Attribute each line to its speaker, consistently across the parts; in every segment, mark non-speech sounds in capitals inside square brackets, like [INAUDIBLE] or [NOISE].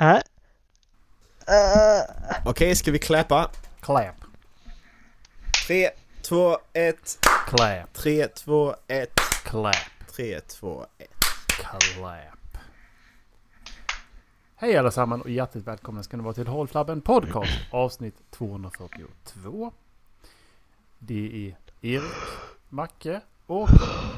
Speaker 1: Äh. Äh.
Speaker 2: Okej, ska vi klappa?
Speaker 3: Clap.
Speaker 2: Tre, två, ett.
Speaker 3: Clap.
Speaker 2: Tre, två, ett.
Speaker 3: Clap.
Speaker 2: Tre, två, ett.
Speaker 3: Clap. Hej allesammans och hjärtligt välkomna ska ni vara till Håll Flabben Podcast avsnitt 242. Det är Erik, Macke och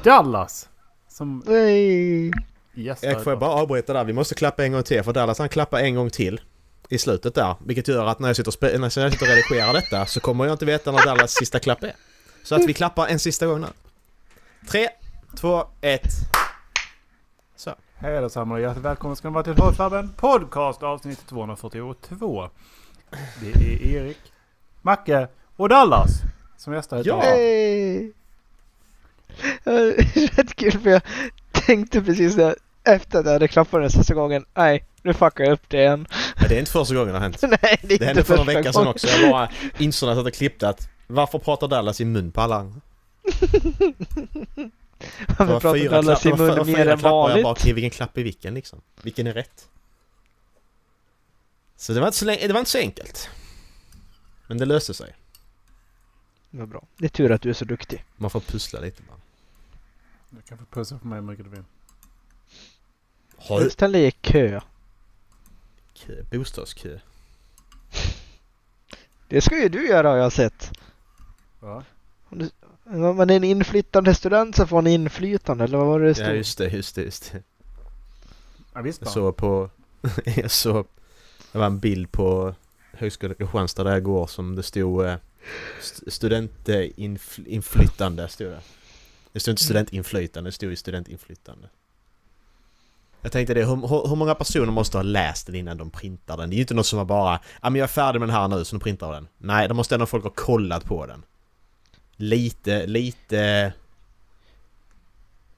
Speaker 3: Dallas som
Speaker 1: Hej.
Speaker 3: gästar.
Speaker 2: Jag får jag bara avbryta där? Vi måste klappa en gång till för Dallas han klappar en gång till i slutet där. Vilket gör att när jag sitter och, spe- när jag sitter och redigerar detta så kommer jag inte veta när Dallas sista klapp är. Så att vi klappar en sista gång nu. Tre, två, ett. Så.
Speaker 3: Hej allesammans och hjärtligt välkomna ska ni vara till Håll Flabben Podcast avsnitt 242. Det är Erik, Macke och Dallas som gästar idag.
Speaker 2: Ja.
Speaker 1: Hej. Eh. Ja, det är Rätt kul för jag tänkte precis där efter att jag hade klappat den sista gången. Nej, nu fuckar jag upp det igen. [LAUGHS]
Speaker 2: Men det är inte första gången det har hänt.
Speaker 1: Nej, det är
Speaker 2: Det
Speaker 1: inte
Speaker 2: hände för några veckor sedan
Speaker 1: gången.
Speaker 2: också. Jag bara insåg när jag satt och klippte att varför pratar Dallas i mun på alla andra? Det
Speaker 1: Varför
Speaker 2: var
Speaker 1: pratar
Speaker 2: fyra
Speaker 1: Dallas i
Speaker 2: klappar- det
Speaker 1: mun
Speaker 2: var fyra
Speaker 1: mer än
Speaker 2: klappar och Jag bara,
Speaker 1: vanligt?
Speaker 2: okej, vilken klapp är vilken liksom? Vilken är rätt? Så det var inte så, länge, det var inte så enkelt. Men det löste sig.
Speaker 1: Vad bra. Det är tur att du är så duktig.
Speaker 2: Man får pussla lite bara.
Speaker 3: Du kan få pussa på mig hur mycket du vill.
Speaker 2: Har du
Speaker 1: Ställ dig i kö.
Speaker 2: kö? Bostadskö?
Speaker 1: Det ska ju du göra har jag sett.
Speaker 3: Va?
Speaker 1: Om man är en inflyttande student så får man inflytande, eller vad var det det stod?
Speaker 2: Ja just det, just det, just det.
Speaker 3: Ja, visst
Speaker 2: Jag
Speaker 3: va?
Speaker 2: såg på... [LAUGHS] jag såg... Det var en bild på Högskolan Kristianstad där jag går som det stod eh, st- studentinflytande, stod det. Det stod inte studentinflytande, det stod ju studentinflytande. Jag tänkte det, hur, hur, hur många personer måste ha läst den innan de printar den? Det är ju inte någon som var bara ja men jag är färdig med den här nu, så nu printar vi den. Nej, det måste ändå folk ha kollat på den. Lite, lite...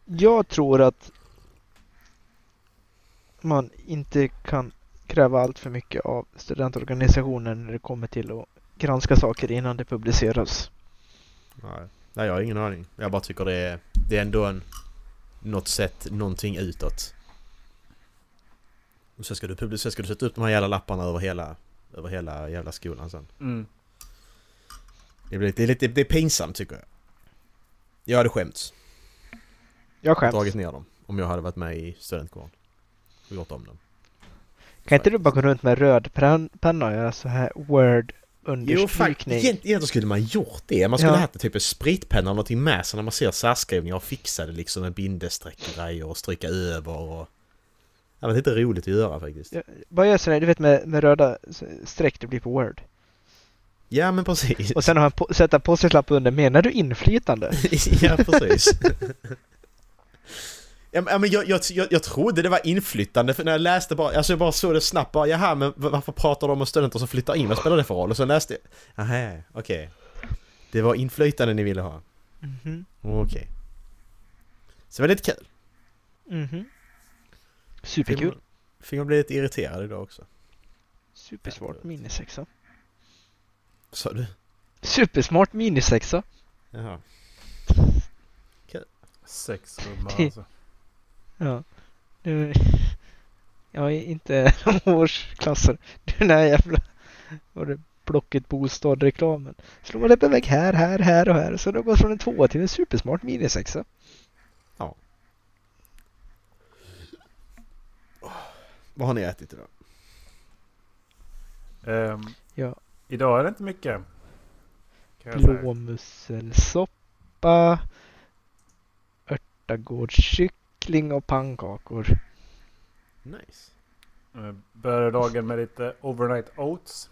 Speaker 1: Jag tror att man inte kan kräva allt för mycket av studentorganisationer när det kommer till att granska saker innan det publiceras.
Speaker 2: Nej. Nej, jag har ingen aning. Jag bara tycker det är, det är ändå en... Något sätt, någonting utåt. Och sen ska du publicera, sen ska du sätta upp de här jävla lapparna över hela... Över hela jävla skolan sen.
Speaker 3: Mm.
Speaker 2: Det, blir, det är lite, det är pinsamt tycker jag. Jag hade skämts.
Speaker 1: Jag skäms.
Speaker 2: Dragit ner dem. Om jag hade varit med i studentkåren. Och gjort om dem.
Speaker 1: Kan inte du bara gå runt med röd pen- penna och göra så här word
Speaker 2: Jo faktiskt,
Speaker 1: understrykning?
Speaker 2: egent- egentligen skulle man gjort det. Man skulle
Speaker 1: Ja.
Speaker 2: haft typ en spritpenna eller någonting med sig när man ser särskrivningar och fixa det liksom med bindestreck och grejer och stryka över och... Ja, men det är inte roligt att göra faktiskt.
Speaker 1: Ja. Bara gör sådär, du vet med, med röda s- streck det blir på word.
Speaker 2: Ja men precis.
Speaker 1: Och sen har han på, sätta post-it-lapp under, menar du inflytande?
Speaker 2: [LAUGHS] ja precis. [LAUGHS] ja, men ja, men jag, jag, jag, jag trodde det var inflyttande för när jag läste bara, alltså jag bara såg det snabbt bara, jaha men va- varför pratar de om studenter som flyttar in, vad spelar det för roll? Och sen läste jag, aha, okej. Det var inflytande ni ville ha,
Speaker 1: Mhm.
Speaker 2: okej. Så det var lite kul.
Speaker 1: Mhm. Superkul.
Speaker 2: Fick man bli lite irriterad idag också.
Speaker 1: Supersmart minisexa.
Speaker 2: Sa du?
Speaker 1: Supersmart minisexa.
Speaker 2: Jaha.
Speaker 3: Sex rummar alltså.
Speaker 1: Ja. Nu... [LAUGHS] Jag är inte [LAUGHS] årsklasser. Den här jävla... Var det Blocket Bostad-reklamen? Slår man upp en vägg här, här, här och här. Så det går från en tvåa till en supersmart minisexa.
Speaker 2: Vad har ni ätit idag?
Speaker 3: Ehm,
Speaker 1: Ja.
Speaker 3: Idag är det inte mycket. Kan jag säga.
Speaker 1: Blåmusselsoppa. Örtagårdskyckling och pannkakor. [LAUGHS]
Speaker 2: Nice.
Speaker 3: Ehm, Började dagen med lite overnight oats.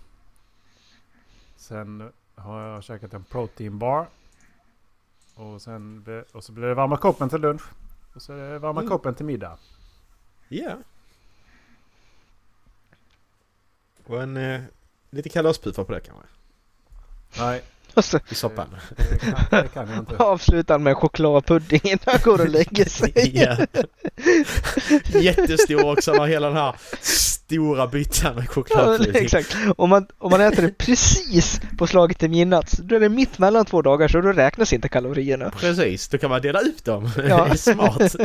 Speaker 3: Sen har jag käkat en protein bar. Och, sen, be- och så blir det varma koppen till lunch. Och så är det varma
Speaker 2: Mm.
Speaker 3: koppen till middag.
Speaker 2: Ja. Och en eh, lite kalaspuffar på det kanske?
Speaker 3: Nej, [LAUGHS]
Speaker 1: Och så
Speaker 2: I soppan?
Speaker 3: det kan, det kan jag inte.
Speaker 1: avslutar med chokladpudding innan han går och lägger sig.
Speaker 2: [LAUGHS] [LAUGHS] ja. Jättestor också, man har hela den här stora byttan med
Speaker 1: Ja, men
Speaker 2: chokladpudding.
Speaker 1: [LAUGHS] exakt. Om man, om man äter det precis på slaget till midnatt, då är det mitt mellan två dagar så då räknas inte kalorierna.
Speaker 2: Precis, då kan man dela ut dem. [LAUGHS]
Speaker 1: Ja.
Speaker 2: det är smart.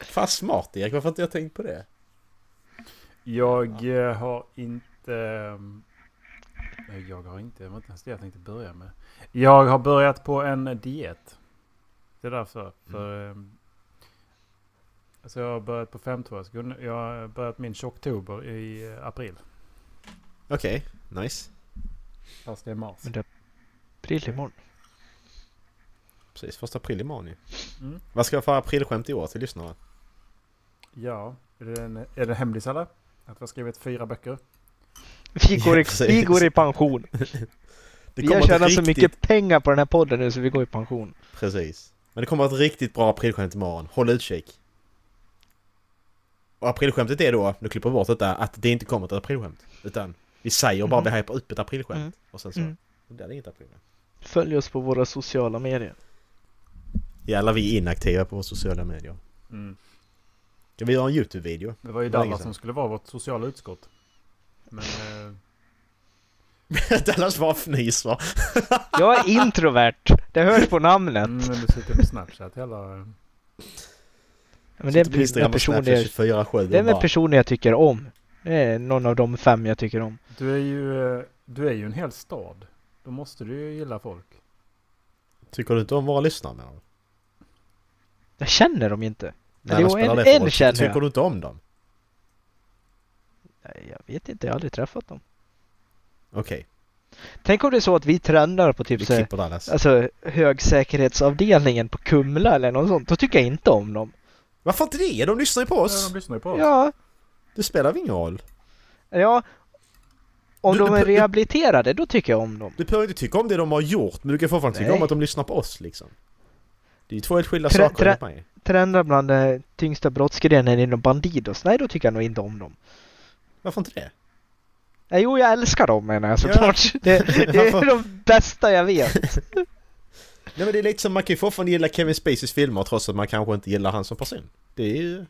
Speaker 2: Fan smart Erik, varför har inte jag tänkt på det?
Speaker 3: Jag eh, har inte... ehm, nej, Jag har inte, det var inte ens det jag tänkte börja med. Jag har börjat på en diet. Det är därför. För, ehm, alltså jag har börjat på 5 Jag har börjat min tjocktober i eh, april.
Speaker 2: Okej, nice.
Speaker 3: Fast det är mars.
Speaker 1: Men det är april imorgon.
Speaker 2: Precis, första april imorgon ju.
Speaker 3: Mm.
Speaker 2: Vad ska jag få för aprilskämt i år till lyssnarna?
Speaker 3: Ja, är det en, är det en hemlis eller? Att vi har skrivit fyra böcker?
Speaker 1: Vi går, i,
Speaker 2: precis.
Speaker 1: vi går i pension.
Speaker 2: Det
Speaker 1: vi har
Speaker 2: ett
Speaker 1: tjänat så
Speaker 2: riktigt-
Speaker 1: mycket pengar på den här podden nu så vi går i pension.
Speaker 2: Precis. Men det kommer ett riktigt bra aprilskämt imorgon. Håll utkik. Och aprilskämtet är då, nu klipper vi bort detta, att det inte kommer ett aprilskämt. Utan vi säger bara
Speaker 1: Mhm.
Speaker 2: vi hypar upp ett aprilskämt.
Speaker 1: Mm.
Speaker 2: Och sen så,
Speaker 1: Mm.
Speaker 2: då blir det inget aprilskämt.
Speaker 1: Följ oss på våra sociala medier.
Speaker 2: Jävlar vi är inaktiva på sociala medier.
Speaker 3: Mm.
Speaker 2: Ska vi göra en YouTube-video? [LAUGHS]
Speaker 3: Det var ju
Speaker 2: Det var länge
Speaker 3: Dallas
Speaker 2: sedan.
Speaker 3: som skulle vara vårt sociala utskott. Men eh,
Speaker 2: Dallas bara fnyser.
Speaker 1: Jag är introvert. Det hörs på namnet.
Speaker 3: mm, men du sitter med Snapchat hela... eh,
Speaker 1: Men det är en- en person
Speaker 2: personlig...
Speaker 1: jag,
Speaker 2: 24-7
Speaker 1: det är en
Speaker 2: bara...
Speaker 1: person jag tycker om. Det är någon av de fem jag tycker om.
Speaker 3: Du är ju, eh, du är ju en hel stad. Då måste du ju gilla folk.
Speaker 2: Tycker du inte om våra lyssnare menar du?
Speaker 1: Jag känner dem inte.
Speaker 2: Nej,
Speaker 1: jo,
Speaker 2: vad spelar
Speaker 1: en-
Speaker 2: det för
Speaker 1: en
Speaker 2: roll?
Speaker 1: känner jag.
Speaker 2: Tycker du inte om dem?
Speaker 1: Nej, Jag vet inte, jag har aldrig träffat dem.
Speaker 2: Okej,
Speaker 1: Tänk om det är så att vi tränar på typ
Speaker 2: vi
Speaker 1: så här,
Speaker 2: klipper Dallas.
Speaker 1: alltså högsäkerhetsavdelningen på Kumla eller något sånt. Då tycker jag inte om dem.
Speaker 2: Varför inte det? De lyssnar ju på
Speaker 3: Ja,
Speaker 2: oss!
Speaker 3: de lyssnar ju på oss.
Speaker 1: Ja,
Speaker 2: Det spelar väl ingen roll?
Speaker 1: ja. Om
Speaker 2: Du-
Speaker 1: de är
Speaker 2: du- du-
Speaker 1: rehabiliterade, då tycker jag om dem.
Speaker 2: Du behöver inte tycka om det de har gjort, men du kan fortfarande tycka
Speaker 1: Nej.
Speaker 2: om att de lyssnar på oss liksom. Det är ju två helt skilda
Speaker 1: Trä-
Speaker 2: saker
Speaker 1: trä-
Speaker 2: enligt mig.
Speaker 1: Trendar bland de tyngsta brottsgrenen inom Bandidos. Nej, då tycker jag nog inte om dem.
Speaker 2: Varför inte det?
Speaker 1: Nej, jo, jag älskar dem menar jag
Speaker 2: Ja.
Speaker 1: såklart.
Speaker 2: [LAUGHS]
Speaker 1: Det, det är de bästa jag vet.
Speaker 2: Nej men det är lite som, man kan ju fortfarande gilla Kevin Spaceys filmer trots att man kanske inte gillar han som person. Det är ju...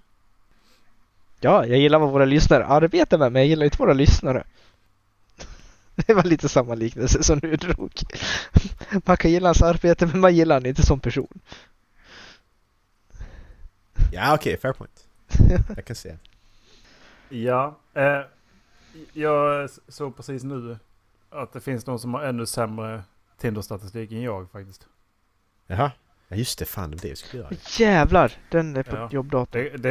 Speaker 1: Ja, jag gillar vad våra lyssnare arbetar med, men jag gillar inte våra lyssnare. Det var lite samma liknelse som du drog. Man kan gilla hans arbete, men man gillar han inte som person.
Speaker 2: Ja okej, fair [LAUGHS] point. Jag kan se.
Speaker 3: Ja, eh, jag s- såg precis nu att det finns någon som har ännu sämre Tinder-statistik än jag faktiskt.
Speaker 2: Jaha. Ja just det, fan det var det vi skulle göra.
Speaker 1: Jävlar, den är på
Speaker 3: Ja.
Speaker 1: jobbdatorn.
Speaker 3: Det, det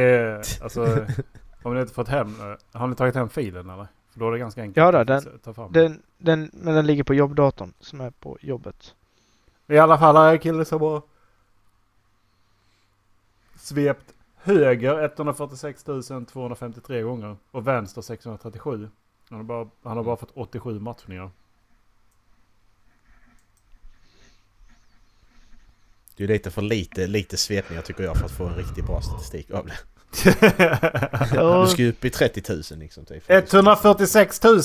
Speaker 1: [LAUGHS]
Speaker 3: är alltså, om ni inte fått hem, eh, har ni tagit hem filen eller? För då är det ganska enkelt
Speaker 1: Ja då,
Speaker 3: att
Speaker 1: den-
Speaker 3: s- ta fram.
Speaker 1: Den, den, men den ligger på jobbdatorn, som är på jobbet.
Speaker 3: I alla fall har en kille som har svept höger 146 253 gånger och vänster 637. Han har bara, han har bara fått
Speaker 2: [LAUGHS]
Speaker 3: 87 matchningar.
Speaker 2: Det är ju lite för lite, lite svepningar tycker jag för att få en riktigt bra statistik av det. Du ska ju upp i 30 000 liksom. Typ.
Speaker 3: 146 000!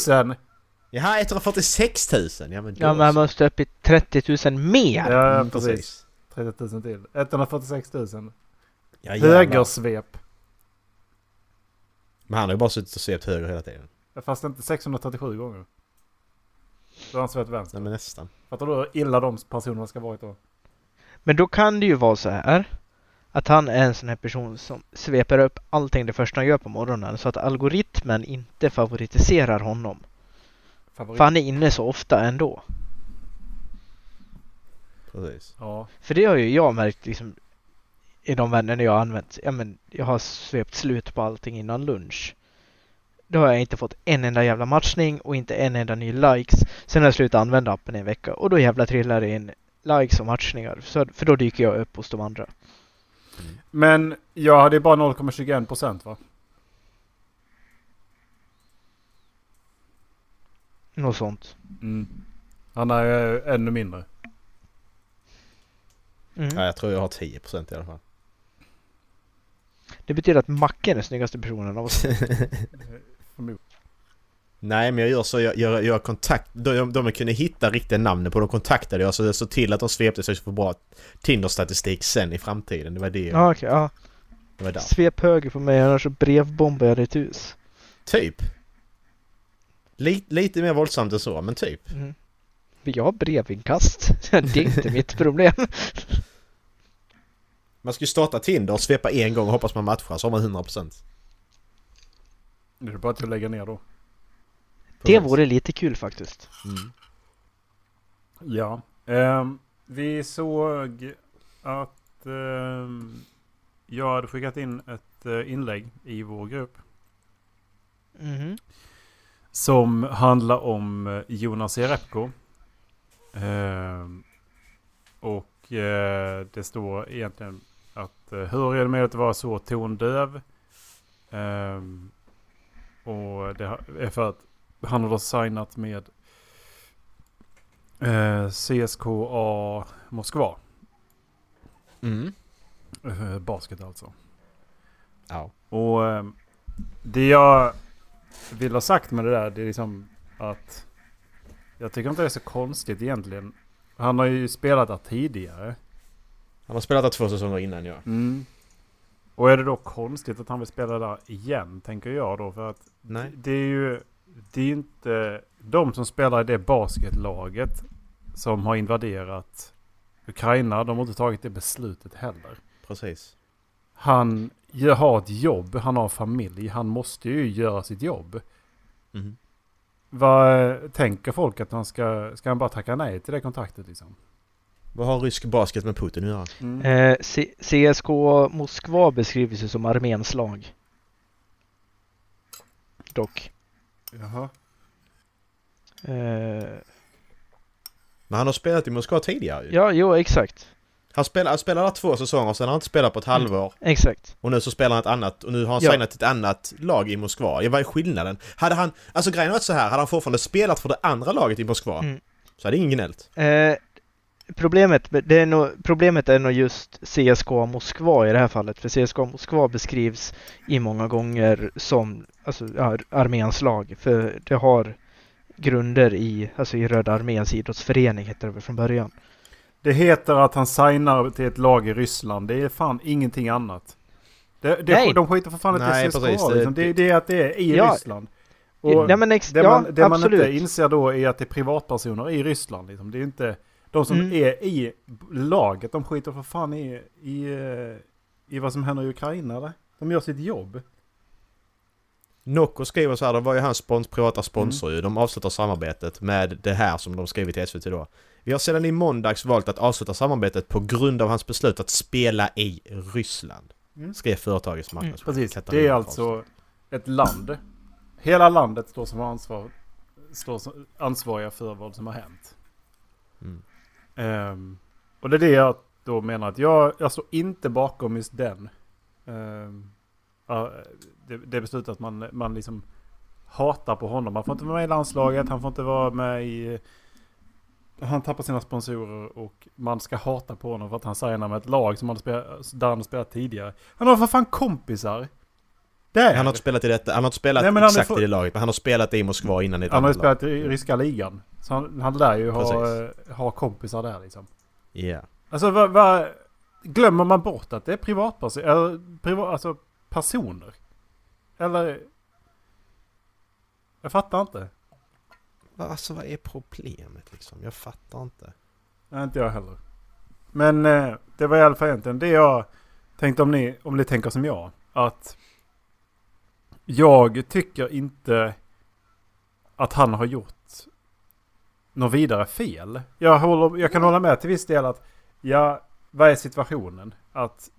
Speaker 2: Jaha, 146 000! Ja men då
Speaker 1: Ja, men han måste upp i 30 000 mer!
Speaker 3: Ja,
Speaker 2: Mm,
Speaker 3: precis. 30 000 till. 146 000.
Speaker 2: Ja, jävlar.
Speaker 3: Högersvep.
Speaker 2: Men han har ju bara suttit och svept höger hela tiden.
Speaker 3: Fast inte 637 gånger. Då har han svept vänster.
Speaker 2: Nej men nästan.
Speaker 3: Fattar du hur illa de personerna ska varit då?
Speaker 1: Men då kan det ju vara så här att han är en sån här person som sveper upp allting det första han gör på morgonen så att algoritmen inte favoritiserar honom.
Speaker 3: Favorit.
Speaker 1: För han är inne så ofta ändå.
Speaker 2: Precis.
Speaker 3: Ja.
Speaker 1: För det har ju jag märkt liksom i de vännerna jag har använt. Ja, men jag har svept slut på allting innan lunch. Då har jag inte fått en enda jävla matchning och inte en enda ny likes. Sen har jag slutat använda appen i en vecka och då jävla trillar det in likes och matchningar. Så, för då dyker jag upp hos de andra.
Speaker 3: Men jag hade ju bara 0,21 procent va?
Speaker 1: Något sånt.
Speaker 3: Mm. Han är ju ännu mindre.
Speaker 2: Ja,
Speaker 1: Mm.
Speaker 2: jag tror jag har 10% i alla fall.
Speaker 1: Det betyder att Macke är den snyggaste personen av oss.
Speaker 2: Nej men jag gör så, jag, jag, jag kontakt... De, de jag kunde hitta riktiga namnen på, de kontaktade jag så jag såg till att de svepte sig för bra Tinder-statistik sen i framtiden. Det var det,
Speaker 1: Ja, okej. ja.
Speaker 2: det var där.
Speaker 1: Svep höger på mig annars så brevbombar jag ditt hus.
Speaker 2: Typ. Lite, lite mer våldsamt än så, men typ.
Speaker 1: Mm. Men Jag har brevinkast. [LAUGHS] Det är inte mitt [LAUGHS] problem.
Speaker 2: Man ska ju starta Tinder och svepa en gång och hoppas man matchar så har man 100%.
Speaker 3: Det är bara till att lägga ner då.
Speaker 1: Det vore lite kul faktiskt.
Speaker 2: Mm.
Speaker 3: Ja. Ehm, vi såg att ehm, jag hade skickat in ett eh, inlägg i vår grupp.
Speaker 1: Mhm.
Speaker 3: Som handlar om eh, Jonas Jerebko. Ehm, och eh, det står egentligen att eh, hur är det med att vara så tondöv? Ehm, och det ha- är för att han har då signat med eh, CSKA Moskva.
Speaker 2: Mm.
Speaker 3: Eh, basket alltså.
Speaker 2: Ja.
Speaker 3: Och eh, det jag vill ha sagt med det där, det är liksom att jag tycker inte det är så konstigt egentligen. Han har ju spelat där tidigare.
Speaker 2: Han har spelat där två säsonger innan ja.
Speaker 3: Och är det då konstigt att han vill spela där igen, tänker jag då. För att
Speaker 2: Nej.
Speaker 3: det är ju det är ju inte de som spelar i det basketlaget som har invaderat Ukraina. De har inte tagit det beslutet heller.
Speaker 2: Precis.
Speaker 3: Han gör- har ett jobb, han har familj, han måste ju göra sitt jobb.
Speaker 2: Mm.
Speaker 3: Vad eh, tänker folk att han ska, ska han bara tacka nej till det kontraktet liksom?
Speaker 2: Vad har rysk basket med Putin att göra?
Speaker 3: Mm.
Speaker 1: Eh, C- CSK Moskva beskrivs ju som arméns lag. Dock.
Speaker 3: Jaha.
Speaker 1: Eh,
Speaker 2: Men han har spelat i Moskva tidigare ju.
Speaker 1: ja, jo, exakt.
Speaker 2: Han spelar, han spelar där två säsonger, sen har han inte spelat på ett
Speaker 3: Mm.
Speaker 2: halvår.
Speaker 1: Exakt.
Speaker 2: Och nu så spelar han ett annat, och nu har han
Speaker 1: Ja.
Speaker 2: signat ett annat lag i Moskva. Ja, vad är skillnaden? Hade han, alltså grejen var så här, hade han fortfarande spelat för det andra laget i Moskva,
Speaker 1: Mm.
Speaker 2: så hade ingen gnällt.
Speaker 1: Eh, problemet, det är nog, problemet är nog just CSKA Moskva i det här fallet. För CSKA Moskva beskrivs i många gånger som alltså, ar- arméns lag. För det har grunder i, alltså i Röda arméns idrottsförening hette det väl från början.
Speaker 3: Det heter att han signar till ett lag i Ryssland, det är fan ingenting annat. Det, det,
Speaker 1: Nej.
Speaker 3: De skiter för fan inte
Speaker 2: Nej,
Speaker 3: i CSKA
Speaker 2: precis. Det-
Speaker 3: liksom. det, det är att det är i
Speaker 1: Ja.
Speaker 3: Ryssland. Och
Speaker 1: Nej, men ex-
Speaker 3: det
Speaker 1: ja,
Speaker 3: man, det man
Speaker 1: absolut.
Speaker 3: inte inser då är att det är privatpersoner i Ryssland liksom. Det är inte de som
Speaker 1: Mm.
Speaker 3: är i laget, de skiter för fan i, i, eh, i vad som händer i Ukraina eller? De gör sitt jobb.
Speaker 2: Nocco skriver så här, det var ju hans spons, privata sponsor
Speaker 3: Mm.
Speaker 2: ju. De avslutar samarbetet med det här som de skrivit till SVT då. Vi har sedan i måndags valt att avsluta samarbetet på grund av hans beslut att spela i Ryssland.
Speaker 3: Mm.
Speaker 2: Skrev företagets marknadschef.
Speaker 3: Precis, det
Speaker 2: Katarina
Speaker 3: är
Speaker 2: Karlsson.
Speaker 3: alltså ett land. Hela landet står som ansvar, står som ansvariga för vad som har hänt.
Speaker 2: Mm.
Speaker 3: Ehm, och det är det jag då menar att jag, jag står inte bakom just den. ehm, ja, det, det beslutet att man, man liksom hatar på honom. Han får inte vara med i landslaget, han får inte vara med i... Han tappar sina sponsorer och man ska hata på honom för att han signar med ett lag som han spelat, där han spelat tidigare. Han har för fan kompisar! Där!
Speaker 2: Han har inte spelat i detta, han har inte spelat
Speaker 3: Nej, men han är
Speaker 2: exakt
Speaker 3: för-
Speaker 2: i det laget, men han har spelat i Moskva innan i ett
Speaker 3: Han har ju
Speaker 2: annat lag.
Speaker 3: spelat i ryska ligan. Så han, han lär ju ha, eh,
Speaker 2: Precis.
Speaker 3: ha kompisar där liksom.
Speaker 2: Ja.
Speaker 3: Alltså vad, vad glömmer man bort att det är privatpersoner? Eller priva, alltså personer? Eller? Jag fattar inte.
Speaker 2: Alltså vad är problemet liksom? Jag fattar inte.
Speaker 3: Nej, inte jag heller. Men eh, det var i alla fall egentligen det jag tänkte om ni, om ni tänker som jag. Att jag tycker inte att han har gjort något vidare fel. Jag, håller, jag kan hålla med till viss del att ja, vad är situationen? Att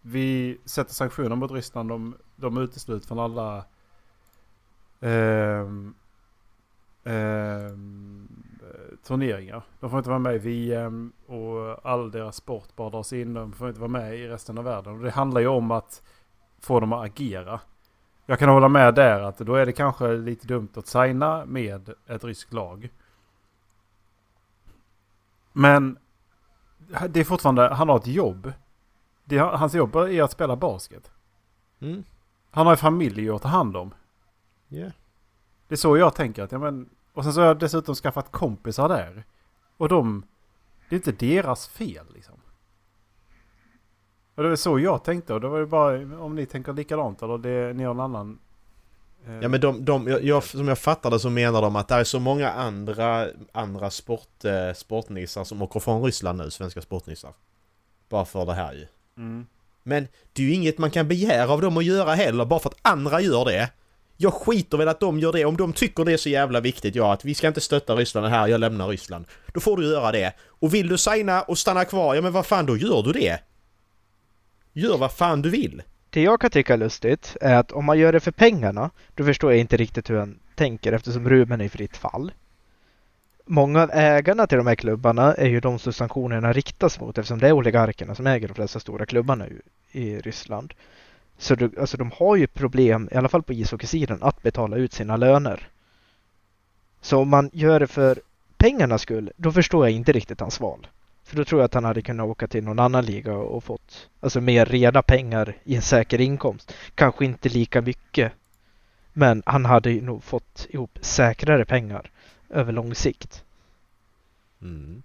Speaker 3: vi sätter sanktioner mot Ryssland, de, de uteslut från alla ehm, ehm, eh, turneringar. De får inte vara med i VM och all deras sport bara dras in. De får inte vara med i resten av världen. Och det handlar ju om att få dem att agera. Jag kan hålla med där att då är det kanske lite dumt att signa med ett ryskt lag. Men det är fortfarande, han har ett jobb. Det, hans jobb är att spela basket.
Speaker 2: Mm.
Speaker 3: Han har ju familj att ta hand om.
Speaker 2: Ja.
Speaker 3: Det är så jag tänker. Att, ja, men, och sen så har jag dessutom skaffat kompisar där. Och de... Det är inte deras fel liksom. Och det var så jag tänkte. Och det var ju bara om ni tänker likadant eller det, ni har en annan... eh,
Speaker 2: Ja men de, de jag, jag, som jag fattar det så menar de att det är så många andra, andra sport, eh, sportnissar som åker från Ryssland nu, svenska sportnissar. Bara för det här ju.
Speaker 3: Mm.
Speaker 2: Men det är ju inget man kan begära av dem att göra heller, bara för att andra gör det. Jag skiter väl att de gör det. Om de tycker det är så jävla viktigt, ja, att vi ska inte stötta Ryssland här, jag lämnar Ryssland. Då får du göra det. Och vill du signa och stanna kvar, ja men vad fan, då gör du det. Gör vad fan du vill.
Speaker 1: Det jag kan tycka är lustigt är att om man gör det för pengarna, då förstår jag inte riktigt hur han tänker eftersom Ruben är i fritt fall. Många av ägarna till de här klubbarna är ju de som sanktionerna riktas mot eftersom det är oligarkerna som äger de flesta stora klubbarna i- i Ryssland. Så du, alltså de har ju problem, i alla fall på ishockeysidan, att betala ut sina löner. Så om man gör det för pengarnas skull, då förstår jag inte riktigt hans val. För då tror jag att han hade kunnat åka till någon annan liga och fått alltså mer reda pengar i en säker inkomst. Kanske inte lika mycket. Men han hade ju nog fått ihop säkrare pengar över lång sikt.
Speaker 2: Mm.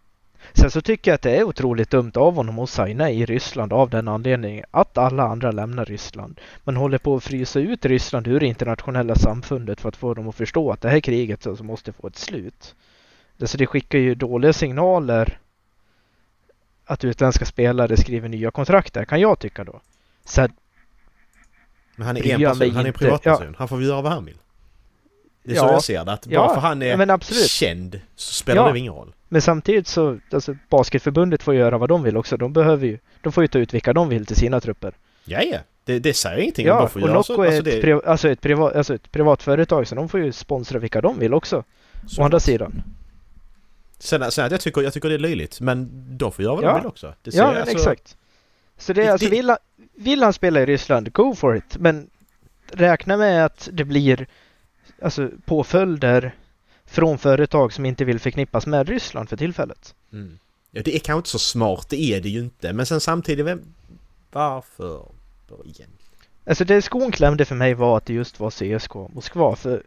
Speaker 1: Sen så tycker jag att det är otroligt dumt av honom att signa i Ryssland av den anledningen att alla andra lämnar Ryssland. Man håller på att frysa ut Ryssland ur det internationella samfundet för att få dem att förstå att det här kriget alltså måste få ett slut. Alltså det skickar ju dåliga signaler att utländska spelare skriver nya kontrakt där, kan jag tycka då. Sen
Speaker 2: Men han är
Speaker 1: Bryr
Speaker 2: en
Speaker 1: jag mig
Speaker 2: person, han är en
Speaker 1: inte.
Speaker 2: privatperson. Han får väl göra vad han vill. Det är så
Speaker 1: Ja.
Speaker 2: jag ser det, att bara
Speaker 1: Ja,
Speaker 2: för han
Speaker 1: ja,
Speaker 2: är
Speaker 1: men absolut.
Speaker 2: känd så spelar
Speaker 1: Ja.
Speaker 2: det väl ingen roll.
Speaker 1: Men samtidigt så, alltså Basketförbundet får göra vad de vill också. De behöver ju, de får ju ta ut vilka de vill till sina trupper.
Speaker 2: Ja, ja. Det, det säger ingenting. de bara
Speaker 1: Ja,
Speaker 2: får
Speaker 1: och
Speaker 2: göra så.
Speaker 1: Nocco är
Speaker 2: Alltså,
Speaker 1: ett,
Speaker 2: det-
Speaker 1: priva, alltså ett, priva, alltså ett privat företag så de får ju sponsra vilka de vill också.
Speaker 2: så-
Speaker 1: Å andra sidan.
Speaker 2: Sen, sen att jag tycker, jag tycker det är löjligt, men de får göra vad
Speaker 1: Ja.
Speaker 2: de vill också. Det
Speaker 1: Ja,
Speaker 2: säger-
Speaker 1: men
Speaker 2: alltså,
Speaker 1: exakt. Så det är
Speaker 2: Det-
Speaker 1: alltså,
Speaker 2: det-
Speaker 1: vill han, vill han spela i Ryssland, go for it. Men räkna med att det blir alltså, påföljder från företag som inte vill förknippas med Ryssland för tillfället.
Speaker 2: Mm. Ja, det är kanske inte så smart, det är det ju inte. Men sen samtidigt, vem... Varför? Då igen?
Speaker 1: Alltså det skon klämde för mig var att det just var CSK Moskva för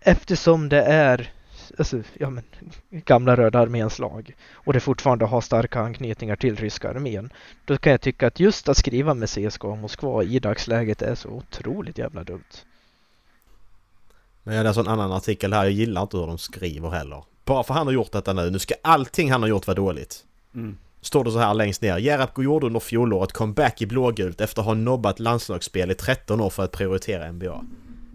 Speaker 1: eftersom det är alltså, ja, men, gamla Röda arméns lag och det fortfarande har starka anknytningar till ryska armén då kan jag tycka att just att skriva med CSK Moskva i dagsläget är så otroligt jävla dumt.
Speaker 2: Men jag läser en annan artikel här, jag gillar inte hur de skriver heller. Bara för han har gjort detta nu, nu ska allting han har gjort vara dåligt.
Speaker 3: Mm.
Speaker 2: Står det så här längst ner. Gerhard gjorde under fjolåret comeback i blågult efter att ha nobbat landslagsspel i 13 år för att prioritera NBA.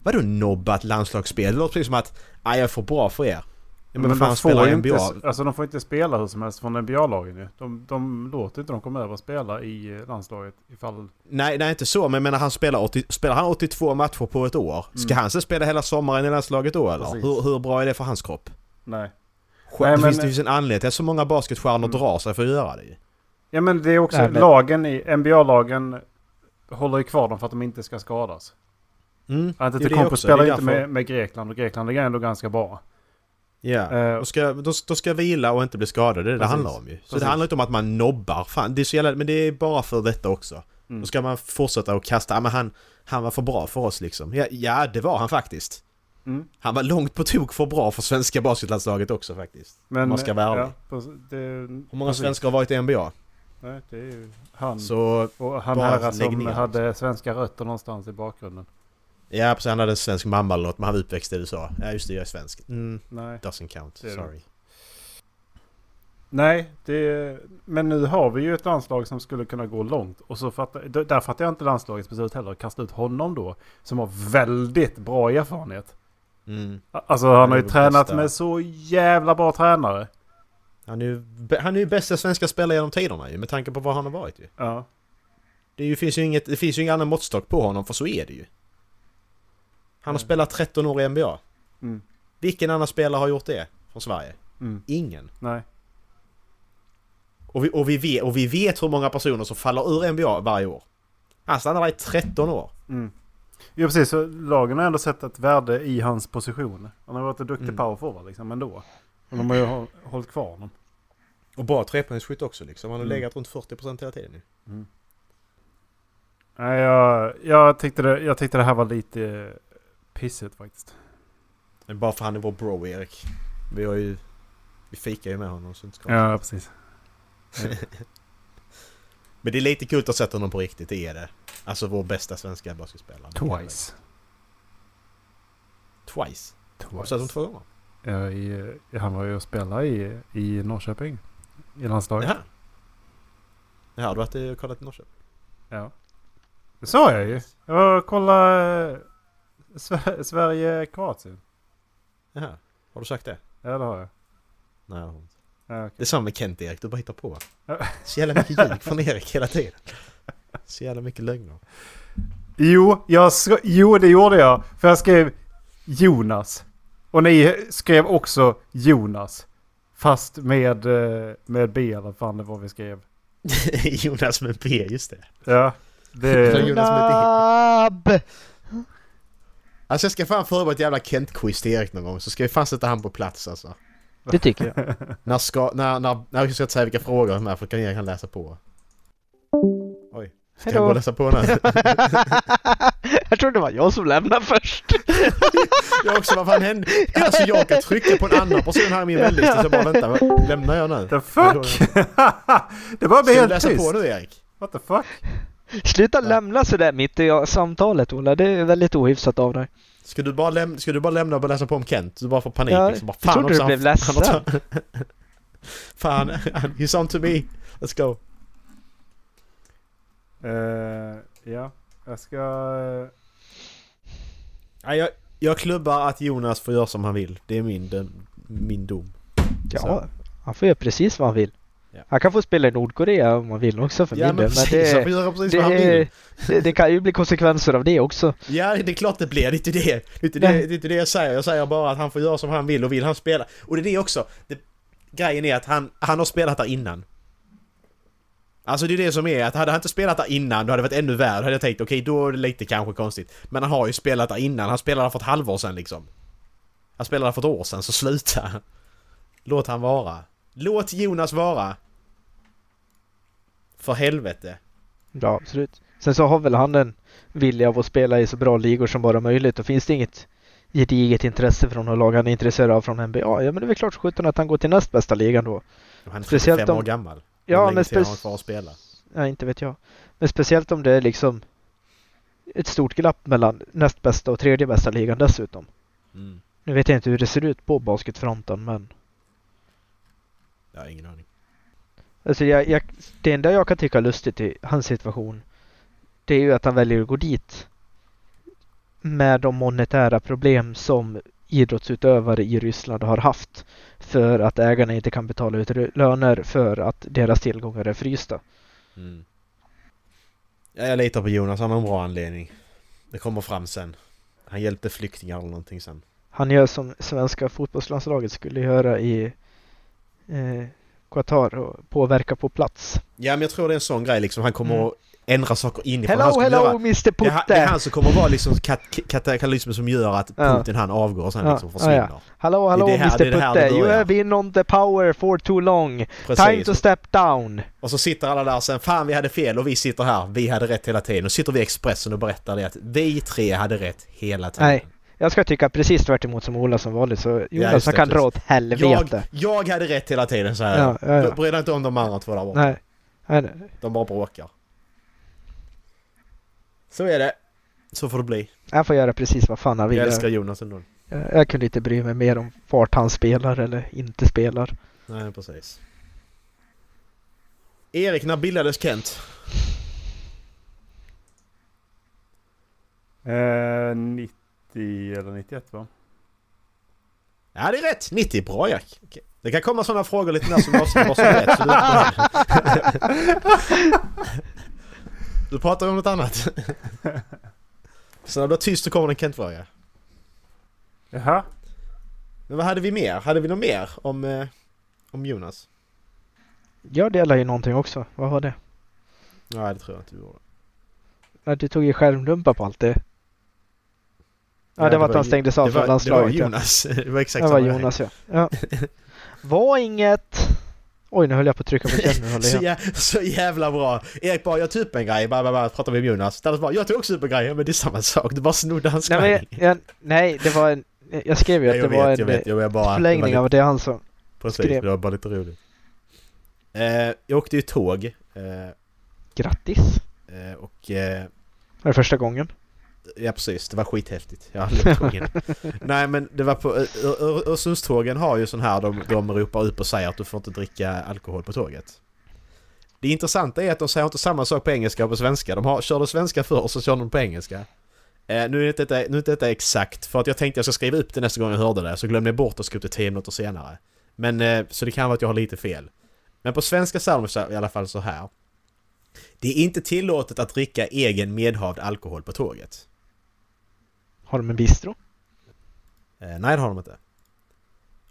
Speaker 2: Vadå nobbat landslagsspel? Det låter precis som att "Ah, jag är för bra för er. Ja, men, vad fan spelar
Speaker 3: ju
Speaker 2: jag
Speaker 3: inte,
Speaker 2: NBA?
Speaker 3: alltså de får inte spela hur som helst från NBA-lagen ju. De, de låter inte dem komma över och spela i eh, landslaget ifall...
Speaker 2: Nej, nej inte så, men jag menar han spelar, 80, spelar han 82 matcher på ett år? Ska han sen spela hela sommaren i landslaget då eller?
Speaker 3: Mm. Precis.
Speaker 2: Hur, hur bra är det för hans kropp?
Speaker 3: Nej.
Speaker 2: Nej,
Speaker 3: Nej,
Speaker 2: det,
Speaker 3: men- Mm.
Speaker 2: finns, det finns en anledning till att så många basketstjärnor drar sig för att göra det ju.
Speaker 3: Ja men det är också
Speaker 1: Nej, men-
Speaker 3: lagen i... NBA-lagen håller ju kvar dem för att de inte ska skadas.
Speaker 2: Mm. Jo, det
Speaker 3: Antetokounmpo
Speaker 2: också.
Speaker 3: spelar
Speaker 2: Det
Speaker 3: ju
Speaker 2: är
Speaker 3: inte
Speaker 2: därför-
Speaker 3: med, med Grekland och Grekland är ändå ganska bra.
Speaker 2: Ja,
Speaker 3: Eh,
Speaker 2: de, ska, de, de ska vila och inte bli skadade, det är det det
Speaker 3: Precis.
Speaker 2: handlar om ju. Så det
Speaker 3: Precis.
Speaker 2: handlar inte om att man nobbar, fan det är så jävla, men det är bara för detta också.
Speaker 3: Mm.
Speaker 2: Då ska man fortsätta att kasta, ja men han, han var för bra för oss liksom. Ja, ja det var han faktiskt.
Speaker 3: Mm.
Speaker 2: Han var långt på tok för bra för svenska basketlandslaget också faktiskt.
Speaker 3: Men,
Speaker 2: man ska vara ärlig.
Speaker 3: precis. det,
Speaker 2: Hur många
Speaker 3: precis. Mm.
Speaker 2: svenskar har varit i NBA?
Speaker 3: Nej, det är ju han.
Speaker 2: Så
Speaker 3: och han
Speaker 2: bara
Speaker 3: här
Speaker 2: lägg
Speaker 3: som
Speaker 2: ner.
Speaker 3: hade svenska rötter någonstans i bakgrunden.
Speaker 2: Ja, precis. Han hade en svensk mamma eller något, men han var uppväxt i USA. Ja, just det, jag är svensk. Mm,
Speaker 3: Nej.
Speaker 2: doesn't count.
Speaker 3: Det är det.
Speaker 2: Sorry.
Speaker 3: Nej, det, men nu har vi ju ett landslag som skulle kunna gå långt. Och så fattar, d- där fattar jag inte landslagets beslut heller. att Kasta ut honom då. Som har väldigt bra erfarenhet.
Speaker 2: Mm.
Speaker 3: A- Alltså han
Speaker 2: är
Speaker 3: har ju
Speaker 2: det
Speaker 3: tränat
Speaker 2: bästa.
Speaker 3: med så jävla bra tränare.
Speaker 2: Han är ju bä- han är ju bästa svenska spelare genom tiderna ju, med tanke på vad han har varit ju.
Speaker 3: Ja.
Speaker 2: Det, är ju, finns ju inget, det finns ju ingen annan måttstock på honom, för så är det ju. Han har
Speaker 3: Mm.
Speaker 2: spelat 13 år i NBA.
Speaker 3: Mm.
Speaker 2: Vilken annan spelare har gjort det från Sverige?
Speaker 3: Mm.
Speaker 2: Ingen.
Speaker 3: Nej.
Speaker 2: Och vi, och, vi vet, och vi vet hur många personer som faller ur NBA varje år. Han stannar där i 13 år.
Speaker 3: Mm. Jo precis, så lagen har ändå sett ett värde i hans position. Han har varit en duktig
Speaker 2: Mm.
Speaker 3: powerforward liksom ändå. Och de har ju håll, hållit kvar honom.
Speaker 2: Och bra trepoängsskytt också liksom. Han har
Speaker 3: Mm.
Speaker 2: legat runt 40% hela tiden nu.
Speaker 3: Nej, jag, jag, tyckte det, jag tyckte det här var lite pissigt faktiskt.
Speaker 2: Men bara för han är vår bro, Erik. Vi har ju... Vi fikar ju med honom så det är inte ska
Speaker 3: Ja, precis.
Speaker 2: Men det är lite kul att sätta honom på riktigt, det är det. Alltså vår bästa svenska basketspelare.
Speaker 3: Twice.
Speaker 2: Twice? Har du sett honom
Speaker 3: Twice.
Speaker 2: två gånger?
Speaker 3: Ja, i, han var ju och spelade i, i Norrköping. I landslaget.
Speaker 2: Jaha. Jaha, du har inte kollat i Norrköping?
Speaker 3: Ja. Det sa jag ju. Jag kollade Sver- Sverige-Kroatien.
Speaker 2: Jaha. Har du sagt det?
Speaker 3: Ja, det har jag.
Speaker 2: Nej, jag har inte.
Speaker 3: Ja,
Speaker 2: Det är
Speaker 3: okej.
Speaker 2: samma med Kent Erik, du bara hittar på.
Speaker 3: Ja.
Speaker 2: Så jävla mycket
Speaker 3: [LAUGHS]
Speaker 2: ljug från Erik hela tiden. Så jävla mycket lögner.
Speaker 3: Jo, jag sk- jo, det gjorde jag. För jag skrev Jonas. Och ni skrev också Jonas. Fast med, eh, med B eller vad fan det var vi skrev.
Speaker 2: Jonas med B, just det.
Speaker 3: Ja,
Speaker 2: [LAUGHS]
Speaker 3: det...
Speaker 2: Jonas med
Speaker 1: Nab!
Speaker 2: Alltså jag ska fan förbereda ett jävla Kent-quiz till Erik någon gång så ska vi fan sätta han på plats alltså.
Speaker 1: Det tycker jag.
Speaker 2: När ska, när, när, när jag ska säga vilka frågor de här för kan Erik han läsa på. Oj, ska jag
Speaker 1: Hejdå.
Speaker 2: bara läsa på [LAUGHS] nu?
Speaker 1: [LAUGHS] jag trodde det var jag som lämnade
Speaker 2: [LAUGHS]
Speaker 1: först.
Speaker 2: Jag också, vad fan hände? Alltså jag kan trycka på en annan person här i min vänlista så jag bara vänta, vad- lämnar jag nu?
Speaker 3: [LAUGHS] The fuck! [LAUGHS] det
Speaker 2: Ska
Speaker 3: bara blev
Speaker 2: du
Speaker 3: helt
Speaker 2: läsa på
Speaker 3: tyst.
Speaker 2: nu Erik?
Speaker 3: What the fuck?
Speaker 1: Sluta
Speaker 2: Ja.
Speaker 1: lämna sådär mitt i samtalet Ola. Det är väldigt ohyfsat av dig.
Speaker 2: Ska du bara, läm- ska du bara lämna och bara läsa på om Kent? Du bara får panik
Speaker 1: Ja,
Speaker 2: liksom. Bara,
Speaker 1: jag trodde
Speaker 2: också,
Speaker 1: du blev
Speaker 2: han- han har-
Speaker 1: ledsen.
Speaker 2: [LAUGHS] fan, [LAUGHS] he's on to me. Let's go.
Speaker 3: Eh, ja, jag ska...
Speaker 2: Ja, jag, jag klubbar att Jonas får göra som han vill. Det är min, den, min dom.
Speaker 1: Ja,
Speaker 2: Så.
Speaker 1: han får göra precis vad han vill.
Speaker 2: Ja.
Speaker 1: Han kan få spela i Nordkorea om han vill också för min del. Men det,
Speaker 2: han får göra precis
Speaker 1: det,
Speaker 2: vad han
Speaker 1: är-
Speaker 2: vill.
Speaker 1: det, det kan ju bli konsekvenser av det också.
Speaker 2: Ja, det är klart det blir. Det är inte det. Det är inte det,
Speaker 1: Nej.
Speaker 2: det, är inte det jag säger. Jag säger bara att han får göra som han vill och vill han spela. Och det är det också. Det, grejen är att han, han har spelat där innan. Alltså det är det som är att hade han inte spelat där innan då hade det varit ännu värre. Då hade jag tänkt okej då är det lite kanske konstigt. Men han har ju spelat där innan. Han spelade där för ett halvår sedan liksom. Han spelade där för ett år sedan så sluta. Låt han vara. Låt Jonas vara. För helvete.
Speaker 1: Ja, absolut. Sen så har väl han en vilja av att spela i så bra ligor som bara möjligt. Och finns det inget gediget intresse från något lag han är intresserad av från NBA, ja men det är väl klart som sjutton att han går till näst bästa ligan då.
Speaker 2: Han är
Speaker 1: Speciellt
Speaker 2: 35 år
Speaker 1: om-
Speaker 2: gammal. Hur
Speaker 1: Ja,
Speaker 2: länge
Speaker 1: men
Speaker 2: till har han
Speaker 1: spec-
Speaker 2: kvar att spela?
Speaker 1: Ja, inte vet jag. Men speciellt om det är liksom ett stort glapp mellan näst bästa och tredje bästa ligan dessutom.
Speaker 2: Mm.
Speaker 1: Nu vet jag inte hur det ser ut på basketfronten men
Speaker 2: Jag har ingen aning.
Speaker 1: Alltså jag, jag, det enda jag kan tycka är lustigt i hans situation det är ju att han väljer att gå dit med de monetära problem som idrottsutövare i Ryssland har haft för att ägarna inte kan betala ut rö- löner för att deras tillgångar är frysta.
Speaker 2: Mm. Ja, jag litar på Jonas, han har en bra anledning. Det kommer fram sen. Han hjälpte flyktingar eller någonting sen.
Speaker 1: Han gör som svenska fotbollslandslaget skulle göra i eh, Qatar och påverka på plats.
Speaker 2: Ja men jag tror det är en sån grej liksom, han kommer
Speaker 1: Mm.
Speaker 2: att ändra saker inifrån. Han
Speaker 1: Hello,
Speaker 2: skulle
Speaker 1: hello
Speaker 2: göra-
Speaker 1: Mr
Speaker 2: Det är, han- det är
Speaker 1: Putte!
Speaker 2: han som kommer att vara liksom kat- katalysen som gör att
Speaker 1: Ja.
Speaker 2: Putin han avgår och sen
Speaker 1: Ja,
Speaker 2: liksom
Speaker 1: ja,
Speaker 2: försvinner.
Speaker 1: Hallå,
Speaker 2: är
Speaker 1: hallå
Speaker 2: det här- det är
Speaker 1: Mr
Speaker 2: det här det
Speaker 1: Putte! You
Speaker 2: börjar.
Speaker 1: have been on the power for too long! Time
Speaker 2: Precis.
Speaker 1: to step down!
Speaker 2: Och så sitter alla där sen, fan vi hade fel och vi sitter här, vi hade rätt hela tiden. Och sitter vi i Expressen och berättar det att vi tre hade rätt hela tiden.
Speaker 1: Nej, jag ska tycka precis tvärt emot som Ola som vanligt så
Speaker 2: Ja,
Speaker 1: Jonas
Speaker 2: just
Speaker 1: han
Speaker 2: det,
Speaker 1: kan dra
Speaker 2: precis.
Speaker 1: åt helvete.
Speaker 2: jag, jag hade rätt hela tiden så här.
Speaker 1: Ja, ja, ja.
Speaker 2: Bry dig inte om de andra två där borta.
Speaker 1: Nej. Nej, nej.
Speaker 2: De bara bråkar. Så är det. Så får det bli.
Speaker 1: Han får göra precis vad fan han vill.
Speaker 2: Jag älskar
Speaker 1: Jag,
Speaker 2: Jonas ändå.
Speaker 1: jag kunde inte bry mig mer om vart han spelar eller inte spelar.
Speaker 2: Nej, precis. Erik, när bildades Kent?
Speaker 3: Eh, 90 eller 91 va?
Speaker 2: Ja, det är rätt! 90, bra Erik! Okej. Det kan komma sådana frågor lite när som avser vad som är rätt, så du är inte
Speaker 1: [LAUGHS]
Speaker 2: beredd. Du pratar om något annat. Så när du är tyst så kommer det en Kent-fråga.
Speaker 3: Jaha.
Speaker 2: Men vad hade vi mer? Hade vi något mer om, eh, om Jonas?
Speaker 1: Jag delar ju någonting också. Vad var det?
Speaker 2: Nej, det tror jag inte vi gjorde.
Speaker 1: Ja, Du tog ju skärmdumpar på allt det. Ja, det var att han stängdes av
Speaker 2: det var,
Speaker 1: från
Speaker 2: det var
Speaker 1: landslaget. ja.
Speaker 2: Jonas. [LAUGHS] Det var exakt
Speaker 1: Det var
Speaker 2: samma grej.
Speaker 1: Jonas ja.
Speaker 2: [LAUGHS]
Speaker 1: ja. Var inget... Oj, nu höll jag på att trycka på känner håller
Speaker 2: Så,
Speaker 1: igen.
Speaker 2: jä så jävla bra! Erik bara, jag tog upp en grej, bara, bara, bara pratar med Jonas. Dallas bara, jag tog också upp en grej, Ja, men det är samma sak, du bara snodde hans
Speaker 1: Nej, men jag,
Speaker 2: grej.
Speaker 1: jag, nej, det var en... Jag skrev ju
Speaker 2: Ja,
Speaker 1: att
Speaker 2: jag
Speaker 1: det
Speaker 2: vet,
Speaker 1: var
Speaker 2: jag
Speaker 1: en eh,
Speaker 2: vet, jag vet, bara... det var
Speaker 1: förlängning
Speaker 2: lite-
Speaker 1: av det han sa.
Speaker 2: Precis,
Speaker 1: skrev.
Speaker 2: det var bara lite roligt. Eh, jag åkte ju tåg, eh,
Speaker 1: Grattis!
Speaker 2: eh, och... Eh,
Speaker 1: Det är första gången.
Speaker 2: Ja precis, det var skithäftigt. Jag har aldrig åkt tåg innan. Nej men det var på, Ö- Ö- Ö- Öresundstågen har ju sån här, de, de ropar upp och säger att du får inte dricka alkohol på tåget. Det intressanta är att de säger inte samma sak på engelska och på svenska. De har, körde svenska förr och så kör de på engelska. Eh, nu, är inte detta, nu är inte detta exakt, för att jag tänkte jag ska skriva upp det nästa gång jag hörde det, så glömde jag bort att skriva upp det 10 minuter senare. Men, eh, så det kan vara att jag har lite fel. Men på svenska säger de så- i alla fall så här. Det är inte tillåtet att dricka egen medhavd alkohol på tåget.
Speaker 1: Har de en bistro?
Speaker 2: Eh, nej, det har de inte.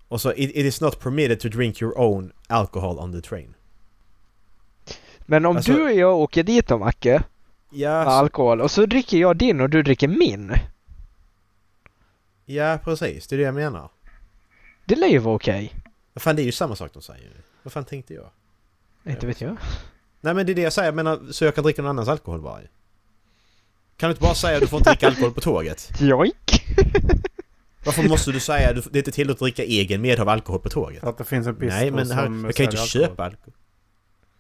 Speaker 2: Och så, it, it is not permitted to drink your own alcohol on the train.
Speaker 1: Men om
Speaker 2: Alltså-
Speaker 1: du och jag åker dit då Macke,
Speaker 2: Ja,
Speaker 1: med alkohol, och så dricker jag din och du dricker min.
Speaker 2: ja precis. Det är det jag menar.
Speaker 1: Det lär ju vara okej.
Speaker 2: Vad fan, det är ju samma sak de säger ju. Vad fan tänkte jag?
Speaker 1: Inte vet jag.
Speaker 2: Nej men det är det jag säger, jag menar, så jag kan dricka någon annans alkohol bara ju. Kan du inte bara säga att du får inte dricka alkohol på tåget?
Speaker 1: Joik! [LAUGHS]
Speaker 2: Varför måste du säga att du- det är inte tillåtet att dricka egen medhav alkohol på tåget?
Speaker 3: Att det finns en bistro
Speaker 2: Nej men här,
Speaker 3: som
Speaker 2: jag kan ju inte
Speaker 3: säljer alkohol.
Speaker 2: köpa alkohol.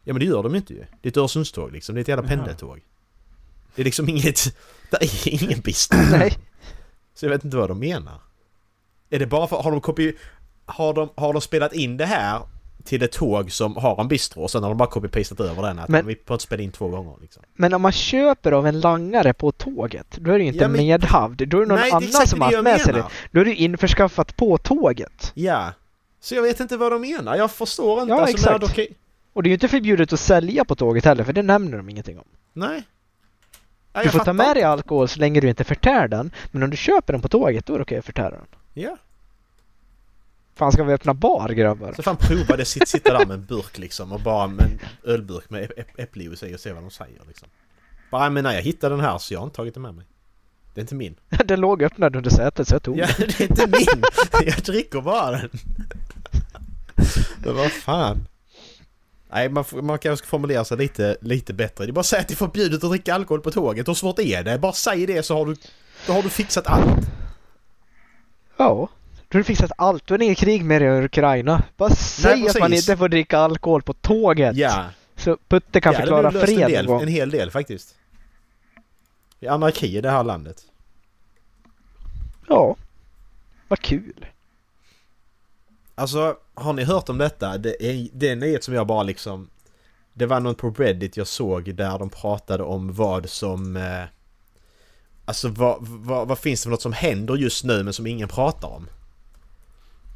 Speaker 2: Ja men det gör de ju inte ju. Det är ett Öresundståg liksom, det är ett jävla
Speaker 3: Jaha.
Speaker 2: pendeltåg. Det är liksom inget... [LAUGHS] Det är ingen bistro.
Speaker 1: Nej.
Speaker 2: Så jag vet inte vad de menar. Är det bara för... Har de kopi... Har de, har de spelat in det här till ett tåg som har en bistro och sen har de bara copy-pastat över den? Att
Speaker 1: Men-
Speaker 2: vi får inte spela in två gånger liksom.
Speaker 1: Men om man köper av en langare på tåget, då är det ju inte
Speaker 2: Ja, men-
Speaker 1: medhavd. Då är det någon
Speaker 2: Nej, det är
Speaker 1: annan
Speaker 2: exakt
Speaker 1: som
Speaker 2: det
Speaker 1: har haft
Speaker 2: jag
Speaker 1: med sig det.
Speaker 2: menar.
Speaker 1: Då är det ju införskaffat på tåget.
Speaker 2: Ja. Så jag vet inte vad de menar. Jag förstår inte. Alltså,
Speaker 1: Ja,
Speaker 2: men
Speaker 1: exakt.
Speaker 2: det är okej.
Speaker 1: Och det är ju inte förbjudet att sälja på tåget heller, för det nämner de ingenting om.
Speaker 2: Nej. Nej,
Speaker 1: Du
Speaker 2: jag
Speaker 1: får ta
Speaker 2: fattar
Speaker 1: med dig
Speaker 2: inte.
Speaker 1: alkohol så länge du inte förtär den, men om du köper den på tåget, då är det okej att förtära den.
Speaker 2: Ja.
Speaker 1: Fan, ska vi öppna bar grabbar?
Speaker 2: Så fan prova det. Sitt, sitta där med en burk liksom och bara med en ölburk med äpp- äppeljuice i och se vad de säger liksom. Bara, men nej, jag hittade den här så jag har inte tagit den med mig. Det är inte min.
Speaker 1: [LAUGHS] Den låg öppnad under sätet, så jag tog
Speaker 2: Ja,
Speaker 1: den.
Speaker 2: det är inte min! [LAUGHS] Jag dricker bara den! Men vad fan? Nej, man, får- man kanske ska formulera sig lite, lite bättre. Det är bara att säga att det är förbjudet att dricka alkohol på tåget. Hur svårt är det? Bara säg det så har du, då har du fixat allt.
Speaker 1: Ja. Då har du fixat allt. Du har inget krig med dig i Ukraina. Bara säg att man
Speaker 2: precis.
Speaker 1: inte får dricka alkohol på tåget.
Speaker 2: Ja,
Speaker 1: Så Putte kan
Speaker 2: ja det
Speaker 1: förklara
Speaker 2: har löst en,
Speaker 1: fred någon
Speaker 2: del,
Speaker 1: gång.
Speaker 2: en hel del faktiskt. Det är anarki i det här landet.
Speaker 1: Ja. Vad kul.
Speaker 2: Alltså, har ni hört om detta? Det är, det är en nyhet som jag bara liksom... Det var någon på Reddit jag såg där de pratade om vad som... Eh, alltså vad, vad, vad finns det för något som händer just nu men som ingen pratar om?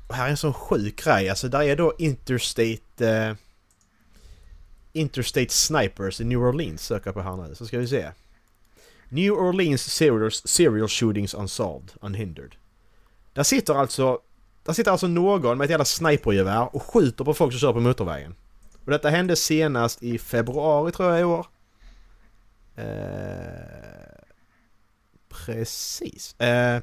Speaker 2: Och här är en sån sjuk grej. Alltså där är då Interstate... Eh, Interstate Snipers i New Orleans söker jag på här nu. Så ska vi se. New Orleans serial, serial shootings unsolved, unhindered. Där sitter alltså där sitter alltså någon med ett jävla snipergevär och skjuter på folk som kör på motorvägen. Och detta hände senast i februari tror jag i år. Eh, precis. Eh,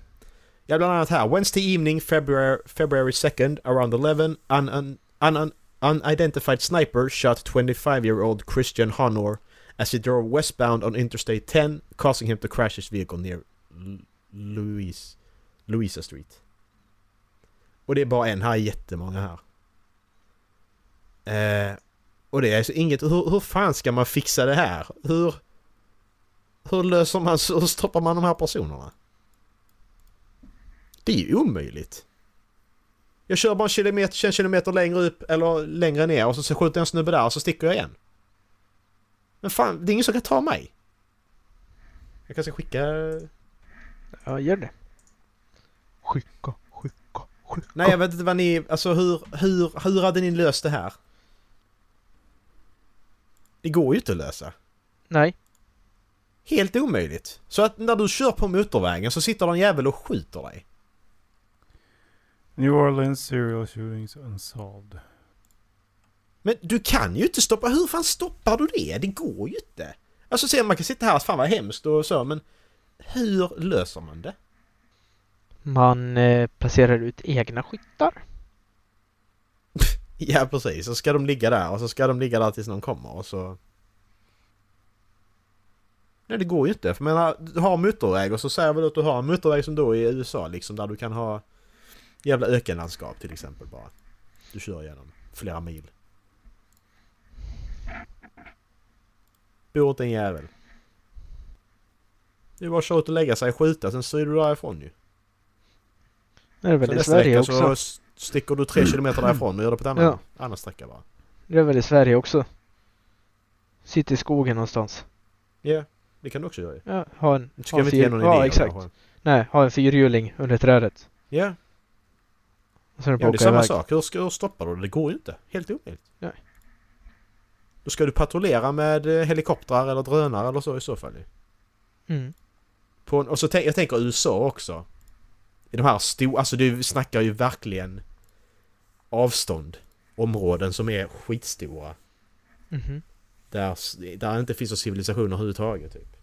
Speaker 2: ja, bland annat här. Wednesday evening, February, February 2nd, around 11, an, an, an, an, unidentified sniper shot 25-year-old Christian Honor as he drove westbound on Interstate 10, causing him to crash his vehicle near Lu- Louise, Louisa Street. Och det är bara en, här är jättemånga här. Eh, och det är alltså inget, hur, hur fan ska man fixa det här? Hur, hur löser man, hur stoppar man de här personerna? Det är ju omöjligt. Jag kör bara en kilometer, en kilometer längre upp eller längre ner och så- så skjuter jag en snubbe där och så sticker jag igen. Men fan, det är ingen som kan ta mig. Jag kanske skicka...
Speaker 1: Ja, gör det. Skicka, skicka, skicka.
Speaker 2: Nej jag vet inte vad ni, alltså hur, hur, hur hade ni löst det här? Det går ju inte att lösa.
Speaker 1: Nej.
Speaker 2: Helt omöjligt. Så att när du kör på motorvägen så sitter någon jävel och skjuter dig.
Speaker 3: New Orleans serial shootings unsolved.
Speaker 2: Men du kan ju inte stoppa, hur fan stoppar du det? Det går ju inte. Alltså se man kan sitta här, fan vad hemskt och så men hur löser man det?
Speaker 1: Man eh, placerar ut egna skyttar.
Speaker 2: Ja precis, så ska de ligga där och så ska de ligga där tills någon kommer och så... Nej det går ju inte, för jag menar, du har motorväg och så säger väl att du har en motorväg som då är i USA liksom där du kan ha jävla ökenlandskap till exempel bara. Du kör igenom flera mil. Bor inte en jävel. Det är bara att köra ut och lägga sig och skjuta, sen styr du därifrån ju.
Speaker 1: Det är
Speaker 2: Sen
Speaker 1: väl i
Speaker 2: nästa
Speaker 1: Sverige
Speaker 2: vecka
Speaker 1: också.
Speaker 2: så s- sticker du tre kilometer därifrån och gör det på ett annat,
Speaker 1: Ja.
Speaker 2: annan sträcka bara.
Speaker 1: Det är väl i Sverige också. Sitter i skogen någonstans.
Speaker 2: Ja. Det kan du också göra ju.
Speaker 1: Ja, ha en...
Speaker 2: Du
Speaker 1: ha
Speaker 2: skrev
Speaker 1: en
Speaker 2: inte
Speaker 1: fyr-
Speaker 2: igenom någon
Speaker 1: ja,
Speaker 2: idé. om
Speaker 1: exakt.
Speaker 2: det här.
Speaker 1: Nej, ha en fyrhjuling under trädet.
Speaker 2: Ja,
Speaker 1: Och sen är det bara
Speaker 2: ja det är
Speaker 1: åka
Speaker 2: samma
Speaker 1: iväg.
Speaker 2: sak. Hur, ska, hur stoppar du det? Det går ju inte. Helt omöjligt.
Speaker 1: Nej.
Speaker 2: Då ska du patrullera med eh, helikoptrar eller drönare eller så i så fall ju.
Speaker 1: Mm.
Speaker 2: På en, och så tänk, jag tänker USA också. I de här stora, alltså du snackar ju verkligen avstånd. Områden som är skitstora.
Speaker 1: Mhm.
Speaker 2: Där, s- där det inte finns någon civilisation överhuvudtaget typ.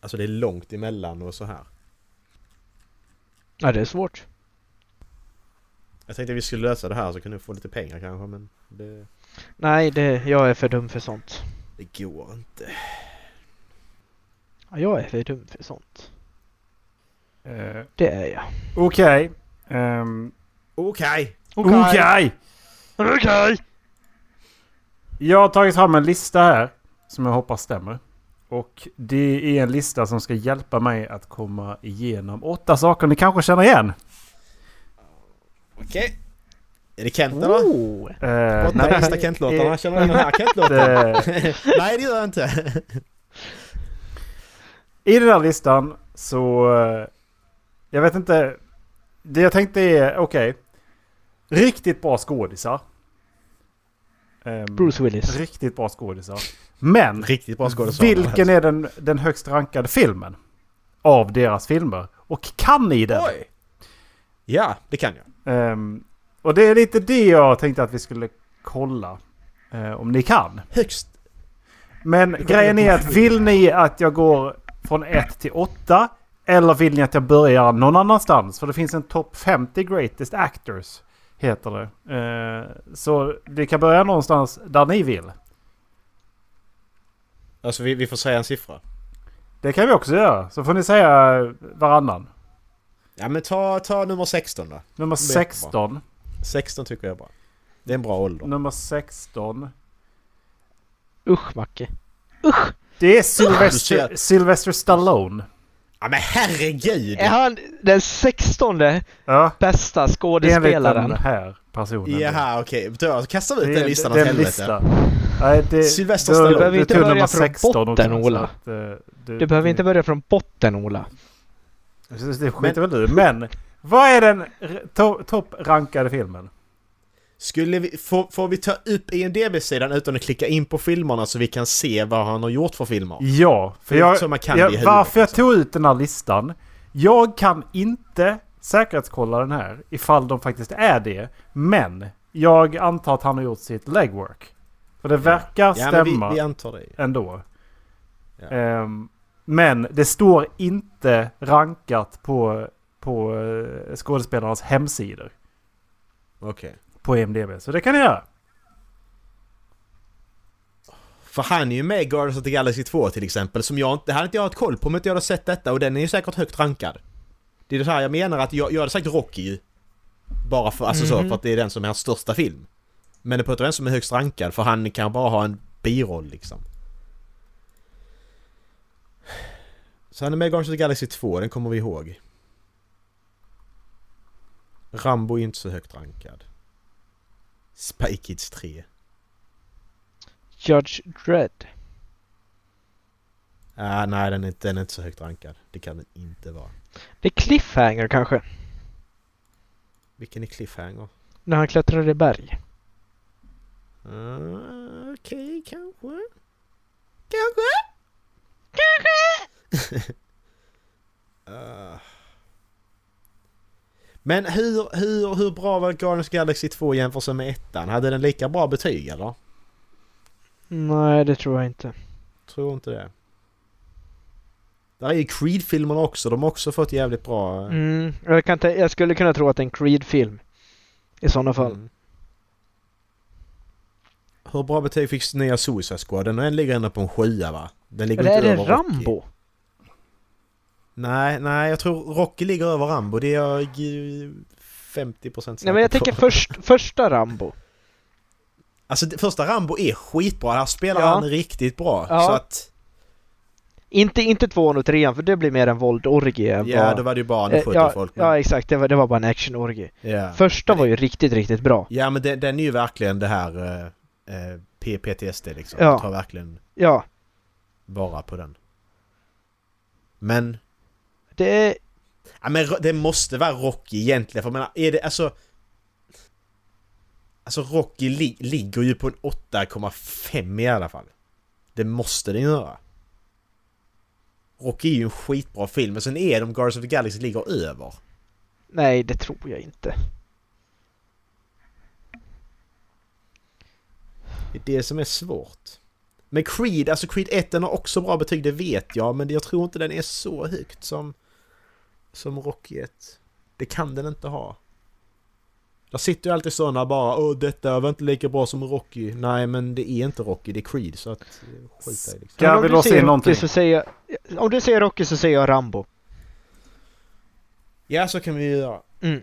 Speaker 2: Alltså det är långt emellan och så här.
Speaker 1: Ja, det är svårt.
Speaker 2: Jag tänkte att vi skulle lösa det här så kan du få lite pengar kanske men det,
Speaker 1: Nej, det, jag är för dum för sånt.
Speaker 2: det går inte.
Speaker 1: Ja, jag är för dum för sånt.
Speaker 3: Eh,
Speaker 1: Det är jag.
Speaker 3: Okej. Ehm,
Speaker 2: Okej!
Speaker 3: Okej!
Speaker 1: Okej!
Speaker 3: Jag har tagit fram en lista här. Som jag hoppas stämmer. Och det är en lista som ska hjälpa mig att komma igenom åtta saker ni kanske känner igen.
Speaker 2: Okej! Är det Kent eller?
Speaker 1: Oh.
Speaker 3: Eh,
Speaker 2: Åtta bästa Kent-låtarna, känner du igen den här
Speaker 3: [LAUGHS]
Speaker 2: Kent-låten?
Speaker 3: Eh,
Speaker 2: Nej det gör jag inte!
Speaker 3: I den här listan så... eh, Jag vet inte. Det jag tänkte är, okej. riktigt bra skådisar. Ehm,
Speaker 1: Bruce Willis.
Speaker 3: Riktigt bra skådisar.
Speaker 2: [LAUGHS]
Speaker 3: Men
Speaker 2: Riktigt bra skådespelare.
Speaker 3: vilken är den, den högst rankade filmen? Av deras filmer. Och kan ni den?
Speaker 2: Oj! Ja, det kan jag.
Speaker 3: Ehm, och det är lite det jag tänkte att vi skulle kolla. eh, om ni kan.
Speaker 2: Högst
Speaker 3: Men grejen är att vill ni att jag går från 1 till 8? Eller vill ni att jag börjar någon annanstans? För det finns en topp 50 greatest actors. Heter det. Eh, så vi kan börja någonstans där ni vill.
Speaker 2: Alltså vi, vi får säga en siffra.
Speaker 3: Det kan vi också göra. Så får ni säga varannan.
Speaker 2: Ja men ta, ta nummer 16 då.
Speaker 3: Nummer
Speaker 2: Det är jättebra.
Speaker 3: 16.
Speaker 2: 16 tycker jag är bra. Det är en bra ålder.
Speaker 3: Nummer 16.
Speaker 1: Usch, Macke.
Speaker 3: Det är
Speaker 2: Du
Speaker 3: Sylvester,
Speaker 2: ser-
Speaker 3: Sylvester Stallone.
Speaker 2: Ja men herregud!
Speaker 1: Är han den sextonde
Speaker 3: Ja,
Speaker 1: bästa
Speaker 3: enligt den
Speaker 1: skådespelaren?
Speaker 3: här personen.
Speaker 2: Jaha okej, då kastar vi
Speaker 3: Det
Speaker 2: ut den
Speaker 3: är-
Speaker 2: listan åt
Speaker 3: det är en
Speaker 2: helvete.
Speaker 3: lista. Nej, det,
Speaker 2: Sylvester
Speaker 3: då-
Speaker 2: Stallone.
Speaker 3: då-
Speaker 2: Du behöver
Speaker 3: du
Speaker 1: inte
Speaker 3: tog
Speaker 1: börja
Speaker 3: nummer
Speaker 1: från
Speaker 3: 16 också,
Speaker 1: botten, Ola.
Speaker 3: så att, eh, du-
Speaker 1: Du behöver inte
Speaker 3: det-
Speaker 1: börja från botten, Ola.
Speaker 3: Det skiter väl du Men vad är den r- to, topprankade filmen?
Speaker 2: Skulle vi, får, får vi ta upp E IMDB-sidan utan att klicka in på filmerna så vi kan se vad han har gjort för filmer?
Speaker 3: Ja, för
Speaker 2: Det är
Speaker 3: jag,
Speaker 2: som man kan i
Speaker 3: jag,
Speaker 2: huvudet,
Speaker 3: varför jag
Speaker 2: liksom.
Speaker 3: tog ut den här listan. Jag kan inte säkerhetskolla den här ifall de faktiskt är det. Men jag antar att han har gjort sitt legwork. För det verkar
Speaker 2: Ja men
Speaker 3: stämma
Speaker 2: vi, vi antar det ju.
Speaker 3: ändå.
Speaker 2: Ja.
Speaker 3: Ehm, men det står inte rankat på, på eh, skådespelarnas hemsidor
Speaker 2: Okej.
Speaker 3: på IMDB. Så det kan ni göra.
Speaker 2: För han är ju med i Guardians of the Galaxy 2 till exempel, som jag inte, det hade inte jag haft koll på om inte jag hade sett detta och den är ju säkert högt rankad. Det är det här jag menar att jag, jag hade sagt Rocky ju. Bara för, alltså så,
Speaker 1: Mhm.
Speaker 2: för att det är den som är hans största film. Men det pratar vem som är högst rankad för han kan bara ha en biroll liksom. Så han är med i Guardians of the Galaxy 2, den kommer vi ihåg. Rambo är inte så högt rankad. Spy Kids 3.
Speaker 1: Judge Dredd.
Speaker 2: Ah, nej, den är, inte- den är inte så högt rankad. Det kan den inte vara.
Speaker 1: Det är Cliffhanger kanske?
Speaker 2: Vilken är Cliffhanger?
Speaker 1: När han klättrar i berg.
Speaker 2: Ah, Okej, kanske. Kanske? [LAUGHS] Kanske! Ah. Men hur, hur, hur bra var Guardians of the Galaxy 2 jämfört med ettan? Hade den lika bra betyg eller?
Speaker 1: Nej, det tror jag inte.
Speaker 2: Tror inte det. Där är ju Creed-filmerna också. De har också fått jävligt bra... eh,
Speaker 1: Mm, jag, kan ta- jag skulle kunna tro att det är en Creed-film. I sådana fall.
Speaker 2: Mm. Hur bra betyg fick nya Suicide Squad? Den här ligger ändå på en sjua va? Den ligger
Speaker 1: Eller är
Speaker 2: inte
Speaker 1: det
Speaker 2: över Rocky.
Speaker 1: Rambo?
Speaker 2: Nej, nej jag tror Rocky ligger över Rambo. Det är jag ju 50% säker
Speaker 1: Nej, men jag
Speaker 2: på.
Speaker 1: tänker först, första Rambo.
Speaker 2: Alltså det första Rambo är skitbra. Här spelar
Speaker 1: Ja.
Speaker 2: han riktigt bra.
Speaker 1: Ja.
Speaker 2: Så att...
Speaker 1: Inte, inte tvåan och trean, för det blir mer en våldorgie. än
Speaker 2: Ja,
Speaker 1: vad-
Speaker 2: då var det ju
Speaker 1: Eh,
Speaker 2: bara han sköt
Speaker 1: ja,
Speaker 2: folk. Men,
Speaker 1: ja, exakt. Det var, det var bara en actionorgie.
Speaker 2: ja.
Speaker 1: Första
Speaker 2: Men det-
Speaker 1: var ju riktigt, riktigt bra.
Speaker 2: ja, men den, den är ju verkligen det här eh, eh, P- PTSD liksom.
Speaker 1: Ja.
Speaker 2: Tar verkligen...
Speaker 1: Ja,
Speaker 2: bara på den. Men
Speaker 1: Det är...
Speaker 2: Ja, men ro- det måste vara Rocky egentligen, för jag menar, är det alltså... Alltså Rocky li- ligger ju på en 8,5 i alla fall. Det måste den göra. Rocky är ju en skitbra film, men sen är de Guardians of the Galaxy ligger över.
Speaker 1: Nej, det tror jag inte.
Speaker 2: Det är det som är svårt. Men Creed, alltså Creed 1 den har också bra betyg, det vet jag, men jag tror inte den är så högt som... Som Rocky 1. Det kan den inte ha. Där sitter ju alltid sådana bara Åh, detta var inte lika bra som Rocky. Nej, men det är inte Rocky, det är Creed, så att... eh, Skita i det.
Speaker 3: Ska
Speaker 1: Men om
Speaker 3: vi
Speaker 1: du
Speaker 3: låsa
Speaker 1: säger
Speaker 3: in
Speaker 1: Rocky
Speaker 3: någonting?
Speaker 1: Så säger jag... Om du säger Rocky så säger jag Rambo.
Speaker 2: Ja, så kan vi ju göra.
Speaker 1: Mm.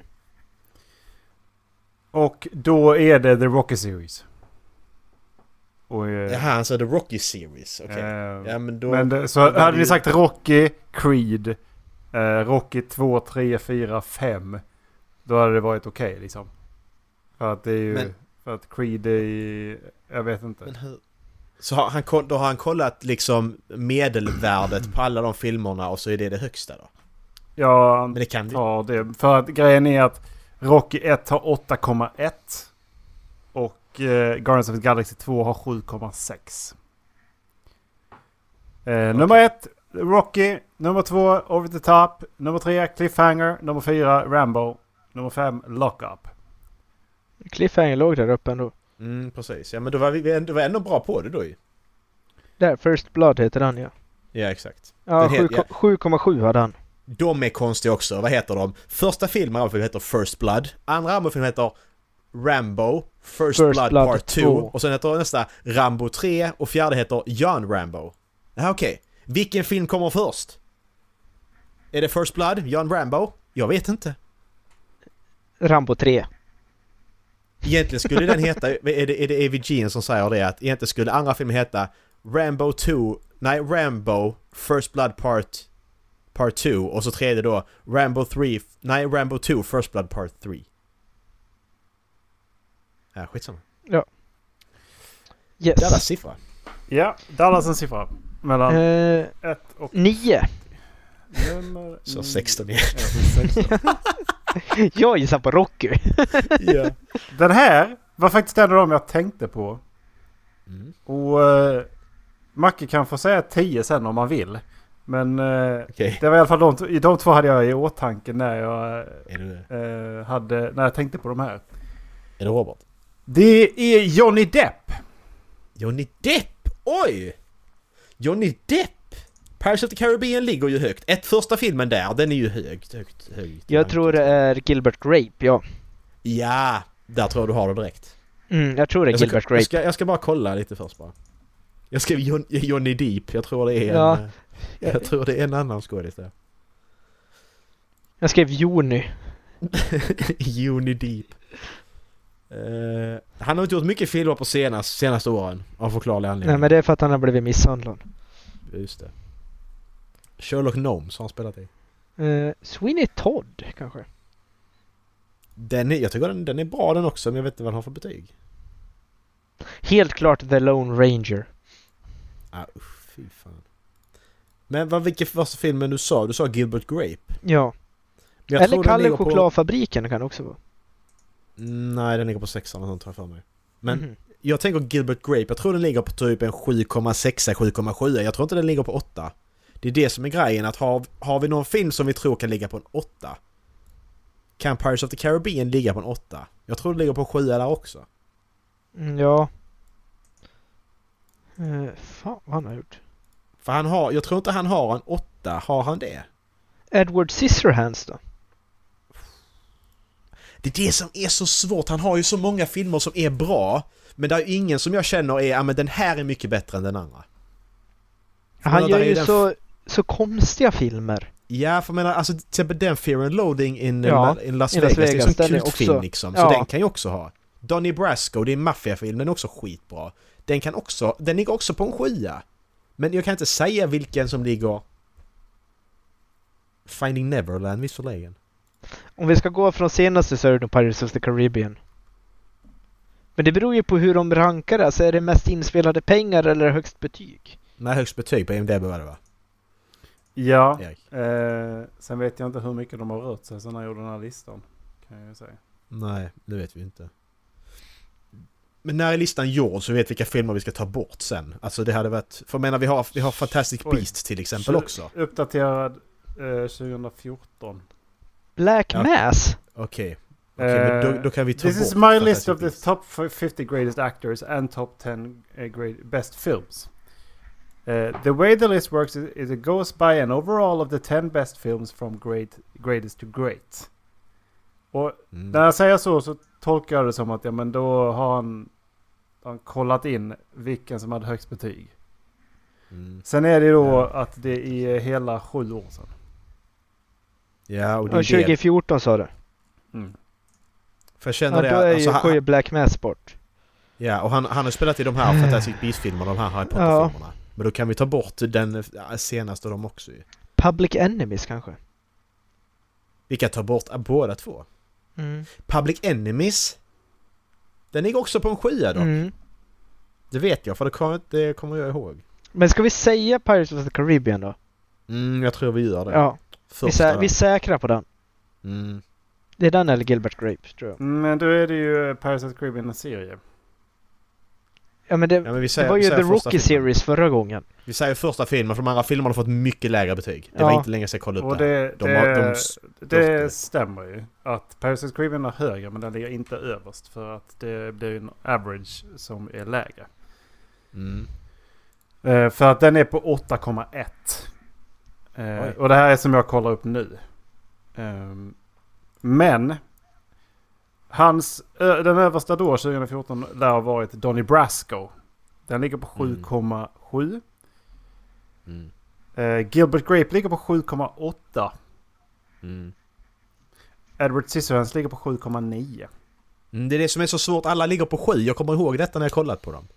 Speaker 3: Och då är det The Rocky Series. Och, eh,
Speaker 2: Jaha, han sa The Rocky Series, okej.
Speaker 3: eh,
Speaker 2: Ja, men då...
Speaker 3: Men det, så
Speaker 2: då blir
Speaker 3: hade ni
Speaker 2: det-
Speaker 3: sagt Rocky, Creed, eh, Rocky 2, 3, 4, 5. Då hade det varit okej liksom. För att det är ju...
Speaker 2: Men-
Speaker 3: För att Creed är ju... Jag vet inte.
Speaker 2: Men hur? Så har han, koll- då har han kollat liksom medelvärdet på alla de filmerna och så är det det högsta då?
Speaker 3: Jag
Speaker 2: Men det kan ju...
Speaker 3: antar det. För att grejen är att Rocky 1 har 8,1. Och eh, Guardians of the Galaxy 2 har 7,6. Eh, Nummer 1, Rocky. Nummer 2, Over the Top. Nummer 3, Cliffhanger. Nummer 4, Rambo. Nummer 5, Lockup.
Speaker 1: Cliffhanger låg där uppe ändå.
Speaker 2: Mm, precis. Ja men då var vi- vi ändå, var ändå bra på det då ju.
Speaker 1: Där, First Blood heter han ja.
Speaker 2: Ja, exakt.
Speaker 1: Ja,
Speaker 2: Den heter-
Speaker 1: sju- 7,7 hade han.
Speaker 2: De är konstiga också, vad heter de? Första filmen Rambo-film heter First Blood, andra Rambo-film heter Rambo, First,
Speaker 1: First
Speaker 2: Blood,
Speaker 1: Blood
Speaker 2: Part 2
Speaker 1: 2.
Speaker 2: och sen heter nästa Rambo 3 och fjärde heter John Rambo. Ja, okej. Vilken film kommer först? Är det First Blood, John Rambo? Jag vet inte.
Speaker 1: Rambo 3.
Speaker 2: Egentligen skulle den heta, är det, är det AVG som säger det att egentligen skulle andra filmen heta Rambo 2, nej Rambo First Blood Part Part 2 och så tredje då Rambo 3, nej Rambo 2 First Blood Part 3. Ja, skitsamma.
Speaker 1: Yes.
Speaker 2: Jävla siffra.
Speaker 3: Ja, Dallas en siffra. Mellan
Speaker 1: Eh,
Speaker 3: 1 och
Speaker 1: nio.
Speaker 3: nummer...
Speaker 1: Mm.
Speaker 2: Så
Speaker 1: [LAUGHS]
Speaker 2: 16 igen.
Speaker 3: Ja, så 16.
Speaker 1: Jag gissar på Rocky.
Speaker 2: ja.
Speaker 3: Den här var faktiskt en av dem jag tänkte på.
Speaker 2: Mm.
Speaker 3: Och eh, Macke kan få säga 10 sen om man vill. Men eh,
Speaker 2: Okej.
Speaker 3: det var i alla fall de, t- de två hade jag i åtanke när jag,
Speaker 2: Är, det-
Speaker 3: eh, hade, när jag tänkte på de här.
Speaker 2: är det Robert?
Speaker 3: Det är Johnny Depp.
Speaker 2: Johnny Depp! Oj! Johnny Depp! Pirates of the Caribbean ligger ju högt. Ett första filmen där, den är ju högt, högt, högt.
Speaker 1: Jag tror det är Gilbert Grape, ja.
Speaker 2: Ja, där tror jag du har det direkt.
Speaker 1: Mm, jag tror det är
Speaker 2: Jag ska,
Speaker 1: Gilbert
Speaker 2: jag,
Speaker 1: Grape.
Speaker 2: ska, jag ska bara kolla lite först bara. Jag skrev Jon, Johnny Deep, jag tror det är en...
Speaker 1: Ja.
Speaker 2: eh, Jag tror det är en annan skådis där. [LAUGHS]
Speaker 1: Jag skrev Joni.
Speaker 2: Johnny Deep. Eh, han har inte gjort mycket filmer på senast, senaste åren, av förklarlig
Speaker 1: Nej
Speaker 2: anledning.
Speaker 1: men det är för att han har blivit misshandlad.
Speaker 2: Just det. Sherlock Gnomes har han spelat i.
Speaker 1: Eh, Sweeney Todd kanske?
Speaker 2: Den är, jag tycker den, den är bra den också, men jag vet inte vad den har för betyg.
Speaker 1: Helt klart The Lone Ranger.
Speaker 2: Ah, usch, fy fan. Men vad, vilken första filmen du sa? Du sa Gilbert Grape.
Speaker 1: Ja.
Speaker 2: Men jag
Speaker 1: Eller
Speaker 2: tror den
Speaker 1: Kalle
Speaker 2: ligger På,
Speaker 1: Chokladfabriken kan det också vara.
Speaker 2: nej, den ligger på sexan eller sånt tror jag för mig. Men
Speaker 1: Mhm.
Speaker 2: Jag tänker Gilbert Grape, jag tror den ligger på typ en 7,6-7,7. Jag tror inte den ligger på 8. Det är det som är grejen, att har, har vi någon film som vi tror kan ligga på en 8? Kan Pirates of the Caribbean ligga på en 8? Jag tror den ligger på 7 där också.
Speaker 1: Mm, ja. Eh, fan vad han har gjort.
Speaker 2: För han har, jag tror inte han har en 8, har han det?
Speaker 1: Edward Scissorhands då?
Speaker 2: Det är det som är så svårt, han har ju så många filmer som är bra. Men det är ju ingen som jag känner är, ja men den här är mycket bättre än den andra.
Speaker 1: Han
Speaker 2: där
Speaker 1: gör
Speaker 2: är
Speaker 1: ju
Speaker 2: den
Speaker 1: så, så konstiga filmer.
Speaker 2: Ja, för jag menar, alltså till exempel den Fear and Loading in, eh,
Speaker 1: Ja,
Speaker 2: in Las
Speaker 1: i Las
Speaker 2: Vegas, det är
Speaker 1: Vegas,
Speaker 2: en sån
Speaker 1: den är
Speaker 2: kultfilm
Speaker 1: också-
Speaker 2: liksom. Så
Speaker 1: ja.
Speaker 2: den kan ju också ha. Donnie Brasco, det är en maffiafilm, den är också skitbra. Den kan också, den ligger också på en sjua. Men jag kan inte säga vilken som ligger... Finding Neverland visserligen.
Speaker 1: Om vi ska gå från senaste så är det nog Pirates of the Caribbean. Men det beror ju på hur de rankar, alltså är det mest inspelade pengar eller högst betyg?
Speaker 2: Nej, högst betyg på IMDB var det va?
Speaker 3: Ja,
Speaker 2: Erik?
Speaker 3: eh, sen vet jag inte hur mycket de har rört sig sen jag gjorde den här listan. Kan jag ju säga.
Speaker 2: Nej, det vet vi inte. Men när är listan gjord så vet vi vilka filmer vi ska ta bort sen. Alltså det hade varit... För jag menar vi har, vi har Fantastic
Speaker 3: Oj.
Speaker 2: Beasts till exempel
Speaker 3: Tju-
Speaker 2: också.
Speaker 3: Uppdaterad eh, 2014.
Speaker 1: Black
Speaker 2: Ja.
Speaker 1: Mass?
Speaker 2: Okej. Okej, men då,
Speaker 3: Eh,
Speaker 2: då kan vi ta
Speaker 3: This
Speaker 2: bort
Speaker 3: is my list
Speaker 2: Fantastic
Speaker 3: of the
Speaker 2: Beasts.
Speaker 3: top 50 greatest actors and top 10 uh, great best films. Uh, the way the list works is, is it goes by an overall of the 10 best films from great, greatest to great. Och
Speaker 2: Mm.
Speaker 3: när jag säger så så tolkar jag det som att ja, men då har han, han kollat in vilken som hade högst betyg.
Speaker 2: Mm.
Speaker 3: Sen är det då
Speaker 2: Ja.
Speaker 3: att det är hela sju år sedan.
Speaker 2: Ja, och
Speaker 1: Ja,
Speaker 2: det är det.
Speaker 1: 2014 sa du?
Speaker 2: Mm. För
Speaker 1: Ja,
Speaker 2: jag känner
Speaker 1: då
Speaker 2: det...
Speaker 1: är
Speaker 2: Alltså,
Speaker 1: ju, går ju
Speaker 2: han,
Speaker 1: Black Mass bort.
Speaker 2: ja, och han, han har spelat i de
Speaker 1: Mm.
Speaker 2: här Fantastic Beasts-filmerna, de här Harry Potter-filmerna. Men då kan vi ta bort den eh, senaste av dem också ju.
Speaker 1: Public Enemies kanske?
Speaker 2: Vi kan ta bort eh, båda två.
Speaker 1: Mm.
Speaker 2: Public Enemies. Den ligger också på en sjua då.
Speaker 1: Mm.
Speaker 2: Det vet jag för det kommer, det kommer jag ihåg.
Speaker 1: Men ska vi säga Pirates of the Caribbean då?
Speaker 2: Mm, jag tror vi gör det.
Speaker 1: Ja, vi,
Speaker 2: Första
Speaker 1: sä-
Speaker 2: där.
Speaker 1: vi säkrar på den.
Speaker 2: Mm.
Speaker 1: Det är den eller Gilbert Grape tror jag.
Speaker 3: Mm, Men då är det ju Paris of the Caribbean en serie.
Speaker 1: Ja men det,
Speaker 2: Ja, men vi
Speaker 1: det
Speaker 2: säger,
Speaker 1: var
Speaker 2: vi
Speaker 1: ju
Speaker 2: säger
Speaker 1: The
Speaker 2: första
Speaker 1: Rocky
Speaker 2: filmen.
Speaker 1: Series förra gången.
Speaker 2: Vi säger första filmen för de andra filmerna har fått mycket lägre betyg. Det var
Speaker 1: Ja.
Speaker 2: inte länge sedan jag kollade
Speaker 3: Och
Speaker 2: upp det. här.
Speaker 3: det,
Speaker 2: De
Speaker 3: det,
Speaker 2: har- de
Speaker 3: det
Speaker 2: det.
Speaker 3: stämmer ju. Att Paris of the Caribbean är högre men den ligger inte överst. För att det blir en average som är lägre.
Speaker 2: Mm.
Speaker 3: Eh, för att den är på 8,1.
Speaker 2: Oj.
Speaker 3: Eh, och det här är som jag kollar upp nu. Ehm, men hans, ö, den översta då 2014 lär ha varit Donny Brasco. Den ligger på
Speaker 2: Mm.
Speaker 3: 7,7.
Speaker 2: Mm.
Speaker 3: Eh, Gilbert Grape ligger på 7,8.
Speaker 2: Mm.
Speaker 3: Edward Scissorhands ligger på 7,9.
Speaker 2: Mm, Det är det som är så svårt. Alla ligger på sju. Jag kommer ihåg detta när jag kollat på dem.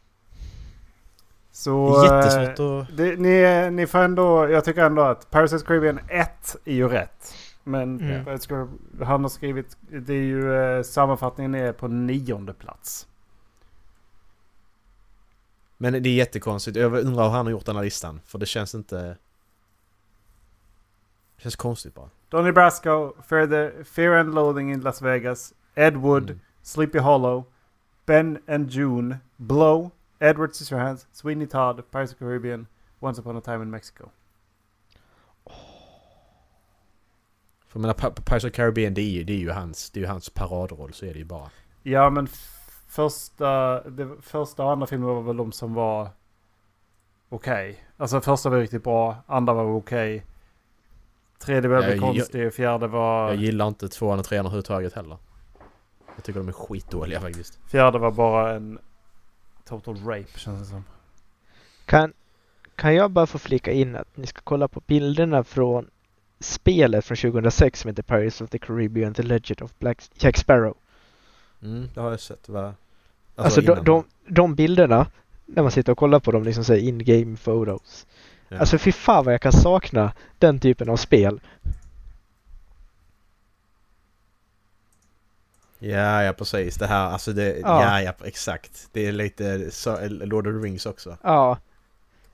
Speaker 2: Det
Speaker 3: Så...
Speaker 2: är
Speaker 3: eh,
Speaker 2: jättesvårt att...
Speaker 3: Det, ni, ni får ändå, jag tycker ändå att Parasite Caribbean 1 är ju rätt. Men
Speaker 1: Mm.
Speaker 3: Pirates Caribbean- han har skrivit, det är ju eh, sammanfattningen är på nionde plats.
Speaker 2: Men det är jättekonstigt. Jag undrar hur han har gjort den här listan. För det känns inte... Det känns konstigt bara.
Speaker 3: Donny Brasco, Fear, the, Fear and Loathing in Las Vegas, Ed Wood,
Speaker 2: Mm.
Speaker 3: Sleepy Hollow, Ben and June, Blow, Edward Scissorhands, Sweeney Todd, Pirates of the Caribbean, Once upon a time in Mexico.
Speaker 2: För jag menar, Pa- Pa- Pirates of the Caribbean det är, ju, det är ju hans, det är ju hans paradroll, så är det ju bara.
Speaker 3: Ja men f- första, det, första och andra filmen var väl de som var okej. Alltså första var riktigt bra, andra var okej. Tredje var
Speaker 2: Ja,
Speaker 3: väldigt
Speaker 2: jag-
Speaker 3: konstig, fjärde
Speaker 2: Jag
Speaker 3: var,
Speaker 2: gillar inte tvåan och trean överhuvudtaget heller. Jag tycker de är skitdåliga faktiskt.
Speaker 3: fjärde var bara en total rape känns det som.
Speaker 1: Kan, kan jag bara få flika in att ni ska kolla på bilderna från spelet från 2006 som heter Pirates of the Caribbean The Legend of Black Jack Sparrow.
Speaker 2: Mm, det har jag sett. Va? Alltså,
Speaker 1: Alltså, de,
Speaker 2: innan.
Speaker 1: de, de bilderna, när man sitter och kollar på dem, liksom såhär in-game photos.
Speaker 2: Ja.
Speaker 1: Alltså fy fan vad jag kan sakna den typen av spel.
Speaker 2: Ja, ja precis. Det här, alltså det...
Speaker 1: Ja.
Speaker 2: Ja, ja, exakt. Det är lite så, Lord of the Rings också.
Speaker 1: Ja.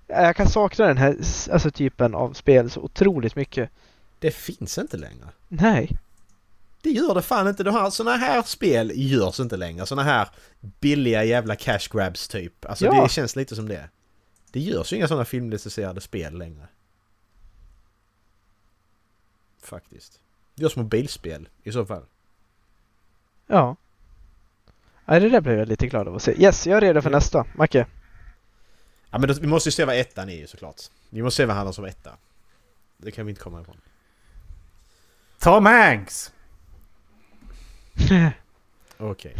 Speaker 1: Jag kan sakna den här s- alltså, typen av spel så otroligt mycket.
Speaker 2: Det finns inte längre.
Speaker 1: Nej.
Speaker 2: Det gör det fan inte. De här, såna här spel görs inte längre. Såna här billiga jävla cash grabs typ. Alltså
Speaker 1: Ja.
Speaker 2: det känns lite som det. Det görs ju inga såna filmlicenserade spel längre. Faktiskt. Det görs mobilspel i så fall.
Speaker 1: Ja. ja. Det där blev jag lite glad av att se. Yes, jag är redo för
Speaker 2: Ja.
Speaker 1: nästa. Macke.
Speaker 2: Ja men då, vi måste ju se vad ettan är ju såklart. Vi måste se vad han har som etta. Det kan vi inte komma ifrån.
Speaker 3: Tom Hanks!
Speaker 2: Okej.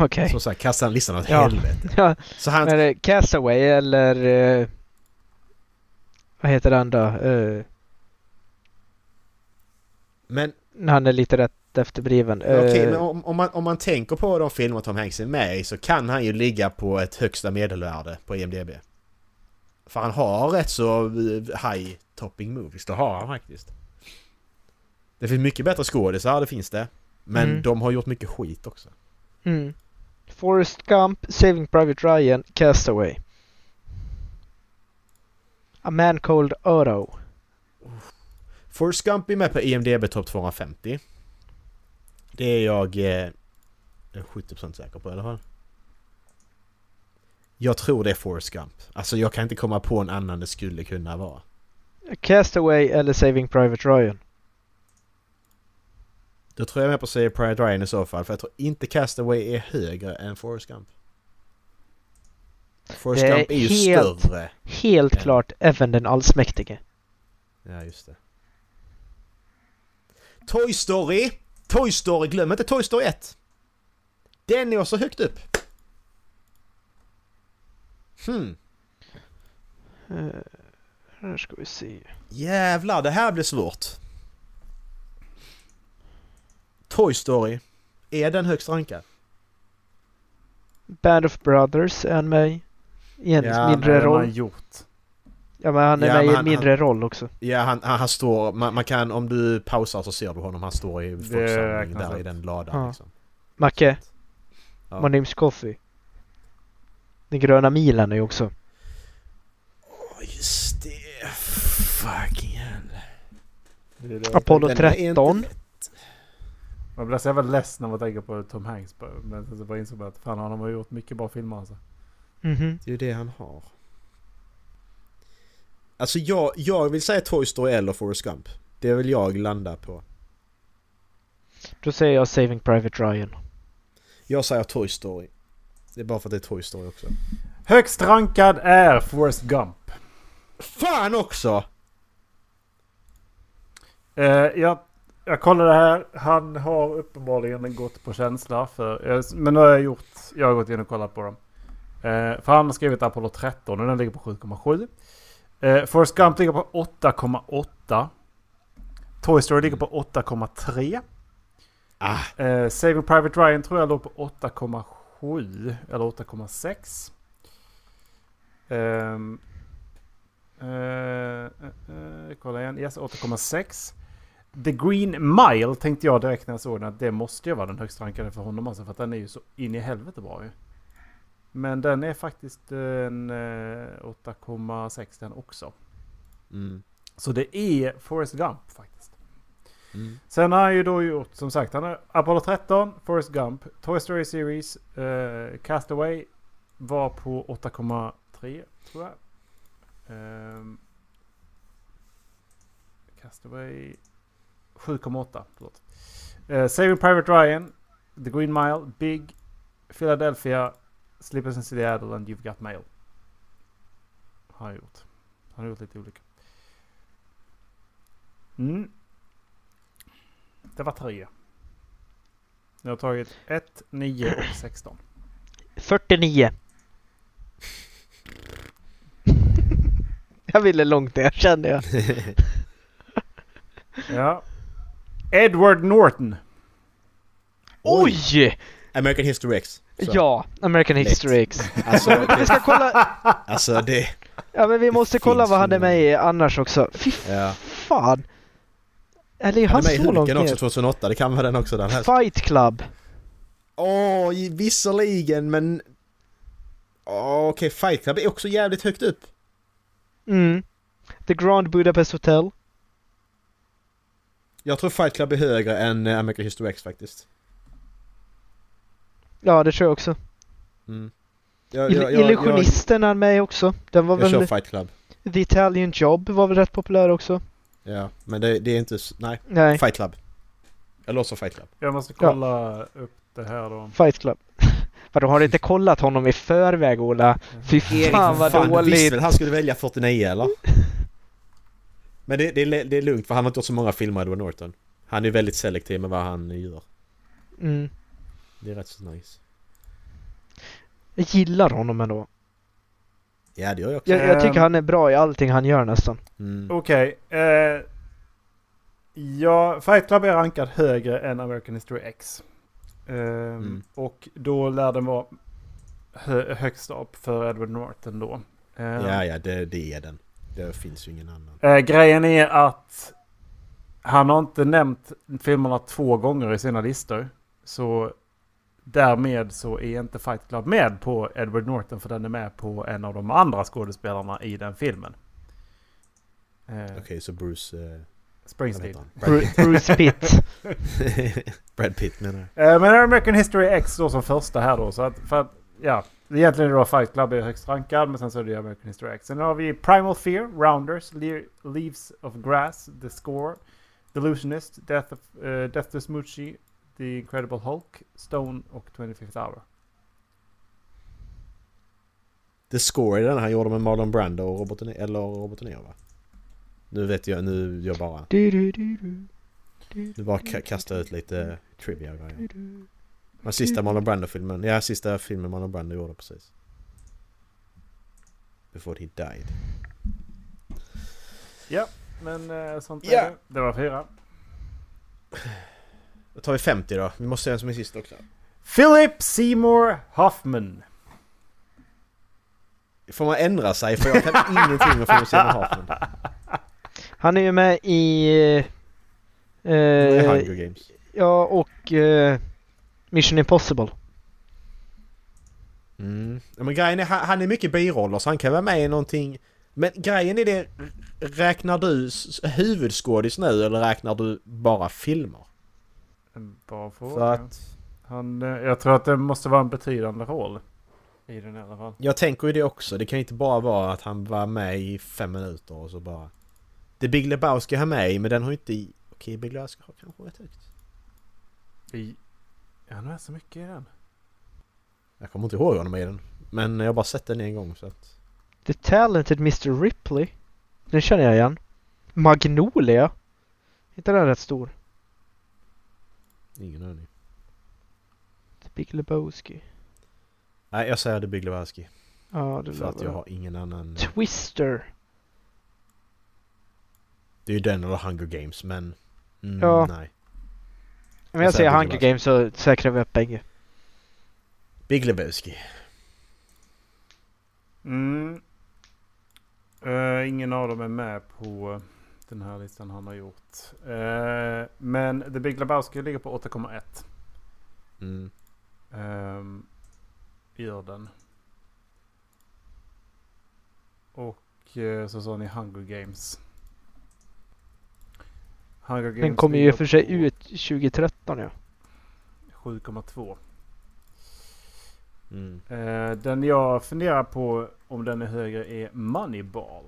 Speaker 1: Okej.
Speaker 2: Som sagt, kasta en listan åt
Speaker 1: Ja.
Speaker 2: helvete.
Speaker 1: Ja,
Speaker 2: Så han...
Speaker 1: men eh, Castaway eller... Eh, vad heter han då? Eh,
Speaker 2: Men
Speaker 1: när han är lite rätt efterbliven. Eh,
Speaker 2: Okej, men om, om, man, om man tänker på de filmer Tom Hanks är med i så kan han ju ligga på ett högsta medelvärde på IMDB. För han har rätt så eh, high topping movies, det har han faktiskt. Det finns mycket bättre skådisar, det finns det. Men
Speaker 1: Mm.
Speaker 2: de har gjort mycket skit också.
Speaker 1: mm. Forrest Gump, Saving Private Ryan, Castaway. A Man Cold Oro.
Speaker 2: Forrest Gump är med på E IMDB Top 250. Det är jag eh, 70% säker på i alla fall. Jag tror det är Forrest Gump. Alltså jag kan inte komma på en annan det skulle kunna vara.
Speaker 1: Castaway eller Saving Private Ryan?
Speaker 2: Då tror jag med på att säga Pride Ryan i så fall, för jag tror inte Castaway är högre än Forrest Gump. Forrest
Speaker 1: Det är
Speaker 2: Gump är ju
Speaker 1: helt-
Speaker 2: större.
Speaker 1: Helt
Speaker 2: Ja.
Speaker 1: klart även den allsmäktige.
Speaker 2: Ja, just det. Toy Story! Toy Story! Glöm inte Toy Story 1! Den är också högt upp. Hmm.
Speaker 1: Uh, här ska vi se.
Speaker 2: Jävlar, det här blir svårt. Toy Story. Är den högst rankad?
Speaker 1: Band of Brothers är han med i. I en
Speaker 2: Ja,
Speaker 1: mindre
Speaker 3: Vad har
Speaker 1: roll.
Speaker 3: man gjort?
Speaker 1: Ja, men han är
Speaker 2: Ja,
Speaker 1: med i
Speaker 2: men
Speaker 1: en
Speaker 2: han-
Speaker 1: mindre roll också.
Speaker 2: Ja, han, han, han står... Man, man kan... Om du pausar så ser du honom. Han står i folksamling
Speaker 3: räknas
Speaker 2: där
Speaker 3: upp.
Speaker 2: i den ladan
Speaker 1: Ja.
Speaker 2: liksom.
Speaker 1: Macke,
Speaker 2: Ja.
Speaker 1: My Name's Coffee. Den gröna milen är ju också.
Speaker 2: Åh, just det. Fucking hell.
Speaker 1: Apollo
Speaker 2: Den är inte
Speaker 1: 13.
Speaker 3: Man blir så jävla ledsen när man tänker på Tom Hanks. bara. Men sen så bara insåg man att fan han har gjort mycket bra filmer alltså.
Speaker 1: Mhm.
Speaker 2: Det är ju det han har. Alltså jag, jag vill säga Toy Story eller Forrest Gump. Det vill jag landa på.
Speaker 1: Då säger jag Saving Private Ryan.
Speaker 2: Jag säger Toy Story. Det är bara för att det är Toy Story också.
Speaker 3: Högst rankad är Forrest Gump.
Speaker 2: Fan också!
Speaker 3: Eh, jag, jag kollade här. Han har uppenbarligen gått på känsla för... eh, men nu har jag gjort... Jag har gått in och kollat på dem. Eh, för han har skrivit Apollo 13 och den ligger på 7,7. Eh, Forrest Gump ligger på 8,8. Toy Story ligger på 8,3.
Speaker 2: Ah,
Speaker 3: Eh, Saving Private Ryan tror jag låg på 8,7 eller 8,6. Ehm, eh, eh, eh, kolla igen. Yes, 8,6. The Green Mile tänkte jag direkt när jag såg den att det måste ju vara den högst rankade för honom alltså för att den är ju så in i helvete bra ju. Men den är faktiskt en eh, 8,6 den också.
Speaker 2: mm,
Speaker 3: Så det är Forrest Gump faktiskt.
Speaker 2: mm.
Speaker 3: Sen har han ju då gjort, som sagt, han har Apollo 13, Forrest Gump, Toy Story Series, eh, Castaway var på 8,3 tror jag. Ehm, Castaway 7,8, förlåt. Eh, Saving Private Ryan, The Green Mile, Big, Philadelphia, Slippers in Seattle and You've Got Mail. Har han gjort. Han har gjort lite olika. Mm. Det var tre. Jag har tagit 1, 9 och
Speaker 2: [CLEARS THROAT]
Speaker 3: 16.
Speaker 1: 49. [LAUGHS] jag ville långt ner kände jag.
Speaker 3: Ja. Edward Norton.
Speaker 1: Oj!
Speaker 2: American History X. Så.
Speaker 1: Ja, American
Speaker 2: Lätt.
Speaker 1: History X.
Speaker 2: Alltså
Speaker 1: [LAUGHS] Vi
Speaker 2: det...
Speaker 1: ska kolla.
Speaker 2: Alltså det...
Speaker 1: Ja men vi måste
Speaker 2: Det
Speaker 1: kolla
Speaker 2: finns
Speaker 1: vad han är med
Speaker 2: filmer.
Speaker 1: i annars också. Fy
Speaker 2: Ja.
Speaker 1: fan. Eller är han
Speaker 2: Han är med i
Speaker 1: så långt
Speaker 2: Hulken också
Speaker 1: ner?
Speaker 2: 2008. Det kan vara den också den här.
Speaker 1: Fight Club.
Speaker 2: Åh, i- visserligen men... Åh, Okej, Fight Club är också jävligt högt upp.
Speaker 1: Mm. The Grand Budapest Hotel.
Speaker 2: Jag tror Fight Club är högre än eh, American History X faktiskt.
Speaker 1: Ja, det tror jag också.
Speaker 2: Mm. Jag,
Speaker 1: Ill-
Speaker 2: jag, jag, jag,
Speaker 1: Illusionisten är han med i också. Den var
Speaker 2: jag kör
Speaker 1: väl...
Speaker 2: Fight Club.
Speaker 1: The Italian Job var väl rätt populär också?
Speaker 2: Ja, men det, det är inte... s- Nej.
Speaker 1: Nej,
Speaker 2: Fight Club. Eller också Fight Club.
Speaker 3: Jag måste kolla upp det här då.
Speaker 1: Fight Club. [LAUGHS] Vadå, har du inte kollat honom i förväg Ola? Fy fan vad
Speaker 2: du visste
Speaker 1: dåligt.
Speaker 2: väl han skulle välja 49 eller? Men det, det, är le- det är lugnt för han har inte gjort så många filmer Edward Norton. Han är väldigt selektiv med vad han gör.
Speaker 1: Mm.
Speaker 2: Det är rätt så nice.
Speaker 1: Jag gillar honom ändå.
Speaker 2: Ja, det gör jag också.
Speaker 1: Jag, jag tycker
Speaker 3: Ehm.
Speaker 1: han är bra i allting han gör nästan.
Speaker 2: Mm.
Speaker 3: Okej. eh, ja, Fight Club är rankad högre än American History X. Ehm,
Speaker 2: Mm.
Speaker 3: Och då lär den vara hö- högst upp för Edward Norton då. Ehm,
Speaker 2: Ja, ja, det, det är den. Det finns ju ingen annan.
Speaker 3: Eh, grejen är att han har inte nämnt filmerna två gånger i sina listor. Så därmed så är inte Fight Club med på Edward Norton för den är med på en av de andra skådespelarna i den filmen. Eh,
Speaker 2: Okej, så Bruce... Eh, vad
Speaker 3: Springsteen.
Speaker 2: heter han? Brad
Speaker 1: Bru-
Speaker 2: [LAUGHS]
Speaker 1: Bruce Pitt.
Speaker 2: Pitt. [LAUGHS] Brad Pitt menar jag.
Speaker 3: Eh, men American History X då som första här då. Så att, för att, ja. Egentligen är det då Fight Club är högst rankad, men sen så är det ju American History X. Sen har vi Primal Fear, Rounders, Le- Leaves of Grass, The Score, Delusionist, Death, of, eh, Death to Smoochie, The Incredible Hulk, Stone och 25th Hour.
Speaker 2: The Score är den han gjorde med Marlon Brando och Robert De Niro, eller Robert De Niro va? Nu vet jag, nu jag bara...
Speaker 1: Du, du, du, du. Du,
Speaker 2: Nu bara ka- kastar jag ut lite trivia och grejer.
Speaker 1: du, du.
Speaker 2: Den sista Marlon Brando-filmen, ja sista filmen Marlon Brando gjorde precis. Before he died.
Speaker 3: Men eh, sånt
Speaker 2: Ja.
Speaker 3: är det. Det var fyra.
Speaker 2: Då tar vi 50 då, vi måste se en som är sist också.
Speaker 3: Philip Seymour Hoffman.
Speaker 2: Får man ändra sig? För jag kan ingenting om Philip Seymour Hoffman.
Speaker 1: Han är ju med i... eh,
Speaker 2: Det är
Speaker 1: eh,
Speaker 2: Hunger Games.
Speaker 1: ja, och eh, Mission Impossible.
Speaker 2: Mm. Ja, Men grejen är, han han är mycket biroller så han kan vara med i någonting. Men grejen är det, räknar du s- huvudskådis nu eller räknar du bara filmer?
Speaker 3: En bra
Speaker 2: För
Speaker 3: fråga.
Speaker 2: att
Speaker 3: Han, eh, jag tror att det måste vara en betydande roll. I den i alla fall.
Speaker 2: jag tänker ju det också. Det kan ju inte bara vara att han var med i fem minuter och så bara... The Big Lebowski har med i, men den har ju inte... i- Okej, Big Lebowski har kanske rätt högt.
Speaker 3: I... Är han med så mycket i den?
Speaker 2: Jag kommer inte ihåg honom i den. Men jag har bara sett den en gång så att...
Speaker 1: The Talented Mr Ripley. Den känner jag igen. Magnolia. Är inte den rätt stor?
Speaker 2: Ingen aning.
Speaker 1: The Big Lebowski.
Speaker 2: Nej, jag säger The Big Lebowski.
Speaker 1: Ja, det
Speaker 2: För
Speaker 1: lär
Speaker 2: att jag
Speaker 1: vara.
Speaker 2: har ingen annan...
Speaker 1: Twister.
Speaker 2: Det är ju den eller Hunger Games, men... Mm,
Speaker 1: Ja.
Speaker 2: Nej.
Speaker 1: Om
Speaker 2: Jag
Speaker 1: jag säger
Speaker 2: säger Big
Speaker 1: Hunger
Speaker 2: Lebowski.
Speaker 1: Games så säkrar vi upp bägge.
Speaker 2: Big Lebowski.
Speaker 3: Mm. Eh, ingen av dem är med på eh, den här listan han har gjort. Eh, men The Big Lebowski ligger på 8,1.
Speaker 2: Mm.
Speaker 3: Ehm, gör den. Och eh, så sa ni Hunger Games. Hunger Games
Speaker 1: Den kommer ju i
Speaker 3: ligger
Speaker 1: och för sig
Speaker 3: på
Speaker 1: ut 2013 ja.
Speaker 3: 7,2.
Speaker 2: Mm.
Speaker 3: Eh, den jag funderar på om den är högre är Moneyball.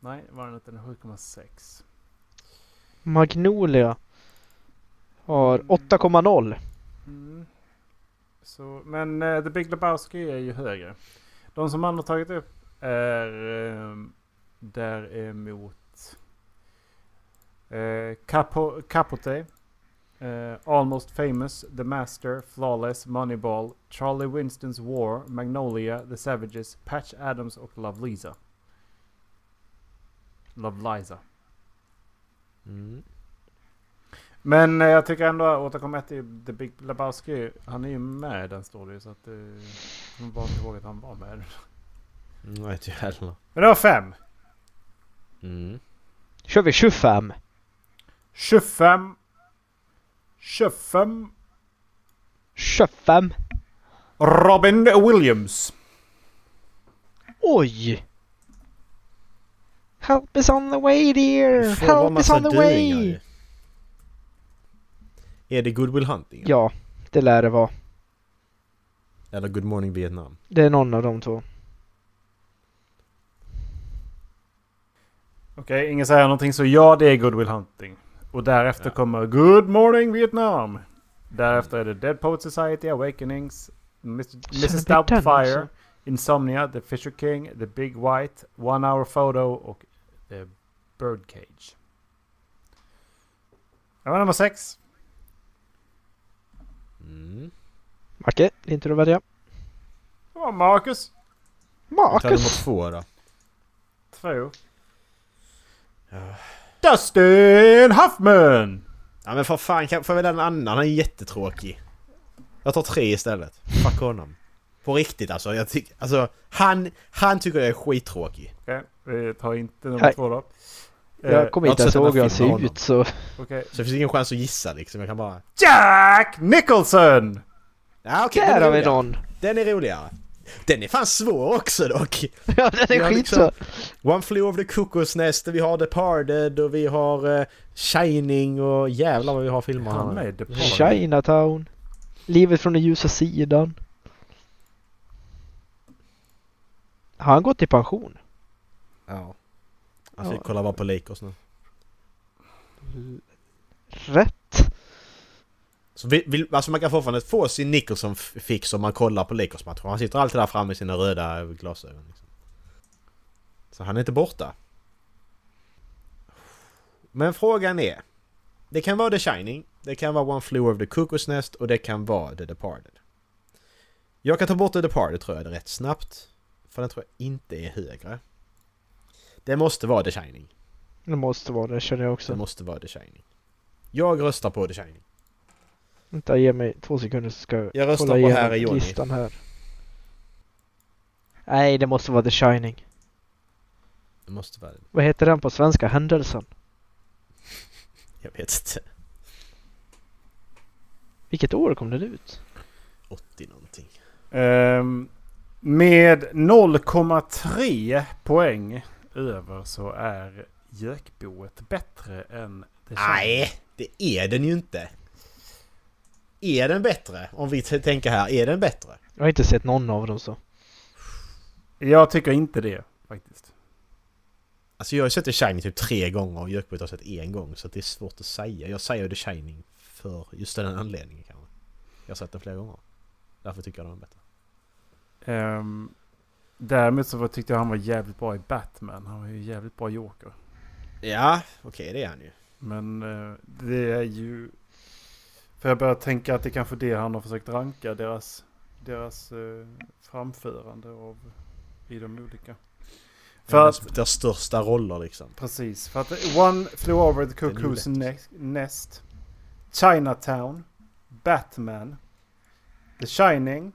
Speaker 3: Nej, var den inte? Den är 7,6.
Speaker 1: Magnolia. Har 8,0.
Speaker 3: Mm. Så, men eh, The Big Lebowski är ju högre. De som andra tagit upp är eh, däremot eh, Capo, Capote, eh, Almost Famous, The Master, Flawless, Moneyball, Charlie Winstons War, Magnolia, The Savages, Patch Adams och Love Lisa. Love Liza.
Speaker 2: Mm.
Speaker 3: Men eh, jag tycker ändå att 8,1 i The Big Lebowski, han är ju med i den står det ju, så att eh, man bara inte ihåg att han var med.
Speaker 2: Nej, inte Mm, jag heller.
Speaker 3: Men det var 5!
Speaker 1: Eh,
Speaker 2: Mm.
Speaker 1: Kör vi 25.
Speaker 3: 25! 25!
Speaker 1: 25.
Speaker 3: Robin Williams!
Speaker 1: Oj! Help is on the way dear!
Speaker 2: Vi får vara
Speaker 1: Help is
Speaker 2: massa
Speaker 1: on the
Speaker 2: döingar
Speaker 1: way!
Speaker 2: ju. Är det Goodwill Hunting?
Speaker 1: Ja, det lär det vara.
Speaker 2: Eller Good Morning Vietnam?
Speaker 1: Det är någon av de två.
Speaker 3: Okej, ingen säger någonting så ja, det är Good Will Hunting. Och därefter
Speaker 2: Ja.
Speaker 3: kommer Good Morning Vietnam! Därefter är det Dead Poet Society, Awakenings, Mr. Mrs
Speaker 1: det är den
Speaker 3: Doubtfire,
Speaker 2: alltså?
Speaker 1: också.
Speaker 3: Insomnia, The Fisher King, The Big White, One Hour Photo och The Birdcage. Det var nummer sex.
Speaker 2: Mm.
Speaker 1: Macke, din tur att välja.
Speaker 3: Det var Marcus.
Speaker 2: Vi tar nummer
Speaker 1: Marcus!
Speaker 2: två då.
Speaker 3: Två.
Speaker 2: Ja.
Speaker 3: Dustin Hoffman!
Speaker 2: Ja men för fan, kan, får jag välja en annan? Han är jättetråkig. Jag tar tre istället. Fuck honom. På riktigt alltså. Jag tycker, alltså han, han tycker jag är skittråkig.
Speaker 3: Okej, vi tar inte nummer
Speaker 1: Nej.
Speaker 3: två då. Eh,
Speaker 1: Jag kommer
Speaker 2: jag
Speaker 1: inte
Speaker 2: har
Speaker 1: ens
Speaker 2: sett
Speaker 1: ihåg hur
Speaker 2: den här
Speaker 1: han
Speaker 2: filmen
Speaker 1: ser
Speaker 2: med
Speaker 1: ut så...
Speaker 3: okej.
Speaker 2: Så det finns ingen chans att gissa liksom. Jag kan bara...
Speaker 3: Jack Nicholson!
Speaker 2: Ja okej,
Speaker 1: Där
Speaker 2: den, är
Speaker 1: har vi
Speaker 2: roligare.
Speaker 1: någon!
Speaker 2: den är roligare. Den är fan svår också dock!
Speaker 1: [LAUGHS] Ja, den är
Speaker 2: Ja,
Speaker 1: skitsvår.
Speaker 2: One Flew of the Cuckoo's Nest, vi har Departed och vi har eh, Shining och jävlar vad vi har filmer här
Speaker 3: Han
Speaker 2: nu.
Speaker 3: med The Party.
Speaker 1: Chinatown. Livet från den ljusa sidan. Har han gått i pension?
Speaker 2: Ja. Alltså
Speaker 1: Ja.
Speaker 2: vi kollar bara på Lakers nu.
Speaker 1: Rätt.
Speaker 2: Så vi, vi, alltså man kan fortfarande få sin Nicholson f- fix om man kollar på Lakers-matcher. Han sitter alltid där framme med sina röda glasögon. Liksom. Så han är inte borta. Men frågan är. Det kan vara The Shining, det kan vara One Flew of the Cuckoo's Nest och det kan vara The Departed. Jag kan ta bort The Departed tror jag rätt snabbt. För den tror jag inte är högre. Det måste vara The Shining.
Speaker 1: Det måste vara det känner jag
Speaker 2: Det
Speaker 1: också.
Speaker 2: måste vara The Shining. Jag röstar på The Shining.
Speaker 1: Vänta, ge mig två sekunder så ska jag,
Speaker 2: Jag röstar
Speaker 1: kolla
Speaker 2: på
Speaker 1: igenom
Speaker 2: här är Johnny.
Speaker 1: listan här. Nej, det måste vara The Shining.
Speaker 2: Det måste vara
Speaker 1: Vad heter den på svenska? Händelsen?
Speaker 2: Jag vet inte.
Speaker 1: Vilket år kom den ut?
Speaker 2: 80 någonting.
Speaker 3: Ehm, med 0,3 poäng över så är Jökboet bättre än The
Speaker 2: Nej, det är den ju inte. Är den bättre? Om vi t- tänker här, är den bättre?
Speaker 1: Jag har inte sett någon av dem så.
Speaker 3: Jag tycker inte det faktiskt.
Speaker 2: Alltså jag har sett The Shining typ tre gånger och Jökboet har sett en gång så att det är svårt att säga. Jag säger The Shining för just den anledningen kanske. Jag har sett den flera gånger. Därför tycker jag den är bättre.
Speaker 3: Um, däremot så var- tyckte jag han var jävligt bra i Batman. Han var ju jävligt bra Joker.
Speaker 2: Ja, okej det är han ju.
Speaker 3: Men eh, det är ju... För jag börjar tänka att det kanske är det han har försökt ranka. Deras, deras eh, framförande av, i de olika. För
Speaker 2: För
Speaker 3: att-
Speaker 2: att... Deras största roller liksom.
Speaker 3: Precis, för att One Flew Over the
Speaker 2: är ju
Speaker 3: Cuckoo's
Speaker 2: lätt.
Speaker 3: Nest- Nest, Chinatown, Batman, The Shining.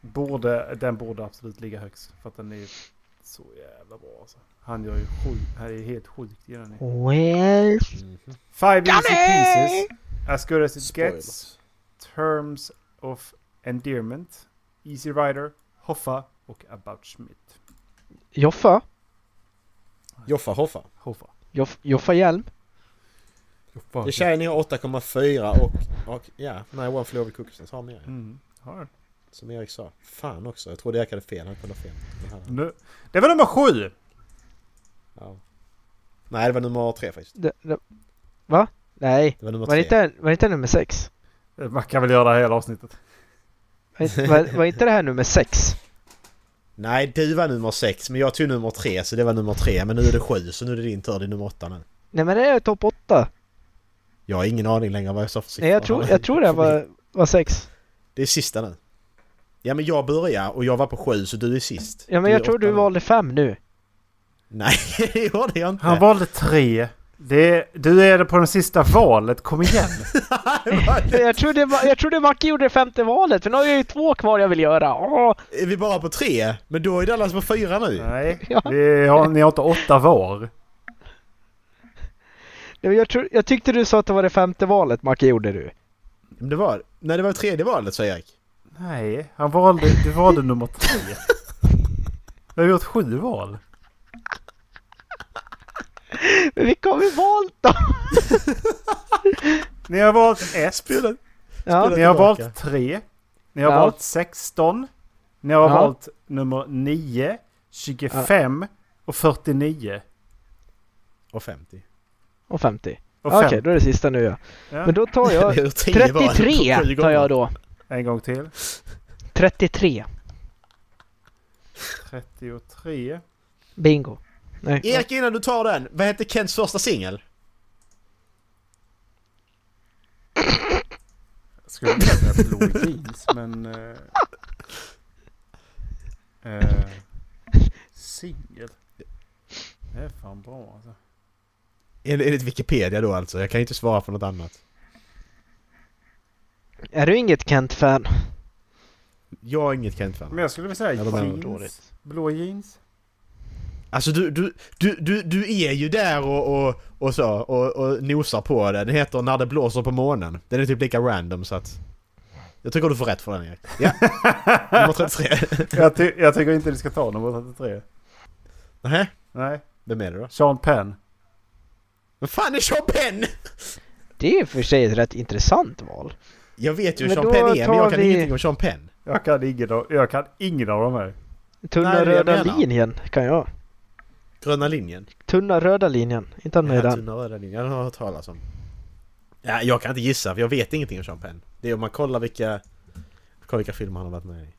Speaker 3: Borde, den borde absolut ligga högst för att den är så jävla bra alltså. Han gör ju sjukt, han är helt sjukt i den.
Speaker 1: Well...
Speaker 2: Mhm.
Speaker 3: Five easy pieces, as good as it gets,
Speaker 2: Spoilers.
Speaker 3: Terms of Endearment, Easy Rider, Hoffa och About Schmidt.
Speaker 1: Joffa?
Speaker 2: Joffa Hoffa.
Speaker 3: Hoffa.
Speaker 1: Joff, Joffa Hjelm?
Speaker 3: Hoffa.
Speaker 2: The Shining har 8,4 och, och ja, nej One Flew Over the Cuckoo's Nest har mer.
Speaker 3: Mm, har den.
Speaker 2: Som Erik sa. Fan också, jag trodde Erik hade fel. Han kunde ha fel. Men han-
Speaker 3: Nu. Det var nummer sju!
Speaker 2: Ja. Nej, det var nummer tre faktiskt.
Speaker 1: Det, det, va? Nej.
Speaker 2: Det var nummer
Speaker 1: Var det
Speaker 2: tre.
Speaker 1: inte, var det inte nummer sex?
Speaker 3: Man kan väl göra det här hela avsnittet.
Speaker 1: Var, inte- var, var inte det här nummer sex?
Speaker 2: Nej, du var nummer sex, men jag tog nummer tre, så det var nummer tre. Men nu är det sju, så nu är det din tur. Det är nummer åtta nu.
Speaker 1: Nej men det är topp åtta.
Speaker 2: Jag har ingen aning längre vad jag sa för siffra.
Speaker 1: Nej jag tror, jag tror det var, var sex.
Speaker 2: Det är sista nu. Ja, men jag börjar och jag var på sju, så du är sist.
Speaker 1: Ja men
Speaker 2: är
Speaker 1: jag tror
Speaker 2: åtta
Speaker 1: du
Speaker 2: nu.
Speaker 1: valde fem nu.
Speaker 2: Nej, [LAUGHS] det gjorde jag inte.
Speaker 3: Han valde tre. Det, du är det på det sista valet, kom igen!
Speaker 1: Jag trodde, Ma- jag trodde Macke gjorde det femte valet för nu har jag ju två kvar jag vill göra. Åh,
Speaker 2: Är vi bara på tre? Men då är Dallas på fyra nu.
Speaker 3: Nej,
Speaker 1: [LAUGHS] Ja.
Speaker 3: vi har, ni har inte åtta var.
Speaker 1: Nej, men jag, tro, jag tyckte du sa att det var det femte valet Macke gjorde du.
Speaker 2: Men det var... Nej, det var tredje valet, sa Erik.
Speaker 3: Nej, han valde, du valde nummer
Speaker 1: [LAUGHS]
Speaker 3: tre. Du har gjort sju val.
Speaker 1: Men vilka har vi valt då?
Speaker 3: Ni har valt ett,
Speaker 2: Spela...
Speaker 1: Ja,
Speaker 2: Spela-
Speaker 3: ni har
Speaker 2: tillbaka.
Speaker 3: valt tre, ni har
Speaker 1: Ja.
Speaker 3: valt 16, ni har
Speaker 1: Ja.
Speaker 3: valt nummer 9, 25 och 49.
Speaker 2: Och 50.
Speaker 1: och 50.
Speaker 3: Och
Speaker 1: Okej,
Speaker 3: fem.
Speaker 1: då är det sista nu ja.
Speaker 3: Ja,
Speaker 1: Men då tar jag
Speaker 2: [LAUGHS] Det är tio val på
Speaker 1: 33
Speaker 2: sju
Speaker 1: tar
Speaker 2: gånger.
Speaker 1: jag då.
Speaker 3: En gång till.
Speaker 1: 33.
Speaker 3: 33.
Speaker 1: Bingo. Nej.
Speaker 2: Erik innan du tar den, vad hette Kents första singel?
Speaker 3: Jag skulle vilja säga blå jeans, men... Eh, eh, Singel. Det är fan bra alltså.
Speaker 2: En- Enligt Wikipedia då alltså, jag kan ju inte svara för något annat.
Speaker 1: Är du inget Kent-fan?
Speaker 2: Jag är inget
Speaker 3: Men
Speaker 2: Kent-fan.
Speaker 3: jag skulle vilja säga
Speaker 2: Ja, de är
Speaker 3: jeans. Blå jeans.
Speaker 2: Alltså du, du, du, du, du är ju där och, och, och så, och, och nosar på det. Den heter När det blåser på månen. Den är typ lika random så att... Jag tycker du får rätt för den Erik.
Speaker 3: [LAUGHS]
Speaker 2: Ja. Nummer 33. [LAUGHS]
Speaker 3: Jag, ty- jag tycker inte du ska ta nummer 33.
Speaker 2: Nähä?
Speaker 3: Nej.
Speaker 2: Vem är det då?
Speaker 3: Sean Penn.
Speaker 2: Vem fan är Sean Penn?
Speaker 1: Det är i och för sig ett rätt intressant val.
Speaker 2: Jag vet ju hur
Speaker 1: Men
Speaker 2: Sean
Speaker 1: då
Speaker 2: Penn är men
Speaker 1: tar
Speaker 2: jag kan
Speaker 1: vi-
Speaker 2: ingenting om Sean Penn.
Speaker 3: Jag kan ingen av, jag kan ingen av dem här.
Speaker 1: Tunna
Speaker 2: Nej, det är det jag
Speaker 1: röda
Speaker 2: menar.
Speaker 1: linjen kan jag.
Speaker 2: Gröna linjen.
Speaker 1: Tunna röda linjen. Inte han med i
Speaker 2: Ja,
Speaker 1: den.
Speaker 2: tunna röda linjen. Jag har hört talas om. Ja, jag kan inte gissa för jag vet ingenting om Sean Penn. Det är om man kollar vilka... Kolla vilka filmer han har varit med i. typ.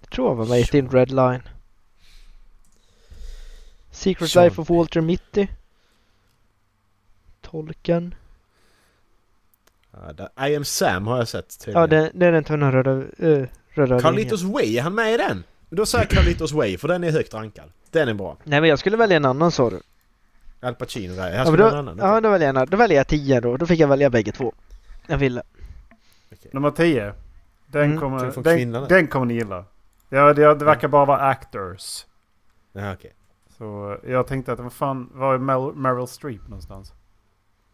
Speaker 1: Jag tror han var med i Thin Red Line. Secret
Speaker 2: Sean
Speaker 1: Life of Walter Mitty. Tolken.
Speaker 2: Ja, där- I am Sam har jag sett
Speaker 1: Ja,
Speaker 2: tydligen.
Speaker 1: det, det är den tunna röda, eh, röda linjen.
Speaker 2: Carlitos Way, är han med i den? Men Då säger jag Carlitos Way för den är högt rankad. Den är bra.
Speaker 1: Nej men jag skulle välja en annan sa du.
Speaker 2: Al Pacino där. Här
Speaker 1: Ja, men
Speaker 2: ska
Speaker 1: då,
Speaker 2: ja, en annan.
Speaker 1: ja, då väljer jag en annan. Då väljer jag 10 då. Då fick jag välja bägge två. Jag ville.
Speaker 3: Nummer 10. Den,
Speaker 1: Mm.
Speaker 2: Tänk
Speaker 3: kommer,
Speaker 2: från
Speaker 3: den,
Speaker 2: kvinnan.
Speaker 3: den kommer ni gilla. Ja, det, det verkar bara vara actors.
Speaker 2: Ja, okej.
Speaker 3: Så eh, jag tänkte att vad fan, var är Mel- Meryl Streep någonstans?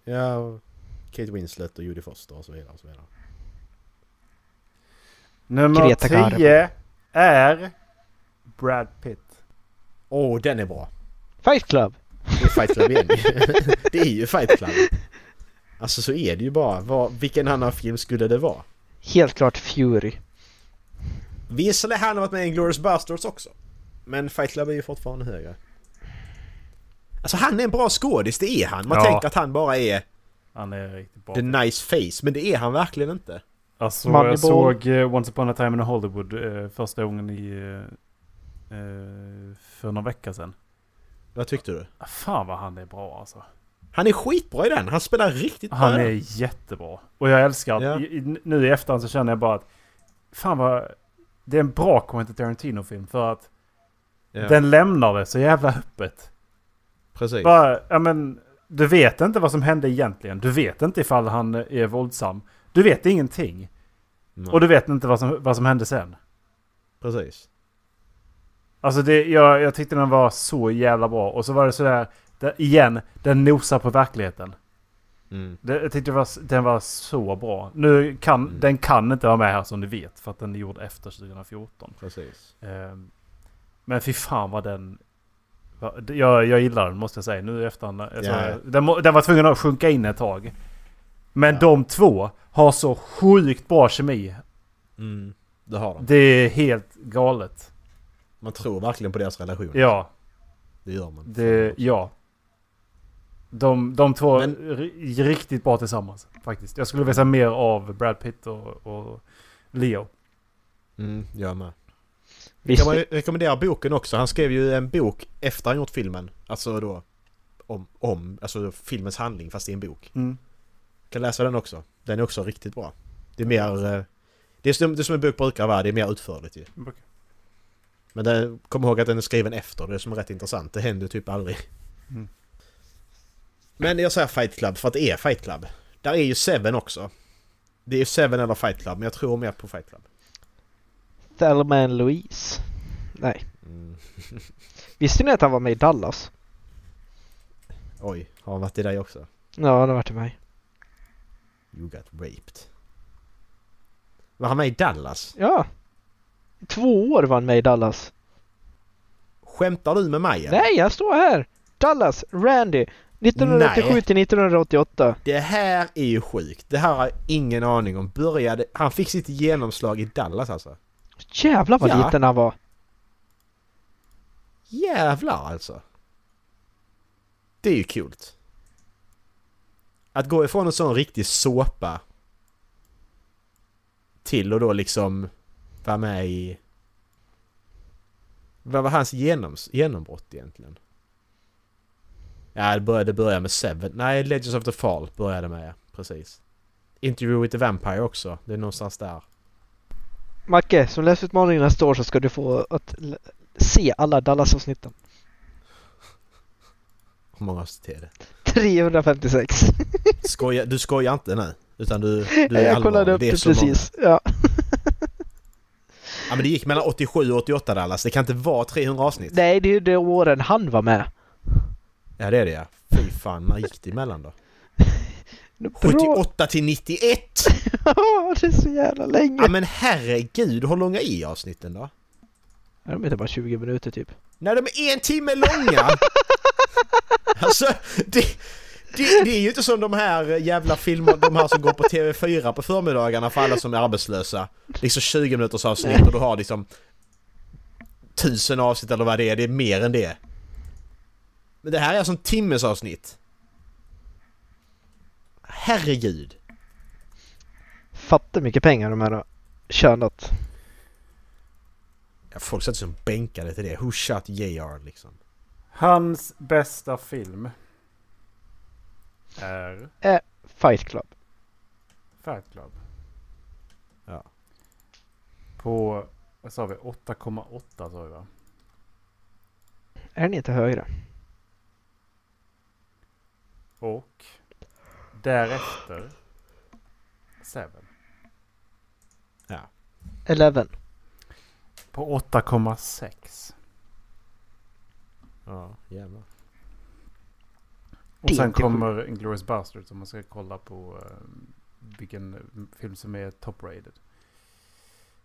Speaker 2: Ja, och Kate Winslet och Judy Foster och så vidare. Och så vidare.
Speaker 3: Nummer
Speaker 1: Greta Garbo.
Speaker 3: 10 är Brad Pitt.
Speaker 2: Åh, den är bra!
Speaker 1: Fight Club!
Speaker 2: Det är Fight
Speaker 1: [LAUGHS]
Speaker 2: Club igen. [LAUGHS] det är ju Fight Club. Alltså så är det ju bara. Vad, vilken annan film skulle det vara?
Speaker 1: Helt klart Fury.
Speaker 2: Visserligen har han varit med i Glorious Bastards också. Men Fight Club är ju fortfarande högre. Alltså han är en bra skådis, det är han. Man
Speaker 3: Ja.
Speaker 2: tänker att han bara är
Speaker 3: Han är riktigt bra.
Speaker 2: the nice face, men det är han verkligen inte.
Speaker 3: Alltså
Speaker 1: Moneyball.
Speaker 3: jag såg eh, Once upon a time in Hollywood eh, första gången i... eh, eh, för någon vecka sedan.
Speaker 2: Vad tyckte du?
Speaker 3: Ah, Fan vad han är bra alltså.
Speaker 2: Han är skitbra i den! Han spelar riktigt bra
Speaker 3: Han
Speaker 2: i den.
Speaker 3: är jättebra. Och jag älskar att
Speaker 2: Ja.
Speaker 3: i, i, nu i efterhand så känner jag bara att fan vad... Det är en bra Quentin Tarantino-film för att
Speaker 2: Ja,
Speaker 3: den lämnar det så jävla öppet.
Speaker 2: precis.
Speaker 3: Bara, ja men, du vet inte vad som hände egentligen. Du vet inte ifall han är våldsam. Du vet ingenting.
Speaker 2: Nej,
Speaker 3: Och du vet inte vad som, vad som hände sen.
Speaker 2: Precis.
Speaker 3: Alltså det, jag, jag tyckte den var så jävla bra. Och så var det sådär, där, igen, den nosar på verkligheten.
Speaker 2: Mm.
Speaker 3: Det, jag tyckte det var, s- den var så bra. Nu kan,
Speaker 2: Mm.
Speaker 3: den kan inte vara med här som ni vet. För att den är gjord efter 2014.
Speaker 2: Precis.
Speaker 3: Ehm, men fy fan vad den... vad- Jag, jag gillar den måste jag säga nu i efterhand. Alltså,
Speaker 2: Ja, ja.
Speaker 3: Den, må- den var tvungen att sjunka in ett tag. Men
Speaker 2: Ja.
Speaker 3: de två har så sjukt bra kemi.
Speaker 2: Mm. Det har de.
Speaker 3: Det är helt galet.
Speaker 2: Man tror verkligen på deras relation.
Speaker 3: Ja,
Speaker 2: Det gör man.
Speaker 3: det, ja. De, de två
Speaker 2: Men-
Speaker 3: ri- riktigt bra tillsammans faktiskt. Jag skulle vilja se mer av Brad Pitt och, och Leo.
Speaker 2: Mm, jag med.
Speaker 1: Visst,
Speaker 2: Kan man ju rekommendera boken också. Han skrev ju en bok efter han gjort filmen. Alltså då om, om alltså filmens handling fast i en bok.
Speaker 3: Mm.
Speaker 2: Kan läsa den också. Den är också riktigt bra. Det är mer... eh, Det är som, det är som en bok brukar vara, det är mer utförligt ju. Men det, kom ihåg att den är skriven efter, det är som är rätt intressant. Det händer typ aldrig.
Speaker 3: Mm.
Speaker 2: Men jag säger Fight Club för att det är Fight Club. Där är ju Seven också. Det är ju Seven eller Fight Club, men jag tror mer på Fight Club.
Speaker 1: Thelma and Louise. Nej.
Speaker 2: Mm.
Speaker 1: Visste ni att han var med i Dallas?
Speaker 2: Oj, har han varit i dig också?
Speaker 1: Ja, han har varit med.
Speaker 2: You got raped. Var han med i Dallas?
Speaker 1: Ja. I Två år var han med i Dallas.
Speaker 2: Skämtar du med mig? eller?
Speaker 1: Nej, han står här! Dallas, Randy. 1987 till 1988.
Speaker 2: Det här är ju sjukt. Det här har jag ingen aning om. Började... Han fick sitt genomslag i Dallas alltså.
Speaker 1: Jävlar vad
Speaker 2: Ja.
Speaker 1: liten han var.
Speaker 2: Jävlar alltså. Det är ju kul. Att gå ifrån en sån riktig såpa till och då liksom vara med i... Vad var hans genoms- genombrott egentligen? Ja, det började börja med Seven. Nej, Legends of the Fall började med, precis. Interview with the Vampire också. Det är någonstans där.
Speaker 1: Macke, som läsutmaning nästa år så ska du få att l- se alla Dallas-avsnitten.
Speaker 2: Hur många avsnitt är det?
Speaker 1: 356.
Speaker 2: Skoja, du skojar inte nu? Utan du, du
Speaker 1: [LAUGHS]
Speaker 2: är
Speaker 1: Jag kollade
Speaker 2: allvarlig.
Speaker 1: upp det,
Speaker 2: är så många.
Speaker 1: precis. Ja.
Speaker 2: Ja men det gick mellan 87 och 88 Dallas, det kan inte vara 300 avsnitt.
Speaker 1: Nej, det är ju de åren han var med.
Speaker 2: Ja det är det ja. Fy fan, när gick det emellan då?
Speaker 1: Det är Bra!
Speaker 2: 78 till 91!
Speaker 1: [LAUGHS] Ja, det är så jävla länge!
Speaker 2: Ja men herregud, hur långa är avsnitten då?
Speaker 1: Ja, de är bara 20 minuter typ.
Speaker 2: När de är en timme långa! alltså, det, det, det är ju inte som de här jävla filmerna, de här som går på TV4 på förmiddagarna för alla som är arbetslösa. Liksom 20 minuters avsnitt och du har liksom tusen avsnitt eller vad det är, det är mer än det. Men det här är alltså en timmes avsnitt. Herregud.
Speaker 1: Fattar mycket pengar de här äh, har tjänat.
Speaker 2: Ja, Folk sätter sig som bänkade till det. Who shot JR liksom?
Speaker 3: Hans bästa film är
Speaker 1: Fight Club.
Speaker 3: Fight Club.
Speaker 2: Ja.
Speaker 3: På, vad sa vi, 8,8 sa vi va?
Speaker 1: Är den inte högre?
Speaker 3: Och därefter Seven.
Speaker 2: Ja.
Speaker 1: 11.
Speaker 3: På 8,6.
Speaker 2: Ja, jävlar.
Speaker 3: Och
Speaker 1: Det är
Speaker 3: sen
Speaker 1: inte
Speaker 3: kommer Inglourious Basterds om man ska kolla på eh, vilken eh, film som är top-rated.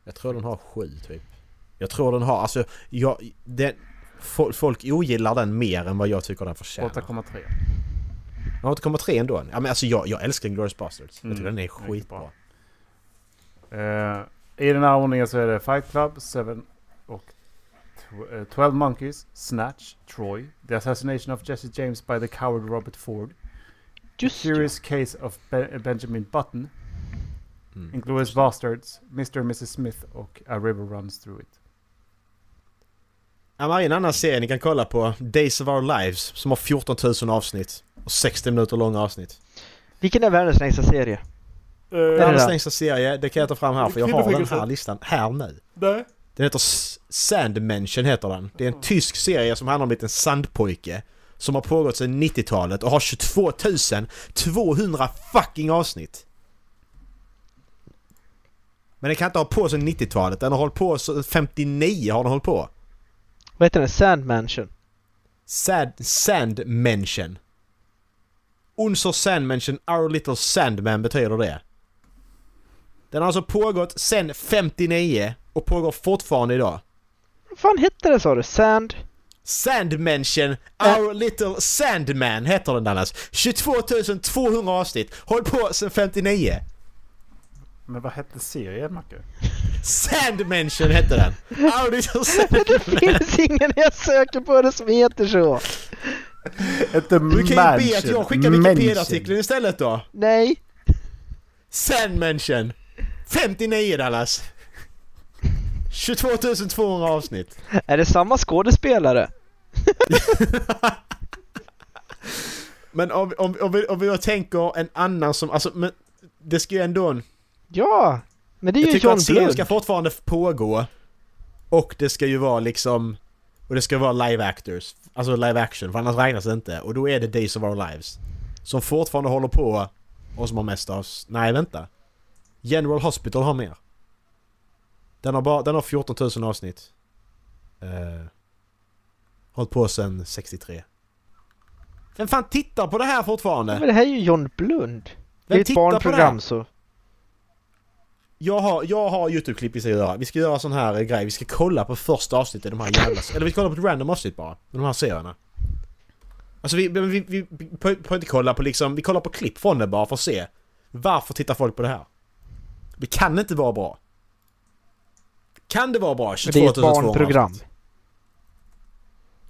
Speaker 2: Jag tror den har sju typ. Jag tror den har, alltså jag, den, fol- folk ogillar den mer än vad jag tycker den förtjänar.
Speaker 3: 8,3.
Speaker 2: 8,3 ändå. Ja men alltså jag, jag älskar Glorious Bastards. Jag tycker
Speaker 3: Mm,
Speaker 2: den är
Speaker 3: riktigt
Speaker 2: skitbra.
Speaker 3: bra. Eh, I den här ordningen så är det Fight Club, Seven och tw- eh, 12 Monkeys, Snatch, Troy, The Assassination of Jesse James by the Coward Robert Ford,
Speaker 1: Just det.
Speaker 3: Serious Case of Be- Benjamin Button,
Speaker 2: Mm.
Speaker 3: Inglourious Bastards, Mr. and Mrs. Smith och A River Runs Through It.
Speaker 2: Ja, men en annan serie ni kan kolla på, Days of Our Lives, som har 14 000 avsnitt. Och 60 minuter långa avsnitt.
Speaker 1: Vilken är världens längsta serie?
Speaker 3: Eh,
Speaker 1: det
Speaker 2: Världens
Speaker 1: där?
Speaker 2: längsta serie, det kan jag ta fram här för jag har den här listan här nu.
Speaker 3: Nej.
Speaker 2: Den heter S- Sandmansion heter den. Det är en tysk serie som handlar om en liten sandpojke. Som har pågått sedan 90-talet och har 22 200 fucking avsnitt! Men den kan inte ha på sedan 90-talet, den har hållit på så 59 har den hållit på.
Speaker 1: Vad heter den? Sand Mansion?
Speaker 2: Sad, Sandmansion. Unser Sandmansion, Our Little Sandman betyder det. Den har alltså pågått sedan 59 och pågår fortfarande idag.
Speaker 1: Vad fan hette den sa du? Sand? [LAUGHS]
Speaker 2: Sandmansion, Our Little Sandman heter den annars. 22 200 avsnitt. Håll på sedan 59.
Speaker 3: Men vad hette serien Macke?
Speaker 2: Sandmansion hette den. Our Little Sandman.
Speaker 1: Det finns ingen jag söker på det som heter så!
Speaker 3: Hette
Speaker 2: Du kan ju be att jag skickar Wikipedia-artikeln istället då.
Speaker 1: Nej!
Speaker 2: Sandmansion. 59 Dallas. 22 200 avsnitt.
Speaker 1: Är det samma skådespelare?
Speaker 2: Men om, om, om, vi, om vi då tänker en annan som, alltså men det ska ju ändå...
Speaker 1: Ja! Men det är
Speaker 2: Jag
Speaker 1: ju
Speaker 2: tycker
Speaker 1: John
Speaker 2: att serien
Speaker 1: Blund.
Speaker 2: ska fortfarande pågå. Och det ska ju vara liksom... Och det ska vara live actors. Alltså live action, för annars räknas det inte. Och då är det Days of Our Lives. Som fortfarande håller på och som har mest av... Nej, vänta. General Hospital har mer. Den har, bara, den har 14 000 avsnitt. Uh, hållit på sedan 63. Vem fan tittar på det här fortfarande?
Speaker 1: Men det här är ju John Blund. Det är
Speaker 2: Vem
Speaker 1: ett
Speaker 2: tittar på det? här?
Speaker 1: barnprogram så.
Speaker 2: Jag har, jag har YouTube-klipp vi ska göra. Vi ska göra sån här eh, grej. Vi ska kolla på första avsnittet i de här jävla... Eller vi ska kolla på ett random avsnitt bara. Med de här serierna. Alltså vi... men Vi, vi, vi får inte kolla på liksom... Vi kollar på klipp från det bara för att se. Varför tittar folk på det här? Det kan inte vara bra. Kan det vara bra? 22
Speaker 1: Men det är ju ett
Speaker 2: 200
Speaker 1: barnprogram.
Speaker 2: avsnitt.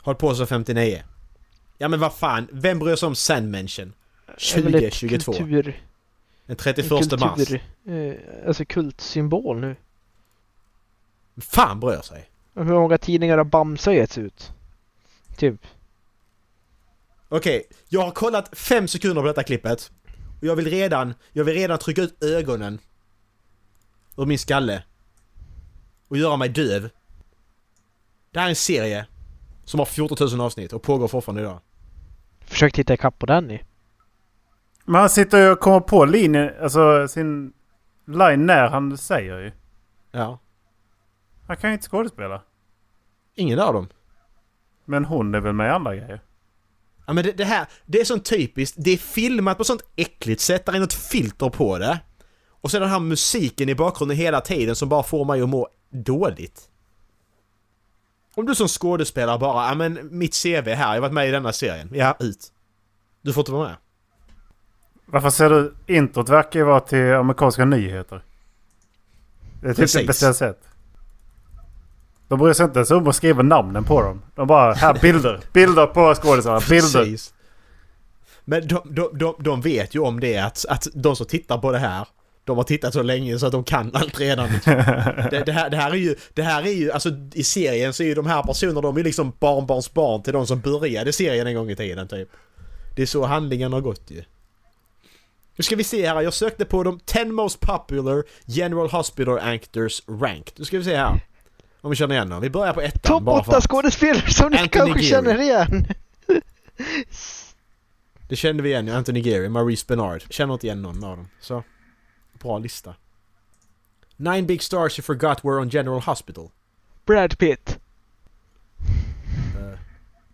Speaker 2: Håll på så 59. Ja men vad fan. Vem bryr sig om Sandmansion?
Speaker 1: Det är väl ett
Speaker 2: 2022.
Speaker 1: Kultur,
Speaker 2: Den
Speaker 1: en
Speaker 2: 31 mars.
Speaker 1: kultur, eh, alltså kultsymbol nu.
Speaker 2: Fan bryr sig?
Speaker 1: Hur många tidningar har Bamse getts ut? Typ.
Speaker 2: Okej, jag har kollat fem sekunder på detta klippet. Och jag vill redan, jag vill redan trycka ut ögonen. Ur min skalle. Och göra mig döv. Det här är en serie. Som har 14 000 avsnitt och pågår fortfarande idag.
Speaker 1: Försök titta ikapp på den ni.
Speaker 3: Men han sitter ju och kommer på linjen, alltså sin line när han säger ju.
Speaker 2: Ja.
Speaker 3: Han kan ju inte skådespela.
Speaker 2: Ingen av dem.
Speaker 3: Men hon är väl med i andra grejer?
Speaker 2: Ja men det, det här, det är sånt typiskt, det är filmat på sånt äckligt sätt, där är något filter på det. Och sen den här musiken i bakgrunden hela tiden som bara får mig att må dåligt. Om du som skådespelare bara, ja men mitt CV här, jag har varit med i denna serien, ja ut. Du får inte vara med.
Speaker 3: Varför ser du... Introt verkar ju vara till amerikanska nyheter. Det är typ
Speaker 2: Precis.
Speaker 3: det bästa jag sett. De bryr sig inte ens om att skriva namnen på dem. De
Speaker 2: [LAUGHS]
Speaker 3: bara, här bilder. Bilder på skådisarna. Bilder.
Speaker 2: Precis. Men de, de, de, de vet ju om det att, att de som tittar på det här, de har tittat så länge så att de kan allt redan. Det, det, här, det här är ju, det här är ju, alltså i serien så är ju de här personerna, de är ju liksom barnbarnsbarn till de som började serien en gång i tiden typ. Det är så handlingen har gått ju. Nu ska vi se här, jag sökte på de 10 most popular General Hospital Actors ranked. Nu ska vi se här. Om vi känner igen dem. Vi börjar på ettan
Speaker 1: Topp
Speaker 2: bara för
Speaker 1: 8
Speaker 2: att.
Speaker 1: skådespelare som ni
Speaker 2: Anthony
Speaker 1: kanske
Speaker 2: Geary.
Speaker 1: känner igen.
Speaker 2: Det kände vi igen ju, Anthony Geary, Maurice Bernard. Känner inte igen någon av dem. Så, bra lista. Nine big stars you forgot were on General Hospital.
Speaker 1: Brad Pitt.
Speaker 2: Eh,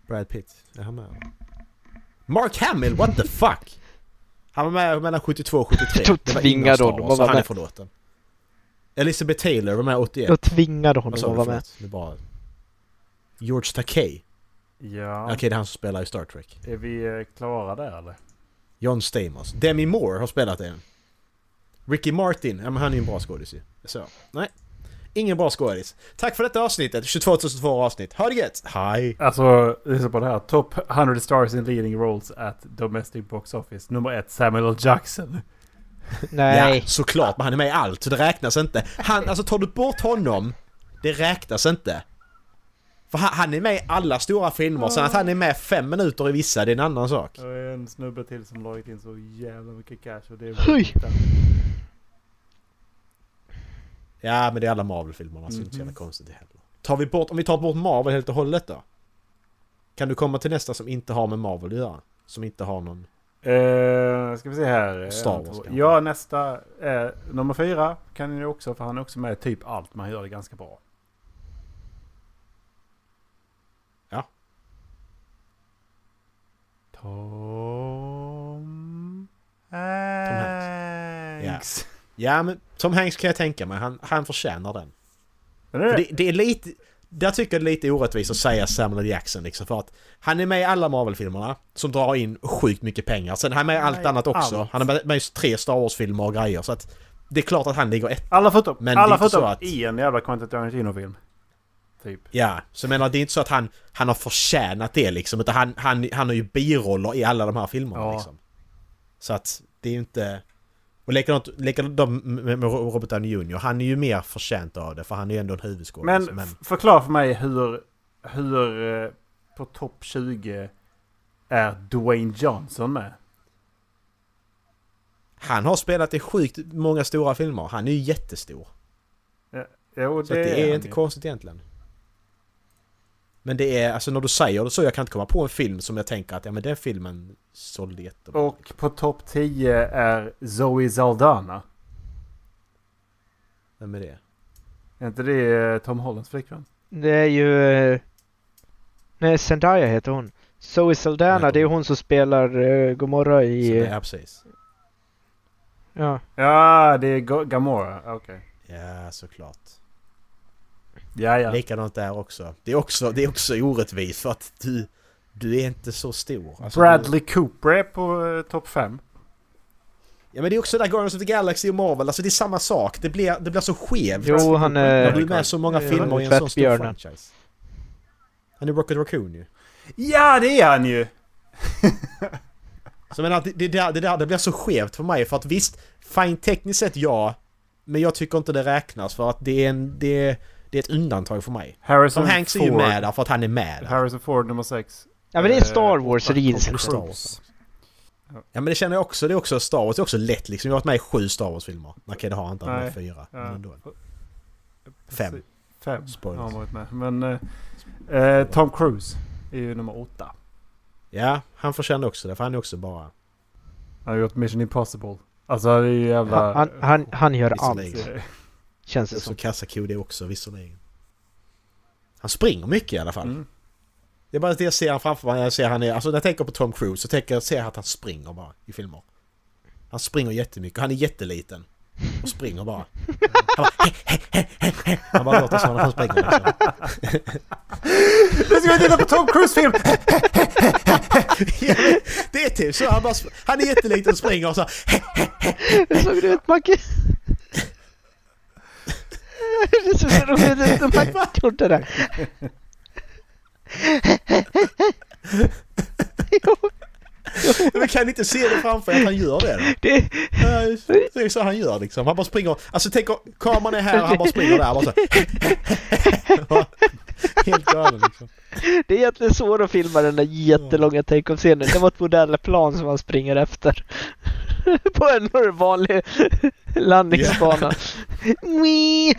Speaker 2: Brad Pitt, är han med? Mark Hamill, what the fuck? Han var med mellan 72 och 73.
Speaker 1: Då
Speaker 2: Det var
Speaker 1: tvingar
Speaker 2: innan Star
Speaker 1: honom
Speaker 2: Wars,
Speaker 1: att
Speaker 2: så
Speaker 1: vara
Speaker 2: han är
Speaker 1: med.
Speaker 2: förlåten. Elizabeth Taylor var med 81.
Speaker 1: Jag tvingade
Speaker 2: Vad
Speaker 1: honom
Speaker 2: sa
Speaker 1: att
Speaker 2: du?
Speaker 1: vara med.
Speaker 2: Förlåt, det var- George Takei.
Speaker 3: [LAUGHS] Ja.
Speaker 2: Okej, det är han som spelar i Star Trek.
Speaker 3: Är vi eh, klara där eller?
Speaker 2: John Stamos. Demi Moore har spelat en. Ricky Martin, ja men han är ju en bra skådis ju. Så, nej. Ingen bra skådis. Tack för detta avsnittet, 22 002 avsnitt. Ha det gött! Hej!
Speaker 3: Alltså, lyssna på det här. Top 100 stars in leading roles at domestic box office. Nummer ett, Samuel L. Jackson.
Speaker 2: Ja,
Speaker 1: Nej.
Speaker 2: såklart, men han är med i allt, så det räknas inte. Han, alltså tar du bort honom, det räknas inte. För han, han är med i alla stora filmer, sen att han är med fem minuter i vissa, det är en annan sak.
Speaker 3: Och en snubbe till som lagt in så jävla mycket cash och det är...
Speaker 1: Oj.
Speaker 2: Ja, men det är alla Marvel-filmerna, så det är inte så jävla konstigt det heller. Tar vi bort, om vi tar bort Marvel helt och hållet då? Kan du komma till nästa som inte har med Marvel att göra? Som inte har någon...
Speaker 3: Eh, ska vi se här.
Speaker 2: Star Wars, kanske.
Speaker 3: Ja, nästa. Eh, nummer fyra kan ni också, för han är också med i typ allt, men han gör det ganska bra.
Speaker 2: Ja.
Speaker 3: Tom
Speaker 2: Hanks.
Speaker 3: Hanks.
Speaker 2: Ja, men Tom Hanks kan jag tänka mig. Han, han förtjänar den.
Speaker 3: Men
Speaker 2: För
Speaker 3: det-
Speaker 2: det, det är lite... Där tycker jag det är lite orättvist att säga Samuel L. Jackson liksom för att han är med i alla Marvel-filmerna som drar in sjukt mycket pengar. Sen är han med i
Speaker 3: Han är
Speaker 2: allt
Speaker 3: med i
Speaker 2: annat också.
Speaker 3: allt.
Speaker 2: Han är med med i tre Star Wars-filmer och grejer så att det är klart att han ligger ett.
Speaker 3: Alla förutom,
Speaker 2: Men det är
Speaker 3: alla
Speaker 2: inte så
Speaker 3: förutom
Speaker 2: att-
Speaker 3: en jävla Quentin Tarantino-film. Typ.
Speaker 2: Ja, så jag menar det är inte så att han, han har förtjänat det liksom utan han, han, han har ju biroller i alla de här filmerna
Speaker 3: Ja.
Speaker 2: liksom. Så att det är ju inte... Och likadant, likadant de med med Robert Downey Jr. Han är ju mer förtjänt av det för han är ju ändå en huvudskådis.
Speaker 3: Men, f- förklara för mig hur, hur eh, på topp 20 är Dwayne Johnson med?
Speaker 2: Han har spelat i sjukt många stora filmer. Han är ju jättestor.
Speaker 3: Jo, det,
Speaker 2: Så det, att det är,
Speaker 3: han
Speaker 2: inte
Speaker 3: ju.
Speaker 2: konstigt egentligen. Men det är, alltså när du säger det så, jag kan inte komma på en film som jag tänker att ja men den filmen sålde jättebra.
Speaker 3: Och på topp 10 är Zoe Saldana.
Speaker 2: Vem är det?
Speaker 3: Är inte det eh, Tom Hollands flickvän?
Speaker 1: Det är ju... eh, Nej, Zendaya heter hon. Zoe Saldana,
Speaker 2: Nej,
Speaker 1: det är hon som spelar eh, Gomorra
Speaker 2: Så
Speaker 1: i...
Speaker 2: det
Speaker 1: eh,
Speaker 2: ja, precis.
Speaker 1: Ja.
Speaker 3: Ja, det är Go- Gamora. Okej.
Speaker 2: Ja, såklart.
Speaker 3: Ja, ja.
Speaker 2: Likadant där också. Det är också, det är också orättvist för att du, du är inte så stor. Alltså,
Speaker 3: Bradley Cooper är på eh, topp 5.
Speaker 2: Du, ja men det är också där Guardians of the Galaxy och Marvel, alltså det är samma sak. Det blir, det blir så skevt.
Speaker 1: Jo, han eh,
Speaker 2: När
Speaker 1: är...
Speaker 2: du är med i så många
Speaker 1: Eh,
Speaker 2: filmer i en sån stor
Speaker 1: Tvättbjörnen.
Speaker 2: franchise. Han är Rocket Raccoon ju.
Speaker 3: Ja, det är han ju!
Speaker 2: Så jag menar, det, det, där, det där det blir så skevt för mig för att visst, fine tekniskt sett ja. Men jag tycker inte det räknas för att det är en, det, är- det är ett undantag för mig.
Speaker 3: Harrison
Speaker 2: Som Hanks är
Speaker 3: Ford.
Speaker 2: ju med där för att han är med där.
Speaker 3: Harrison Ford nummer 6.
Speaker 1: Ja, men det är
Speaker 2: Eh,
Speaker 1: Star Wars,
Speaker 3: åtta,
Speaker 1: det är
Speaker 3: Tom
Speaker 1: Star
Speaker 2: Wars.
Speaker 3: Cruise.
Speaker 2: Ja men det känner jag också, det är också Star Wars, det är också lätt liksom. Jag har varit med i sju Star Wars-filmer. Okej det har han inte, han är
Speaker 3: Nej.
Speaker 2: fyra.
Speaker 3: Ja.
Speaker 2: Men ändå. Fem.
Speaker 3: Fem
Speaker 2: Spoilers.
Speaker 3: har han varit med. Men eh, eh, Tom Cruise är ju nummer åtta.
Speaker 2: Ja, han förtjänar också det för han är också bara...
Speaker 3: Han har gjort Mission Impossible. Alltså det är ju jävla...
Speaker 1: Han, han, han gör allt,
Speaker 2: Visserligen.
Speaker 1: känns
Speaker 2: Det är
Speaker 1: det
Speaker 2: också
Speaker 1: som.
Speaker 2: kassako det också visserligen. Han springer mycket i alla fall.
Speaker 3: Mm.
Speaker 2: Det är bara det jag ser han framför mig. Jag ser han är, alltså när jag tänker på Tom Cruise så tänker jag, ser jag att han springer bara i filmer. Han springer jättemycket. Han är jätteliten. Och springer bara. Han bara, he, he, he, he, he. Han bara låter så när han springer liksom. [LAUGHS]
Speaker 3: Nu ska vi titta på Tom Cruise-film!
Speaker 2: Ja, men Det är typ så. Han, bara, sp- han är jätteliten och springer och så.
Speaker 1: Hur såg det ut Macke? Det såg så roligt ut när Macke gjorde det. Jo,
Speaker 2: Men kan ni inte se det framför er att han gör det? Då?
Speaker 1: det,
Speaker 2: Nej, Det är så han gör liksom. Han bara springer. Alltså tänk om kameran är här och han bara springer där. Bara så. här. Helt galen liksom.
Speaker 1: det är egentligen svårt att filma den där jättelånga take-off-scenen. Det var ett modellplan som han springer efter. På en vanlig landningsbana. Wee!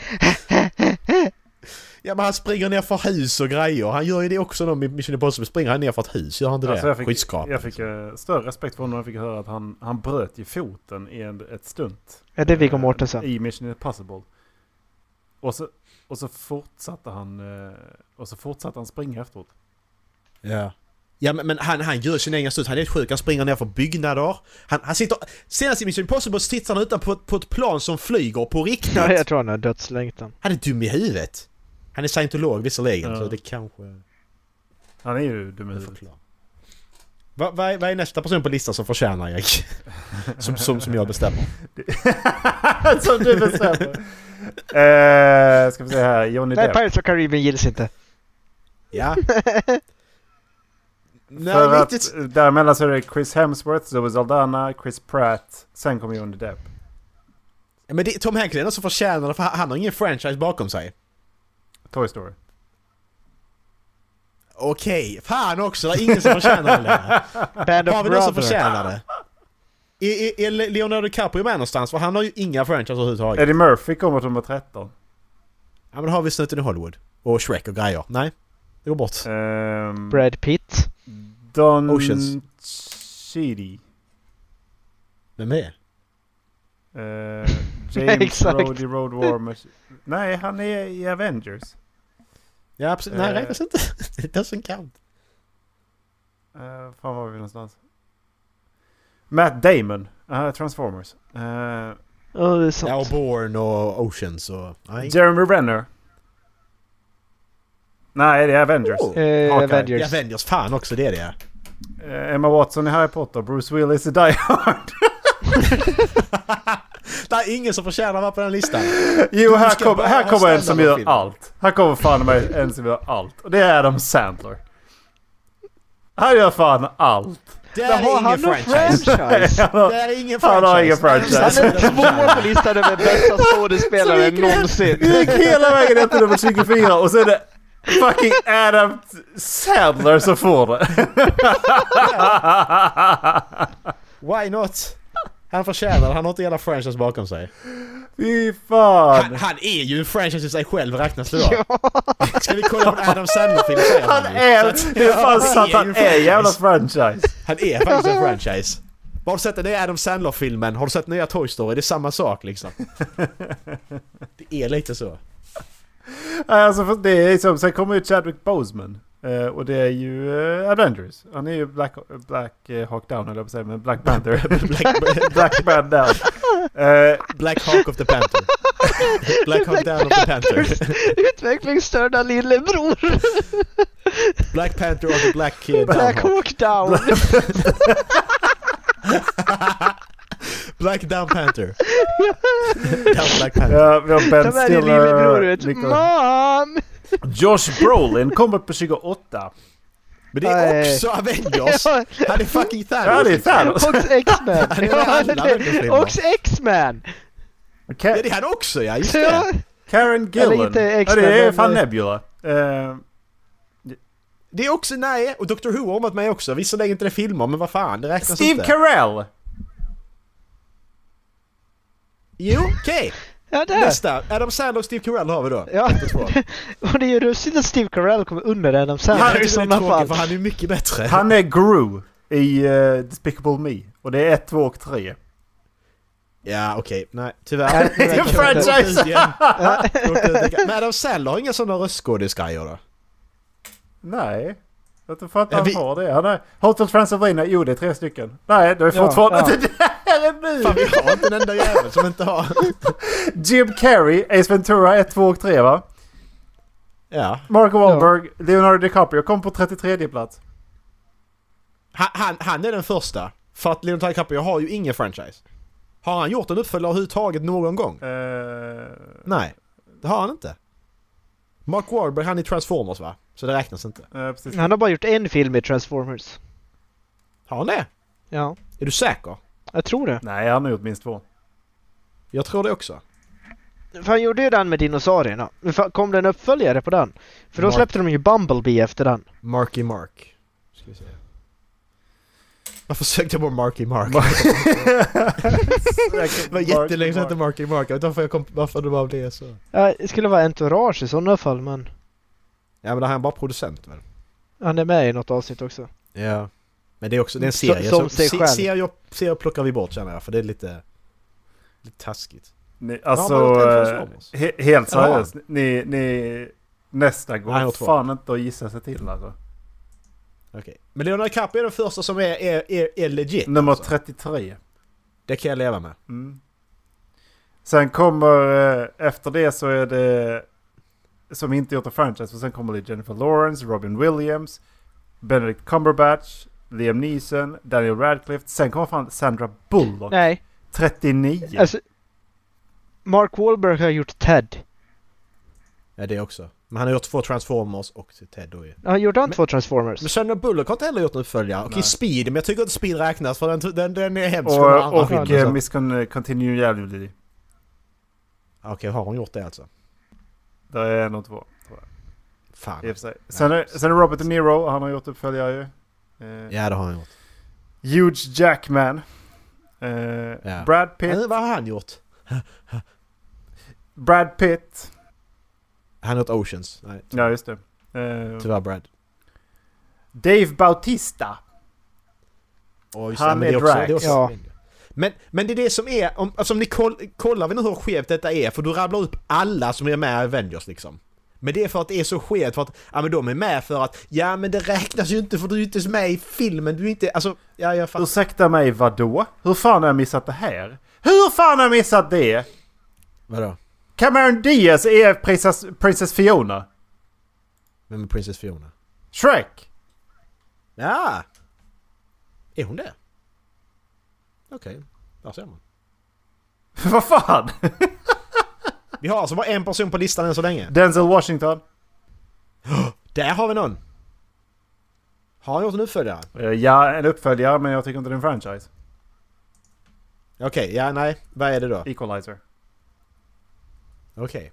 Speaker 2: Ja men han springer ner för hus och grejer. Han gör ju det också då med Mission Impossible. Springer han ner för ett hus? Gör han inte
Speaker 3: Alltså,
Speaker 2: det?
Speaker 3: jag fick,
Speaker 2: Skyskrapa.
Speaker 3: jag fick
Speaker 2: liksom.
Speaker 3: eh, större respekt för honom när jag fick höra att han, han bröt ju foten i en, ett stunt.
Speaker 1: Ja, det är Viggo
Speaker 3: eh,
Speaker 1: Mortensen.
Speaker 3: I Mission Impossible. Och så, och så fortsatte han eh, och så fortsatte han springa efteråt.
Speaker 2: Ja. Ja men, men han, han gör sin egen studs, han är helt sjuk, han springer ner för byggnader. Han, han sitter... Senast i Mission Impossible sitter han utan på, på ett plan som flyger på riktigt.
Speaker 1: Ja, jag tror han har dödslängtan.
Speaker 2: Han är dum i huvudet. Han är scientolog visserligen
Speaker 3: Ja.
Speaker 2: så det kanske...
Speaker 3: Han är ju dum i
Speaker 2: Det
Speaker 3: huvudet.
Speaker 2: förklarar. Va- Vad är, vad är nästa person på listan som förtjänar Erik? [LAUGHS] Som, som, som jag bestämmer.
Speaker 3: [LAUGHS] Som du bestämmer. Eh, ska vi se här, Johnny
Speaker 1: Nej,
Speaker 3: Depp.
Speaker 1: Pirates of Caribbean gills inte.
Speaker 2: Ja. Nej,
Speaker 3: För att
Speaker 2: riktigt.
Speaker 3: däremellan så är det Chris Hemsworth, Zoe Saldana, Chris Pratt. Sen kommer Johnny Depp.
Speaker 2: Men det är Tom Hanks är den som förtjänar det för han han har ingen franchise bakom sig.
Speaker 3: Toy Story.
Speaker 2: Okej, fan också! Det är ingen som förtjänar det längre.
Speaker 1: Band
Speaker 2: Har
Speaker 1: of
Speaker 2: vi någon som
Speaker 1: Brothers.
Speaker 2: förtjänar det? Är, är, är Leonardo DiCaprio med någonstans? För han har ju inga franchises överhuvudtaget.
Speaker 3: Eddie Murphy kommer till nummer 13.
Speaker 2: Ja men då har vi Snuten i Hollywood. Och Shrek och grejer. Nej. Det går bort.
Speaker 3: Ehm,
Speaker 1: Brad Pitt.
Speaker 3: Don
Speaker 2: Oceans.
Speaker 3: Cheadle.
Speaker 2: Vem är det?
Speaker 1: [LAUGHS]
Speaker 3: Eh, James
Speaker 1: Exakt.
Speaker 3: Brody Road War Machine. Nej, han är i Avengers.
Speaker 2: Ja absolut. Nej
Speaker 3: Eh.
Speaker 2: det räknas inte. [LAUGHS] It doesn't count.
Speaker 3: Eh, fan var vi någonstans? Matt Damon. Eh, Transformers. Eh,
Speaker 1: Ja, det är
Speaker 2: Ja och
Speaker 1: sant.
Speaker 2: Bourne och Oceans och... Nej.
Speaker 3: Jeremy Renner. Nej, det är Avengers.
Speaker 2: Oh.
Speaker 1: Eh,
Speaker 2: Hawkeye.
Speaker 1: Avengers.
Speaker 2: Ja, Avengers. Fan också, det är det.
Speaker 3: Eh, Emma Watson i Harry Potter. Bruce Willis i Die [LAUGHS] Hard.
Speaker 2: Det är ingen som förtjänar att vara på den listan.
Speaker 3: Jo,
Speaker 2: Du
Speaker 3: här
Speaker 2: ska
Speaker 3: kommer,
Speaker 2: bara
Speaker 3: här kommer
Speaker 2: ställa
Speaker 3: en som
Speaker 2: någon
Speaker 3: gör
Speaker 2: film.
Speaker 3: allt. Här kommer fan mig en som gör allt. Och det är Adam Sandler. Han gör fan allt.
Speaker 2: Det
Speaker 1: Där har
Speaker 2: är ingen
Speaker 1: han någon
Speaker 2: franchise. [LAUGHS]
Speaker 1: franchise.
Speaker 2: Det är ingen
Speaker 3: [LAUGHS] Han har
Speaker 2: franchise.
Speaker 3: ingen franchise.
Speaker 1: Han är
Speaker 2: tvåa
Speaker 1: tvåa på listan över
Speaker 2: [LAUGHS]
Speaker 1: bästa skådespelare någonsin.
Speaker 3: Vi gick hela vägen ner till nummer 24 och så är det fucking Adam Sandler som får det. [LAUGHS]
Speaker 2: Why not? Han förtjänar det. Han har inte hela franchise bakom sig.
Speaker 3: Fy
Speaker 2: Han,
Speaker 3: fan.
Speaker 2: han är ju en franchise i sig själv, räknas det då? Ska vi kolla på en Adam Sandler-film säger
Speaker 3: Han
Speaker 2: ju.
Speaker 3: är...
Speaker 2: Så
Speaker 3: Det
Speaker 2: [LAUGHS]
Speaker 3: är [LAUGHS] fan sant,
Speaker 2: ju en
Speaker 3: han är
Speaker 2: franchise.
Speaker 3: jävla franchise.
Speaker 2: Han är faktiskt en franchise. Har du sett den nya Adam Sandler-filmen? Har du sett nya Toy Story? Det är samma sak liksom. Det är lite så.
Speaker 3: Alltså, för det är som, sen kommer ju Chadwick Boseman. Eh, och det är ju eh, Avengers. Han är ju Black, Black eh, Hawk Down, eller jag på att säga, men Black Panther. [LAUGHS]
Speaker 2: Black,
Speaker 3: Black Man Down. Eh,
Speaker 2: Black Hawk of the Panther. [LAUGHS] Black Hawk Down of the Panther.
Speaker 1: Utvecklingsstörda lillebror.
Speaker 2: Black Panther of the Black Kid.
Speaker 1: Black Hawk Down.
Speaker 2: [LAUGHS] Black Down Panther. Down Black Panther.
Speaker 3: ja, vi har Ben
Speaker 1: Ta med dig lillebror
Speaker 3: Stiller.
Speaker 1: ut.
Speaker 3: Nicolas-
Speaker 1: Mom!
Speaker 3: Josh Brolin kommer på 28.
Speaker 2: Men det är
Speaker 1: Nej.
Speaker 2: också Avengers!
Speaker 1: Ja,
Speaker 2: Han är fucking Thanos! liksom.
Speaker 3: Ja, det är Thanos.
Speaker 1: Och
Speaker 2: [LAUGHS]
Speaker 1: X-Men.
Speaker 2: är alla
Speaker 1: Ja, det-
Speaker 2: Avengers-filmer.
Speaker 1: Och X-Men.
Speaker 2: Ja,
Speaker 3: Ka-
Speaker 2: det är han också ja, just
Speaker 1: Eh, Ja,
Speaker 2: det!
Speaker 3: Karen Gillan.
Speaker 1: Eller inte
Speaker 3: ja,
Speaker 1: X-Men,
Speaker 3: det är
Speaker 1: men-
Speaker 3: fan Nebula. Eh,
Speaker 2: Det är också, nej, och Dr Who har varit med också. Visserligen inte det filmer, men vad fan, det räknas
Speaker 3: Steve
Speaker 2: inte.
Speaker 3: Carell!
Speaker 2: Jo, okej!
Speaker 1: Ja, där.
Speaker 2: Nästa! Adam Sandler och Steve Carell har vi då.
Speaker 1: Ja,
Speaker 2: Det tror jag.
Speaker 1: och det är ju russigt att Steve Carell kommer under Adam
Speaker 2: Han
Speaker 1: Sandler
Speaker 2: är
Speaker 1: i
Speaker 2: inte
Speaker 1: sådana
Speaker 2: tråkig,
Speaker 1: fall.
Speaker 2: för han är ju mycket bättre.
Speaker 3: Han är Gru i eh, Despicable Me. Och det är 1, 2 och 3.
Speaker 2: Ja, okej. Nej, tyvärr.
Speaker 1: Det är en
Speaker 3: franchise.
Speaker 1: [LAUGHS]
Speaker 2: Men Adam Sandler har inga sådana röstskådisgrejer då?
Speaker 3: Nej. Jag tror fattar
Speaker 2: Ja, vi-
Speaker 3: han har det. Han är, Hotel Transylvania, jo det är tre stycken. Nej, det är
Speaker 1: Ja,
Speaker 3: fortfarande...
Speaker 1: ja.
Speaker 3: [LAUGHS] Det här är nu!
Speaker 2: Fan vi har inte en enda jävel som inte har...
Speaker 3: Jim Carrey, Ace Ventura 1, 2 och 3 va?
Speaker 2: Ja.
Speaker 3: Mark Wahlberg, Leonardo DiCaprio kom på 33 plats.
Speaker 2: Han, han, han är den första. För att Leonardo DiCaprio har ju ingen franchise. Har han gjort en uppföljare överhuvudtaget någon gång?
Speaker 3: Eh,
Speaker 2: Nej. Det har han inte. Mark Wahlberg han är Transformers va? Så det räknas inte.
Speaker 3: eh, precis.
Speaker 1: Han har bara gjort en film i Transformers.
Speaker 2: Har han det?
Speaker 1: Ja,
Speaker 2: Är du säker?
Speaker 1: jag tror det.
Speaker 3: Nej, han har
Speaker 2: [LAUGHS]
Speaker 3: gjort minst två.
Speaker 2: Jag tror det också.
Speaker 1: För han gjorde ju den med dinosaurierna. Men fa- kom det en uppföljare på den? För då
Speaker 2: Mark-
Speaker 1: släppte de ju Bumblebee efter den.
Speaker 2: Marky Mark. Ska vi se. Varför sökte jag på Marky Mark?
Speaker 3: Säkert
Speaker 2: det var
Speaker 3: Mark-
Speaker 2: jättelänge sedan jag hette
Speaker 3: Mark.
Speaker 2: Marky Mark. Jag vet inte varför, jag kom, varför det bara blev så.
Speaker 1: Ja, det skulle vara Entourage i sådana fall, men
Speaker 2: Ja men det här är bara producent väl?
Speaker 1: han är med i något avsnitt också.
Speaker 2: Ja. Men det är också det är en
Speaker 1: Så-
Speaker 2: serie.
Speaker 1: som sig själv.
Speaker 2: serier, serier plockar vi bort känner jag för det är lite... Lite taskigt.
Speaker 3: Ni,
Speaker 2: Ja,
Speaker 3: alltså,
Speaker 2: han har gjort en
Speaker 3: eh,
Speaker 2: Transformers.
Speaker 3: he, helt
Speaker 2: Ja.
Speaker 3: seriöst. Ni, ni, nästa
Speaker 2: Han har
Speaker 3: går
Speaker 2: gjort två.
Speaker 3: fan inte att gissa sig till alltså.
Speaker 2: Okej. Men Leonardo DiCaprio är den första som är, är, är, är legit.
Speaker 3: Nummer
Speaker 2: alltså.
Speaker 3: 33.
Speaker 2: Det kan jag leva med.
Speaker 3: Mm. Sen kommer, eh, efter det så är det, som inte gjort en franchise, för sen kommer det Jennifer Lawrence, Robin Williams, Benedict Cumberbatch, Liam Neeson, Daniel Radcliffe. Sen kommer fan Sandra Bullock,
Speaker 1: Nej,
Speaker 3: 39.
Speaker 1: alltså... Mark Wahlberg har gjort Ted.
Speaker 2: Ja det också. Men han har gjort två Transformers och Ted då ju.
Speaker 1: Han gjorde han
Speaker 2: Men-
Speaker 1: två Transformers?
Speaker 2: Men Sandra Bullock har inte heller gjort en uppföljare. Okej
Speaker 3: Nej.
Speaker 2: Speed, men jag tycker inte Speed räknas för den, den, den är hemsk. den andra
Speaker 3: och och
Speaker 2: filmen,
Speaker 1: skillnaden,
Speaker 3: eh,
Speaker 2: så att-
Speaker 3: Miss Con- Congeniality.
Speaker 2: Okej, har hon gjort det alltså?
Speaker 3: Där är en och två. Tror jag. I
Speaker 2: Fan. alltså.
Speaker 3: och för sig. Sen, är, sen är Robert De Niro, han har gjort uppföljare ju. Eh,
Speaker 2: Ja det har han gjort.
Speaker 3: Huge Jackman. Eh, Brad Pitt.
Speaker 2: Men, vad har han gjort?
Speaker 3: Brad Pitt.
Speaker 2: Han har gjort Oceans. Nej, ty-
Speaker 3: Ja, just det. Eh,
Speaker 2: tyvärr Brad.
Speaker 3: Dave Bautista.
Speaker 2: Oh,
Speaker 3: Han är drag.
Speaker 1: Ja.
Speaker 2: Men, men det är det som är, om, alltså om ni koll, kollar vi nu hur skevt detta är, för du rabblar upp alla som är med i Avengers liksom. Men det är för att det är så skevt för att, ja men de är med för att, ja men det räknas ju inte för du är inte ens med i filmen, du är inte, alltså, ja jag fattar.
Speaker 3: Ursäkta mig, vadå? Hur fan har jag missat det här? Hur fan har jag missat det?
Speaker 2: Vadå?
Speaker 3: Cameron Diaz är prinsess, prinsess Fiona.
Speaker 2: Vem är Princess Fiona?
Speaker 3: Shrek. [LAUGHS]
Speaker 2: Ja! Är hon det? Okej, där ser man.
Speaker 3: Vad fan?
Speaker 2: Vi har alltså bara en person på listan än så länge.
Speaker 3: Denzel Washington.
Speaker 2: Där har vi någon! Har han gjort en uppföljare?
Speaker 3: Eh, Ja, en uppföljare men jag tycker inte det är en franchise.
Speaker 2: Okej, ja nej, vad är det då? Okej,
Speaker 3: Equalizer.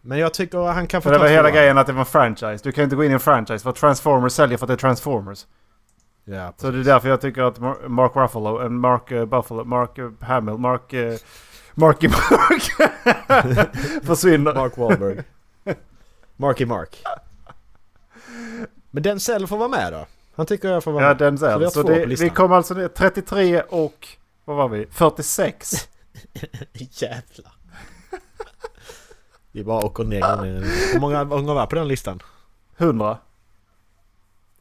Speaker 2: men jag tycker han kan få
Speaker 3: För det
Speaker 2: ta
Speaker 3: var hela
Speaker 2: tvåan.
Speaker 3: grejen att det var en franchise. Du kan inte gå in i en franchise för Transformers säljer för att det är Transformers.
Speaker 2: Ja,
Speaker 3: Så det är därför jag tycker att Mar- Mark Ruffalo, and Mark eh, Buffalo, Mark eh, Hamill, Mark... eh, Marky [LAUGHS] Mark försvinner.
Speaker 2: Mark [LAUGHS] Wahlberg. Marky Mark. Men den Denzel får vara med då? Han tycker jag får vara
Speaker 3: Ja,
Speaker 2: med. Så vi
Speaker 3: Denzel.
Speaker 2: har
Speaker 3: Så
Speaker 2: två
Speaker 3: det,
Speaker 2: på listan.
Speaker 3: vi kom alltså ner 33 och... Vad var vi? 46.
Speaker 2: [LAUGHS] Jävlar. Vi bara åker ner. gånger ner. Hur många gånger var på den listan? [LAUGHS]
Speaker 3: 100.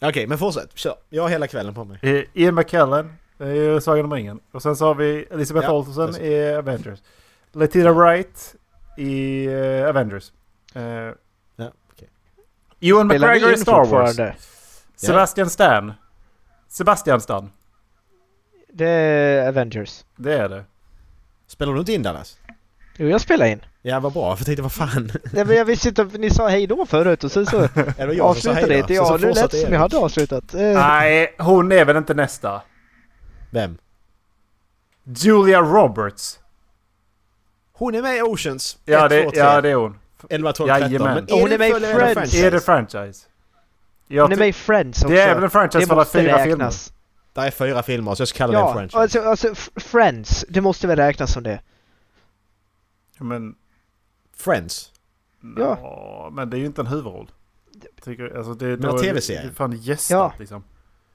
Speaker 2: Okej, men fortsätt. Kör. Jag har hela kvällen på mig.
Speaker 3: Eh, Ian McKellen eh, i Sagan om ringen. Och sen så har vi Elizabeth
Speaker 2: Ja,
Speaker 3: Olsen
Speaker 2: just
Speaker 3: i Avengers. Latina Wright i eh, Avengers. Eh,
Speaker 2: Ja, okej.
Speaker 3: Ewan
Speaker 1: Spelar ni
Speaker 3: McGregor i
Speaker 1: in
Speaker 3: Star Wars.
Speaker 1: fortfarande?
Speaker 3: Sebastian Stan. Sebastian Stan.
Speaker 1: Det är Avengers.
Speaker 3: Det är det.
Speaker 2: Eh. Spelar du inte in Dallas?
Speaker 1: Jo, jag spelar in.
Speaker 2: Ja, vad bra. För jag tänkte, vad
Speaker 1: [LAUGHS]
Speaker 2: fan.
Speaker 1: Nej, men jag visste inte, för ni sa hej då förut och sen så
Speaker 2: Är det jag som sa hej
Speaker 1: avslutade
Speaker 2: då?
Speaker 1: inte
Speaker 2: Sen så
Speaker 1: jag. Nu lät
Speaker 2: fortsatte
Speaker 1: det som
Speaker 2: Erik.
Speaker 1: jag hade avslutat. Eh,
Speaker 3: Nej, hon är väl inte nästa.
Speaker 2: Vem?
Speaker 3: Julia Roberts.
Speaker 2: Hon är med i Oceans.
Speaker 3: Ja,
Speaker 2: Ett,
Speaker 3: det,
Speaker 2: två, tre.
Speaker 3: ja det är hon.
Speaker 2: 11, 12, 13.
Speaker 3: Jajamän.
Speaker 2: Men
Speaker 1: Hon är med i
Speaker 2: uppföljare eller
Speaker 1: Friends.
Speaker 2: franchise?
Speaker 3: Är det franchise? Jag
Speaker 1: Hon är
Speaker 3: ty-
Speaker 1: med i Friends också.
Speaker 3: det är väl en franchise för alla fyra filmer?
Speaker 2: Det är fyra filmer, så jag ska kalla det en
Speaker 1: Ja,
Speaker 2: franchise.
Speaker 1: alltså, alltså f- Friends, det måste väl räknas som det?
Speaker 3: Ja, Men,
Speaker 2: Friends.
Speaker 1: Ja.
Speaker 3: ja. men det är ju inte en huvudroll. Tycker, alltså det,
Speaker 2: Men
Speaker 3: då-
Speaker 2: TV-serien.
Speaker 3: Det är fan gästat
Speaker 1: Ja.
Speaker 3: liksom.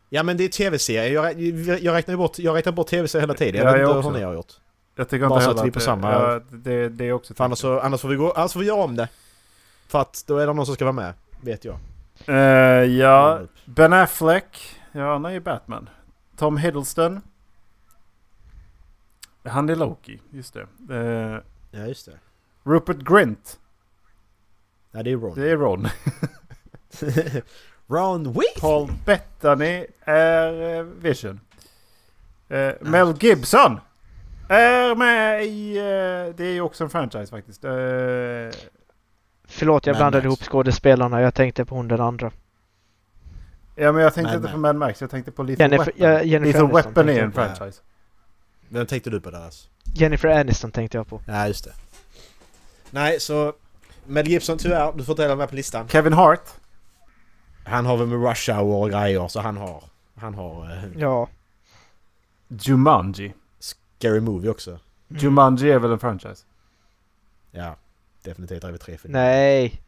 Speaker 2: Ja men det är tv-serier, jag, rä- jag räknar ju bort, jag räknar bort tv-serier hela tiden.
Speaker 3: Ja,
Speaker 2: Jag
Speaker 3: jag
Speaker 2: vet inte
Speaker 3: också.
Speaker 2: hur ni har gjort.
Speaker 3: Jag tycker
Speaker 2: Bara
Speaker 3: inte
Speaker 2: så
Speaker 3: heller
Speaker 2: att vi är på
Speaker 3: det-
Speaker 2: samma-
Speaker 3: Ja, det, det är också...
Speaker 2: För annars, så, Mm. annars, får vi gå, annars får vi göra om det. För att då är det någon som ska vara med, vet jag.
Speaker 3: Eh, ja, Ben Affleck. Ja, han är ju Batman. Tom Hiddleston. Han är Loki, just det. Eh,
Speaker 2: Ja, just det.
Speaker 3: Rupert Grint.
Speaker 2: Ja, det är Ron.
Speaker 3: Det är Ron.
Speaker 2: [LAUGHS] Ron Weasley!
Speaker 3: Paul Bettany är eh, Vision. Eh, Mel Gibson är med i... eh, det är ju också en franchise faktiskt. Eh,
Speaker 1: Förlåt, jag
Speaker 2: Mad
Speaker 1: blandade
Speaker 2: Max.
Speaker 1: ihop skådespelarna. Jag tänkte på hon den andra.
Speaker 3: ja, men jag tänkte
Speaker 2: Mad
Speaker 3: inte
Speaker 2: Max.
Speaker 3: på Mad Max. Jag tänkte på Lethal
Speaker 1: eh, Jennifer,
Speaker 3: Weapon.
Speaker 1: ja, Jennifer
Speaker 3: Lethal
Speaker 1: Aniston.
Speaker 3: Weapon
Speaker 1: tänkte
Speaker 3: är
Speaker 1: jag
Speaker 3: en
Speaker 1: på.
Speaker 3: franchise.
Speaker 2: Vem tänkte du på där alltså?
Speaker 1: Jennifer Aniston tänkte jag på.
Speaker 2: Ja, just det. Nej, så... Mel Gibson tyvärr, du får inte heller vara med på listan.
Speaker 3: Kevin Hart.
Speaker 2: Han har väl med Rush Hour och grejer, så han har... Han har... eh,
Speaker 1: Ja.
Speaker 3: Jumanji.
Speaker 1: Mm.
Speaker 2: Scary Movie också.
Speaker 3: Jumanji är väl en franchise?
Speaker 2: Ja, definitivt över tre filmer.
Speaker 1: Nej.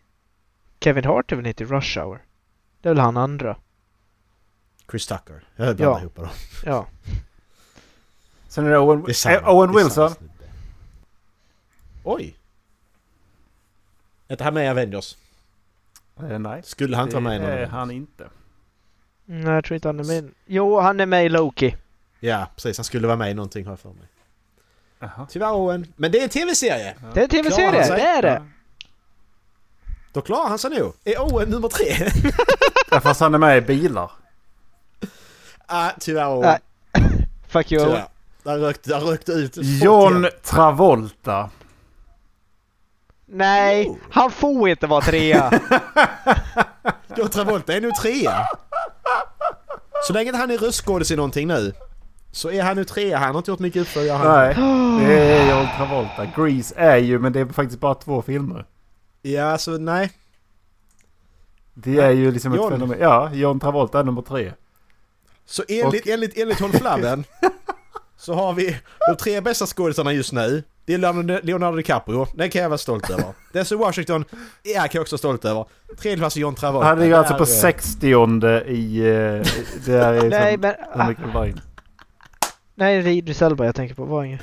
Speaker 1: Kevin Hart är väl inte i Rush Hour? Det är väl han andra?
Speaker 2: Chris Tucker. Jag blandar
Speaker 1: Ja.
Speaker 2: ihop dem.
Speaker 1: Ja.
Speaker 3: Sen är det Owen,
Speaker 2: Det är samma-
Speaker 3: eh,
Speaker 2: det
Speaker 3: Owen
Speaker 2: är
Speaker 3: Wilson.
Speaker 2: samma snubbe. Oj! Är inte han med i Avengers?
Speaker 3: Eh, nej.
Speaker 2: Skulle han inte vara med i någon
Speaker 3: är
Speaker 2: Avengers?
Speaker 3: han inte.
Speaker 1: Nej, jag tror inte han är med. Jo, han är med i Loki.
Speaker 2: Ja, precis. Han skulle vara med i någonting har jag för mig.
Speaker 3: Jaha.
Speaker 2: Tyvärr Owen. Men det är en tv-serie!
Speaker 1: Det är en tv-serie,
Speaker 2: Klarar han sig?
Speaker 1: det är det!
Speaker 2: Då klarar han sig nog. Är Owen nummer tre? [LAUGHS]
Speaker 3: Ja, fast han är med i bilar.
Speaker 2: ah, tyvärr Owen.
Speaker 1: Nej, Fuck you.
Speaker 2: Tyvärr. Där rökte, där rökte ut folk
Speaker 3: John
Speaker 2: igen.
Speaker 3: Travolta.
Speaker 1: Nej,
Speaker 2: Oh.
Speaker 1: han får inte vara trea.
Speaker 2: John Travolta är nu trea. Så länge inte han är röstskådis i någonting nu så är han nu trea. Han har inte gjort mycket uppföljare. han.
Speaker 3: Nej, det är John Travolta. Grease är ju, men det är faktiskt bara två filmer.
Speaker 2: Ja, så nej.
Speaker 3: Det är ju liksom
Speaker 2: John.
Speaker 3: ett fenomen. Ja, John Travolta är nummer tre.
Speaker 2: Så enligt, enligt, enligt Håll
Speaker 3: [LAUGHS]
Speaker 2: Flabben så har vi de tre bästa skådisarna just nu. Det är Leonardo- Leonardo DiCaprio, den kan jag vara stolt
Speaker 3: [LAUGHS]
Speaker 2: över. Denzel Washington, ja, kan jag också vara stolt över. Tredje plats är John Travolta.
Speaker 3: Han ligger alltså
Speaker 2: Där,
Speaker 3: på
Speaker 2: eh,
Speaker 3: 60 i... eh, Det här är
Speaker 1: Nej,
Speaker 3: liksom...
Speaker 1: men...
Speaker 3: Hur
Speaker 1: Ah,
Speaker 3: mycket det var in.
Speaker 1: nej, det är Idris Elba jag tänker på. Var ingen.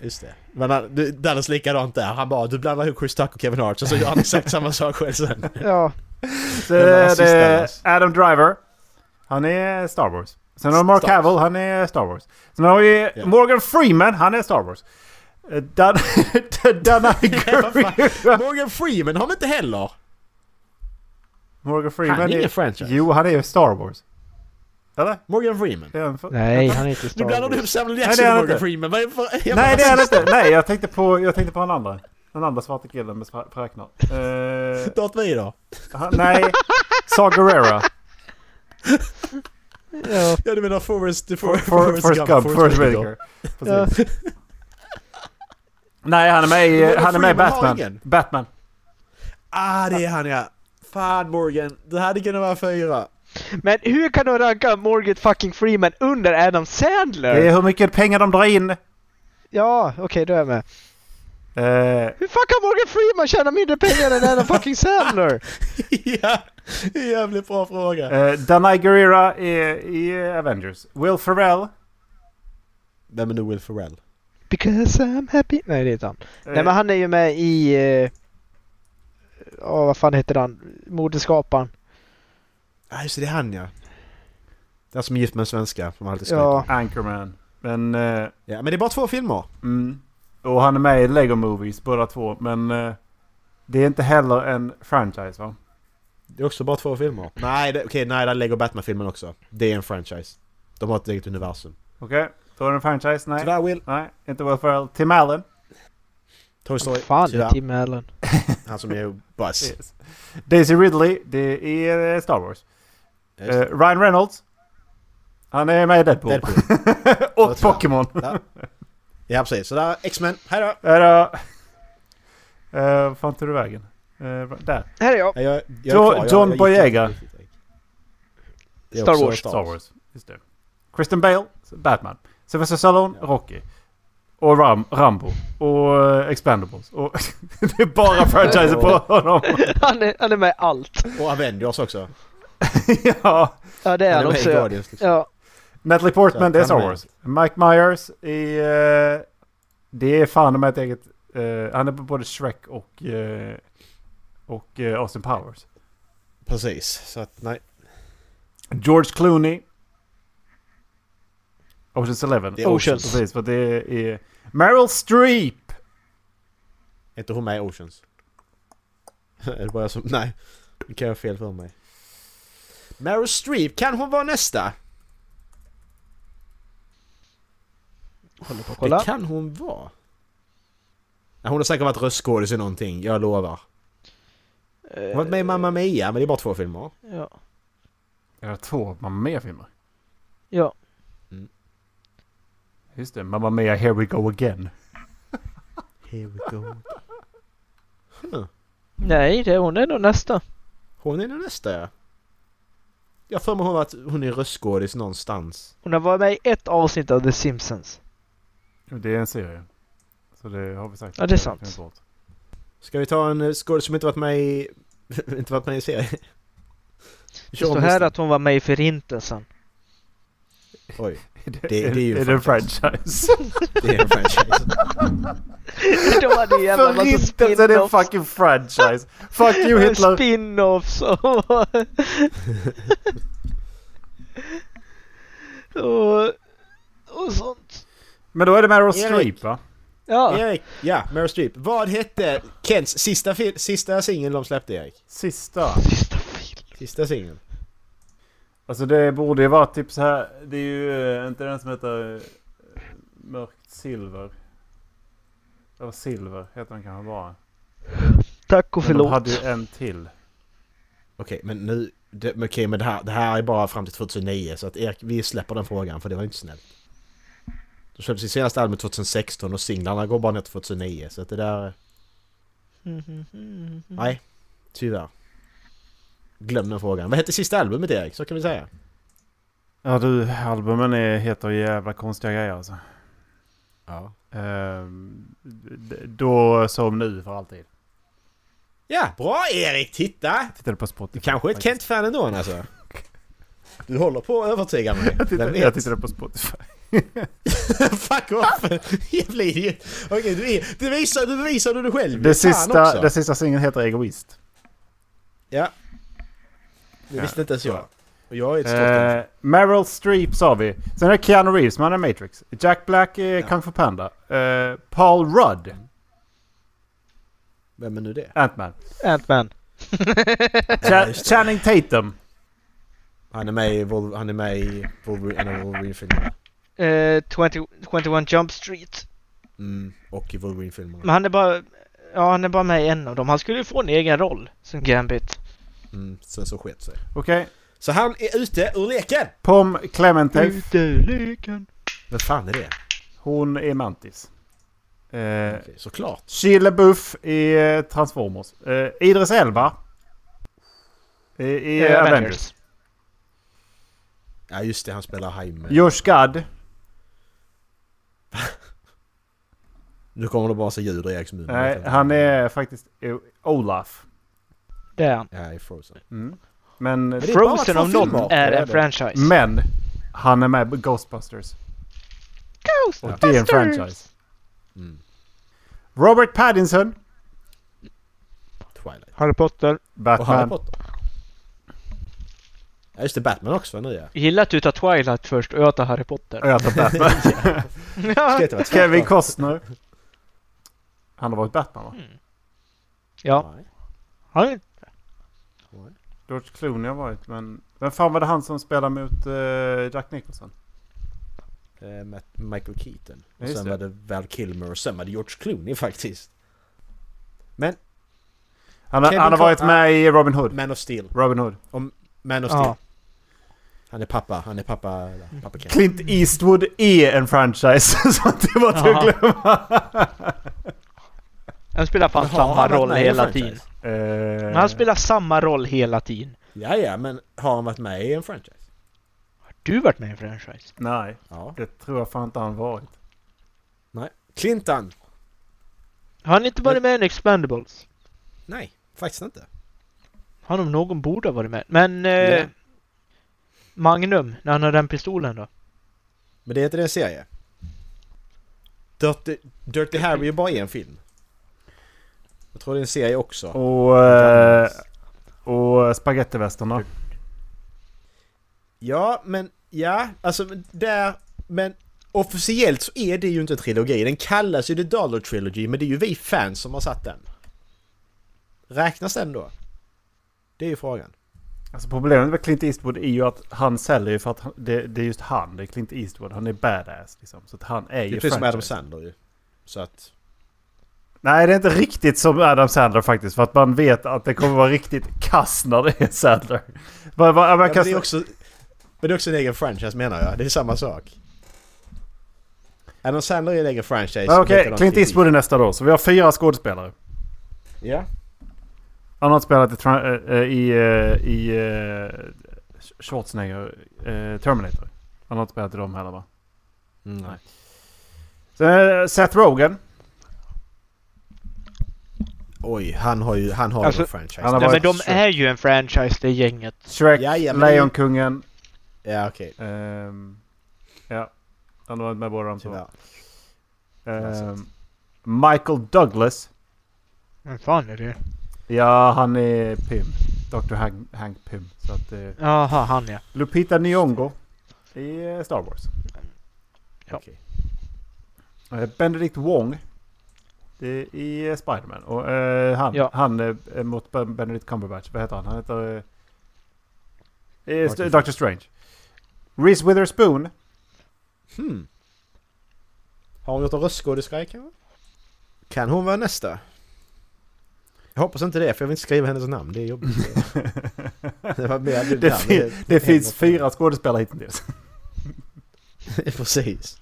Speaker 2: Just det. Men han, du, Dallas likadant där. Han bara du blandar ihop Chris Tucker och Kevin Hart och så gör han exakt samma sak själv sen.
Speaker 1: Ja.
Speaker 3: Så
Speaker 2: Vem var den
Speaker 3: det
Speaker 2: sista
Speaker 3: är
Speaker 2: annars?
Speaker 3: Adam Driver. Han är Star Wars. Sen har vi Mark
Speaker 2: Star Wars.
Speaker 3: Cavill, han är Star Wars. Sen har vi
Speaker 2: Ja.
Speaker 3: Morgan Freeman, han är Star Wars. Eh, Dan... [LAUGHS] Danai Gurira.
Speaker 2: Morgan Freeman har vi inte heller.
Speaker 3: Morgan Freeman
Speaker 2: Han är ingen
Speaker 3: är...
Speaker 2: franchise.
Speaker 3: Jo, han är ju Star Wars. Eller?
Speaker 2: Morgan Freeman.
Speaker 3: Är han för...
Speaker 1: Nej, han är inte
Speaker 2: Nu
Speaker 1: Star
Speaker 2: blandar du ihop
Speaker 1: Wars.
Speaker 2: Samuel
Speaker 3: Nej, det
Speaker 2: Jackson
Speaker 3: är
Speaker 2: och
Speaker 3: han
Speaker 2: Morgan
Speaker 3: inte.
Speaker 2: Freeman. Vad är- [LAUGHS] vad är- jag bara-
Speaker 3: Nej, det är han inte. Nej, jag tänkte på, jag tänkte på han andra. Den andra svarta killen med fra- fräknar. Eh,
Speaker 2: Darth Vader.
Speaker 3: han- nej, Saw Gerrera.
Speaker 1: Ja.
Speaker 2: Ja du menar Forrest... For,
Speaker 3: For- Forrest Gump, Forrest Whitaker. Precis. Nej, han är med i,
Speaker 2: Morgan
Speaker 3: han är med i
Speaker 2: Freeman har
Speaker 3: Batman.
Speaker 2: ingen.
Speaker 3: Batman.
Speaker 2: Ah det är han ja. Fan Morgan, det hade kunnat vara fyra.
Speaker 1: Men hur kan du ranka Morgan fucking Freeman under Adam Sandler?
Speaker 3: Det är hur mycket pengar de drar in.
Speaker 1: Ja, okej, då är jag med.
Speaker 3: Eh,
Speaker 1: Hur fan kan Morgan Freeman tjäna mindre pengar än Adam fucking Sandler?
Speaker 2: [LAUGHS] ja, det är en jävligt bra fråga.
Speaker 3: eh, Danai Gurira i, i Avengers. Will Ferrell.
Speaker 2: Vem är nu Will Ferrell?
Speaker 1: Because I'm happy. Nej, det är inte han. Nej,
Speaker 3: eh,
Speaker 1: men han är ju med i... eh, Ja, vad fan heter han? Modeskaparen.
Speaker 2: Ja ah, just det, det är han ja. Den som är gift med en svenska, som man alltid skräcker.
Speaker 1: Ja.
Speaker 3: Anchorman. Men... Eh,
Speaker 2: ja. Men det är bara två filmer.
Speaker 3: mm. Och han är med i Lego Movies båda två. Men eh, det är inte heller en franchise va?
Speaker 2: Det är också bara två filmer. Nej, det- okej, nej, där lägger Batman-filmen också. Det är en franchise. De har ett eget universum.
Speaker 3: Okej, då är det en franchise. Nej,
Speaker 2: Tyvärr Will.
Speaker 3: nej inte Will Ferrell. Tim Allen.
Speaker 2: Toy Story.
Speaker 1: Fan, det är typ
Speaker 2: Tyvärr.
Speaker 1: Tim Allen.
Speaker 2: Han som är Buzz.
Speaker 3: Yes. Daisy Ridley, det är eh, Star Wars.
Speaker 2: Ja,
Speaker 3: Eh,
Speaker 2: just det.
Speaker 3: Ryan Reynolds. Han är med i Deadpool.
Speaker 2: Deadpool.
Speaker 3: [LAUGHS] Och Pokémon.
Speaker 2: Ja. Ja precis, så där, X-Men, hejdå!
Speaker 3: Är det... Eh, Vad fan tog du vägen? Eh, där.
Speaker 1: Här är jag. [LAUGHS]
Speaker 2: Ja, jag, jag är
Speaker 3: Jo-
Speaker 2: kvar. Jag-
Speaker 3: John
Speaker 2: jag gick
Speaker 3: Boyega.
Speaker 2: inte riktigt, riktigt. Det är
Speaker 1: Star
Speaker 2: också
Speaker 1: Wars.
Speaker 3: Star Wars. Just det. Kristen Bale, Batman. Sylvester Stallone, Rocky. Och Ram, Rambo. Och eh, Expendables. Och [LAUGHS] det är bara franchiser
Speaker 2: [LAUGHS]
Speaker 3: på honom. [LAUGHS]
Speaker 1: Han är, han är med i allt.
Speaker 2: Och Avengers också.
Speaker 3: ja.
Speaker 1: Ja, det är
Speaker 2: Han
Speaker 1: han
Speaker 2: är med i
Speaker 1: också. ja.
Speaker 2: Guardians. Liksom.
Speaker 1: Ja.
Speaker 2: Så
Speaker 3: Natalie Portman, det är
Speaker 2: att han
Speaker 3: Star
Speaker 2: är-
Speaker 3: Wars. Mike Myers i... eh, det är fan med ett eget... eh, han är på både Shrek och... eh, och eh, Austin Powers.
Speaker 2: Precis, så att nej.
Speaker 3: George Clooney. Oceans Eleven.
Speaker 2: Det är Oceans.
Speaker 3: Precis, för det är Meryl Streep.
Speaker 2: Är inte hon med i Oceans? [LAUGHS] är det bara jag som... Nej. Nu kan jag ha fel för mig. Meryl Streep, kan hon vara nästa?
Speaker 1: Håller på att kolla.
Speaker 2: Det kan hon vara. Nej, hon har säkert varit röstskådis i någonting, jag lovar. Hon har varit med i Mamma Mia, men det är bara två filmer.
Speaker 1: Ja.
Speaker 3: Jag har två Mamma Mia-filmer.
Speaker 1: ja.
Speaker 3: Just det, Mamma Mia Here We Go Again.
Speaker 2: Here we go.
Speaker 3: Mm.
Speaker 1: Nej, det, hon är nog nästa.
Speaker 2: Hon är den nästa ja. Jag har för mig hon att hon är röstskådis någonstans.
Speaker 1: Hon har varit med i ett avsnitt av The Simpsons.
Speaker 3: Det är en serie. Så det har vi sagt.
Speaker 1: Ja, det är sant.
Speaker 3: Jag kan ta bort.
Speaker 2: Ska vi ta en eh, skådis som inte varit med i... [LAUGHS] inte varit med i serien?
Speaker 1: Det står här att hon var med i Förintelsen. [LAUGHS]
Speaker 2: Oj,
Speaker 3: [LAUGHS] Det,
Speaker 2: det
Speaker 3: är,
Speaker 2: är
Speaker 3: det
Speaker 2: ju
Speaker 3: är, en franchise.
Speaker 2: det är en franchise.
Speaker 1: De hade ju jävla massa
Speaker 3: Förintelsen är en
Speaker 1: spin-offs.
Speaker 3: fucking franchise.
Speaker 1: [LAUGHS]
Speaker 3: Fuck you Hitler.
Speaker 1: Spin-offs
Speaker 3: [LAUGHS]
Speaker 1: och... och... Och sånt.
Speaker 3: Men då är det Meryl
Speaker 2: Erik.
Speaker 3: Streep va?
Speaker 1: [LAUGHS] Ja.
Speaker 2: Erik, ja, Meryl Streep. Vad hette Kents sista, fil- sista singel de släppte Erik?
Speaker 3: Sista.
Speaker 1: Sista film.
Speaker 2: Sista singeln.
Speaker 3: Alltså det borde ju vara typ så här. Det är ju eh, inte den som heter eh, Mörkt Silver. Eller Silver heter den kanske bara.
Speaker 1: Tack och
Speaker 3: Men de
Speaker 1: förlåt.
Speaker 3: hade ju en till.
Speaker 2: Okej, men nu... Det, men okej, men det här, det här är bara fram till 2009 så att Erik, vi släpper den frågan för det var inte snällt. Då släpptes det senaste albumet 2016 och singlarna går bara ner till 2009 så att det där...
Speaker 1: Mhm, mhm, mhm.
Speaker 2: Nej, tyvärr. Glöm den frågan. Vad hette sista albumet Erik? Så kan vi säga.
Speaker 3: Ja du, albumen är, heter jävla konstiga grejer alltså.
Speaker 2: Ja.
Speaker 3: Ehm, d- då som nu för alltid.
Speaker 2: Ja, bra Erik! Titta!
Speaker 3: Tittade på Spotify.
Speaker 2: Kanske ett
Speaker 3: faktiskt.
Speaker 2: Kent-fan ändå
Speaker 3: [LAUGHS]
Speaker 2: alltså. Du håller på att övertyga mig.
Speaker 3: Jag
Speaker 2: Vem
Speaker 3: tittade,
Speaker 2: vet? [LAUGHS]
Speaker 3: jag tittade på Spotify.
Speaker 2: Fuck off! [LAUGHS] Jävla idiot! Okej, du, är- du visar du visar du dig själv
Speaker 3: Det
Speaker 2: Fan
Speaker 3: sista,
Speaker 2: också.
Speaker 3: det sista singeln heter Egoist.
Speaker 2: Ja. Det visste inte ens jag. Och jag är ett stort fan.
Speaker 3: Eh, Meryl Streep sa vi. Sen är det Keanu Reeves, som han är Matrix. Jack Black är Kung Fu Panda. Eh, Paul Rudd,
Speaker 2: Vem är nu det?
Speaker 3: Ant-Man.
Speaker 1: Ant-Man.
Speaker 3: Cha-
Speaker 2: just det.
Speaker 3: Channing Tatum.
Speaker 2: Han är med i Vol- han är med i Wolverine, en av Wolverine-filmerna.
Speaker 1: Eh, 20, 21 Jump Street.
Speaker 2: Mm, och i
Speaker 1: Men
Speaker 2: Wolverine-filmerna.
Speaker 1: han är bara... Ja, han är bara med i en av dem. Han skulle ju få en egen roll som Gambit.
Speaker 2: Mm, sen så sket sig.
Speaker 3: Okej.
Speaker 2: Så han är ute ur leken!
Speaker 3: Pom Clemente.
Speaker 1: Uteleken.
Speaker 2: Vad fan är det?
Speaker 3: Hon är Mantis. Eh,
Speaker 2: Okej, såklart.
Speaker 3: Sheila Buff i eh, Transformers. Eh, Idris Elba. I, i
Speaker 1: Eh,
Speaker 3: Avengers.
Speaker 2: Ja just det, han spelar Haim.
Speaker 3: Josh Gad.
Speaker 2: Nu kommer det bara så ljud i Eriks mun.
Speaker 3: Nej, han är faktiskt eh, Olaf. Mm.
Speaker 1: Det är han.
Speaker 2: Ja, i Frozen.
Speaker 3: Men,
Speaker 2: det är bara
Speaker 1: Frozen
Speaker 2: två
Speaker 1: om något
Speaker 2: filmer.
Speaker 1: är
Speaker 2: Det är
Speaker 1: en
Speaker 2: det.
Speaker 1: franchise.
Speaker 3: men han är med i Ghostbusters. Och det är en
Speaker 1: Ghostbusters!
Speaker 3: franchise.
Speaker 2: Mm.
Speaker 3: Robert Pattinson.
Speaker 2: Twilight.
Speaker 1: Harry Potter.
Speaker 2: Och Harry
Speaker 3: Batman.
Speaker 2: Potter. Ja just det, Batman också va nu ja.
Speaker 1: Jag gillar att du tar Twilight först och jag tar Harry Potter.
Speaker 2: [LAUGHS]
Speaker 3: Och jag tar Batman. [LAUGHS]
Speaker 2: Ska
Speaker 1: ja.
Speaker 2: inte vara tvärtom.
Speaker 3: Kevin Costner. Han har varit Batman va?
Speaker 1: ja.
Speaker 2: Nej.
Speaker 1: Han är
Speaker 3: George Clooney har varit men... Vem fan var det han som spelade mot eh, Jack Nicholson?
Speaker 2: Eh, Matt- Michael Keaton.
Speaker 3: Ja,
Speaker 2: Och
Speaker 3: just
Speaker 2: sen
Speaker 3: det.
Speaker 2: var det Val Kilmer och sen var det George Clooney faktiskt. Men
Speaker 3: Han, har-
Speaker 2: Kevin
Speaker 3: han har varit
Speaker 2: Costner.
Speaker 3: med i Robin Hood.
Speaker 2: Man of Steel.
Speaker 3: Robin Hood.
Speaker 2: Man of Steel.
Speaker 1: Ja.
Speaker 2: Han är pappa. Han är pappa. Pappa Ken.
Speaker 3: Clint Eastwood är en franchise. [LAUGHS] så det var till att
Speaker 1: Jaha.
Speaker 3: glömma.
Speaker 1: Han spelar fan
Speaker 2: Men har
Speaker 1: samma
Speaker 2: han varit
Speaker 1: roll
Speaker 2: med i
Speaker 1: hela
Speaker 2: en
Speaker 1: tiden.
Speaker 2: franchise?
Speaker 3: Eh,
Speaker 1: Men han spelar samma roll hela tiden.
Speaker 2: Ja, ja, men har han varit med i en franchise?
Speaker 1: Har du varit med i en franchise?
Speaker 3: Nej,
Speaker 2: Ja.
Speaker 3: det tror jag fan inte han varit.
Speaker 2: Nej. Clinton!
Speaker 1: Har han inte varit med i en Expendables?
Speaker 2: Nej, faktiskt inte.
Speaker 1: Han om någon borde ha varit med. Men... Eh,
Speaker 2: Ja.
Speaker 1: Magnum, när han har den pistolen då?
Speaker 2: Men det är inte det en serie. Dirty, Dirty Harry är ju bara en film. Jag tror det är en serie också.
Speaker 3: Och, eh, Och spagettivästarna.
Speaker 2: Ja, men ja, alltså men där, men officiellt så är det ju inte en trilogi. Den kallas ju The Dollar Trilogy, men det är ju vi fans som har satt den. Räknas den då? Det är ju frågan.
Speaker 3: Alltså problemet med Clint Eastwood är ju att han säljer ju för att han, det, det är just han. Det är Clint Eastwood. Han är badass liksom. Så att han är
Speaker 2: Det
Speaker 3: ju
Speaker 2: är precis som Adam
Speaker 3: franchise.
Speaker 2: Sandler ju. Så att...
Speaker 3: Nej, det är inte riktigt som Adam Sandler faktiskt. För att man vet att det kommer vara riktigt kass när det är Sandler. Vad- vad- man
Speaker 2: Ja, men, det är
Speaker 3: kastar-
Speaker 2: också, men det är också en egen franchise menar jag. Det är samma sak. Adam Sandler är en egen franchise.
Speaker 3: Ja, Okej,
Speaker 2: Likadant
Speaker 3: Clint
Speaker 2: i-
Speaker 3: Eastwood är nästa då. Så vi har fyra skådespelare.
Speaker 2: Ja.
Speaker 3: Han har inte spelat i, tra- eh, i, eh, i eh, Schwarzenegger, eh, Terminator. Han har inte spelat i dem heller va?
Speaker 2: Mm,
Speaker 3: Nej. Sen är det Seth Rogen.
Speaker 2: Oj, han har ju, han har
Speaker 1: Alltså,
Speaker 2: ju en franchise.
Speaker 3: han har
Speaker 1: Nej,
Speaker 3: varit-
Speaker 1: men de är ju en franchise det gänget.
Speaker 3: Shrek,
Speaker 2: Ja, ja, men det-
Speaker 3: Lejonkungen.
Speaker 2: Ja, okej.
Speaker 3: ehm, ja, han har varit med båda de två.
Speaker 2: Tyvärr.
Speaker 3: Ehm, Michael Douglas.
Speaker 1: Vem fan är det?
Speaker 3: Ja, han är Pym. Dr. Hank, Hank Pym. Så att, eh,
Speaker 1: Jaha, han ja.
Speaker 3: Lupita Nyong'o i eh, Star Wars.
Speaker 1: Ja.
Speaker 2: Okej.
Speaker 3: Eh, Benedict Wong det är i eh, Spiderman. Och eh, han,
Speaker 1: Ja.
Speaker 3: han eh, mot Ben- Benedict Cumberbatch. Vad heter han? Han heter... eh, Eh,
Speaker 2: Martin
Speaker 3: St- Doctor Strange. Reese Witherspoon. [LAUGHS]
Speaker 2: Hmm. Har hon gjort en röstskådisgrej kanske? Kan hon vara nästa? Jag hoppas inte det, för jag vill inte skriva hennes namn. Det är jobbigt. [LAUGHS] det var mer
Speaker 3: Det, fin- det, finns fyra skådespelare hittills.
Speaker 2: [LAUGHS] Precis.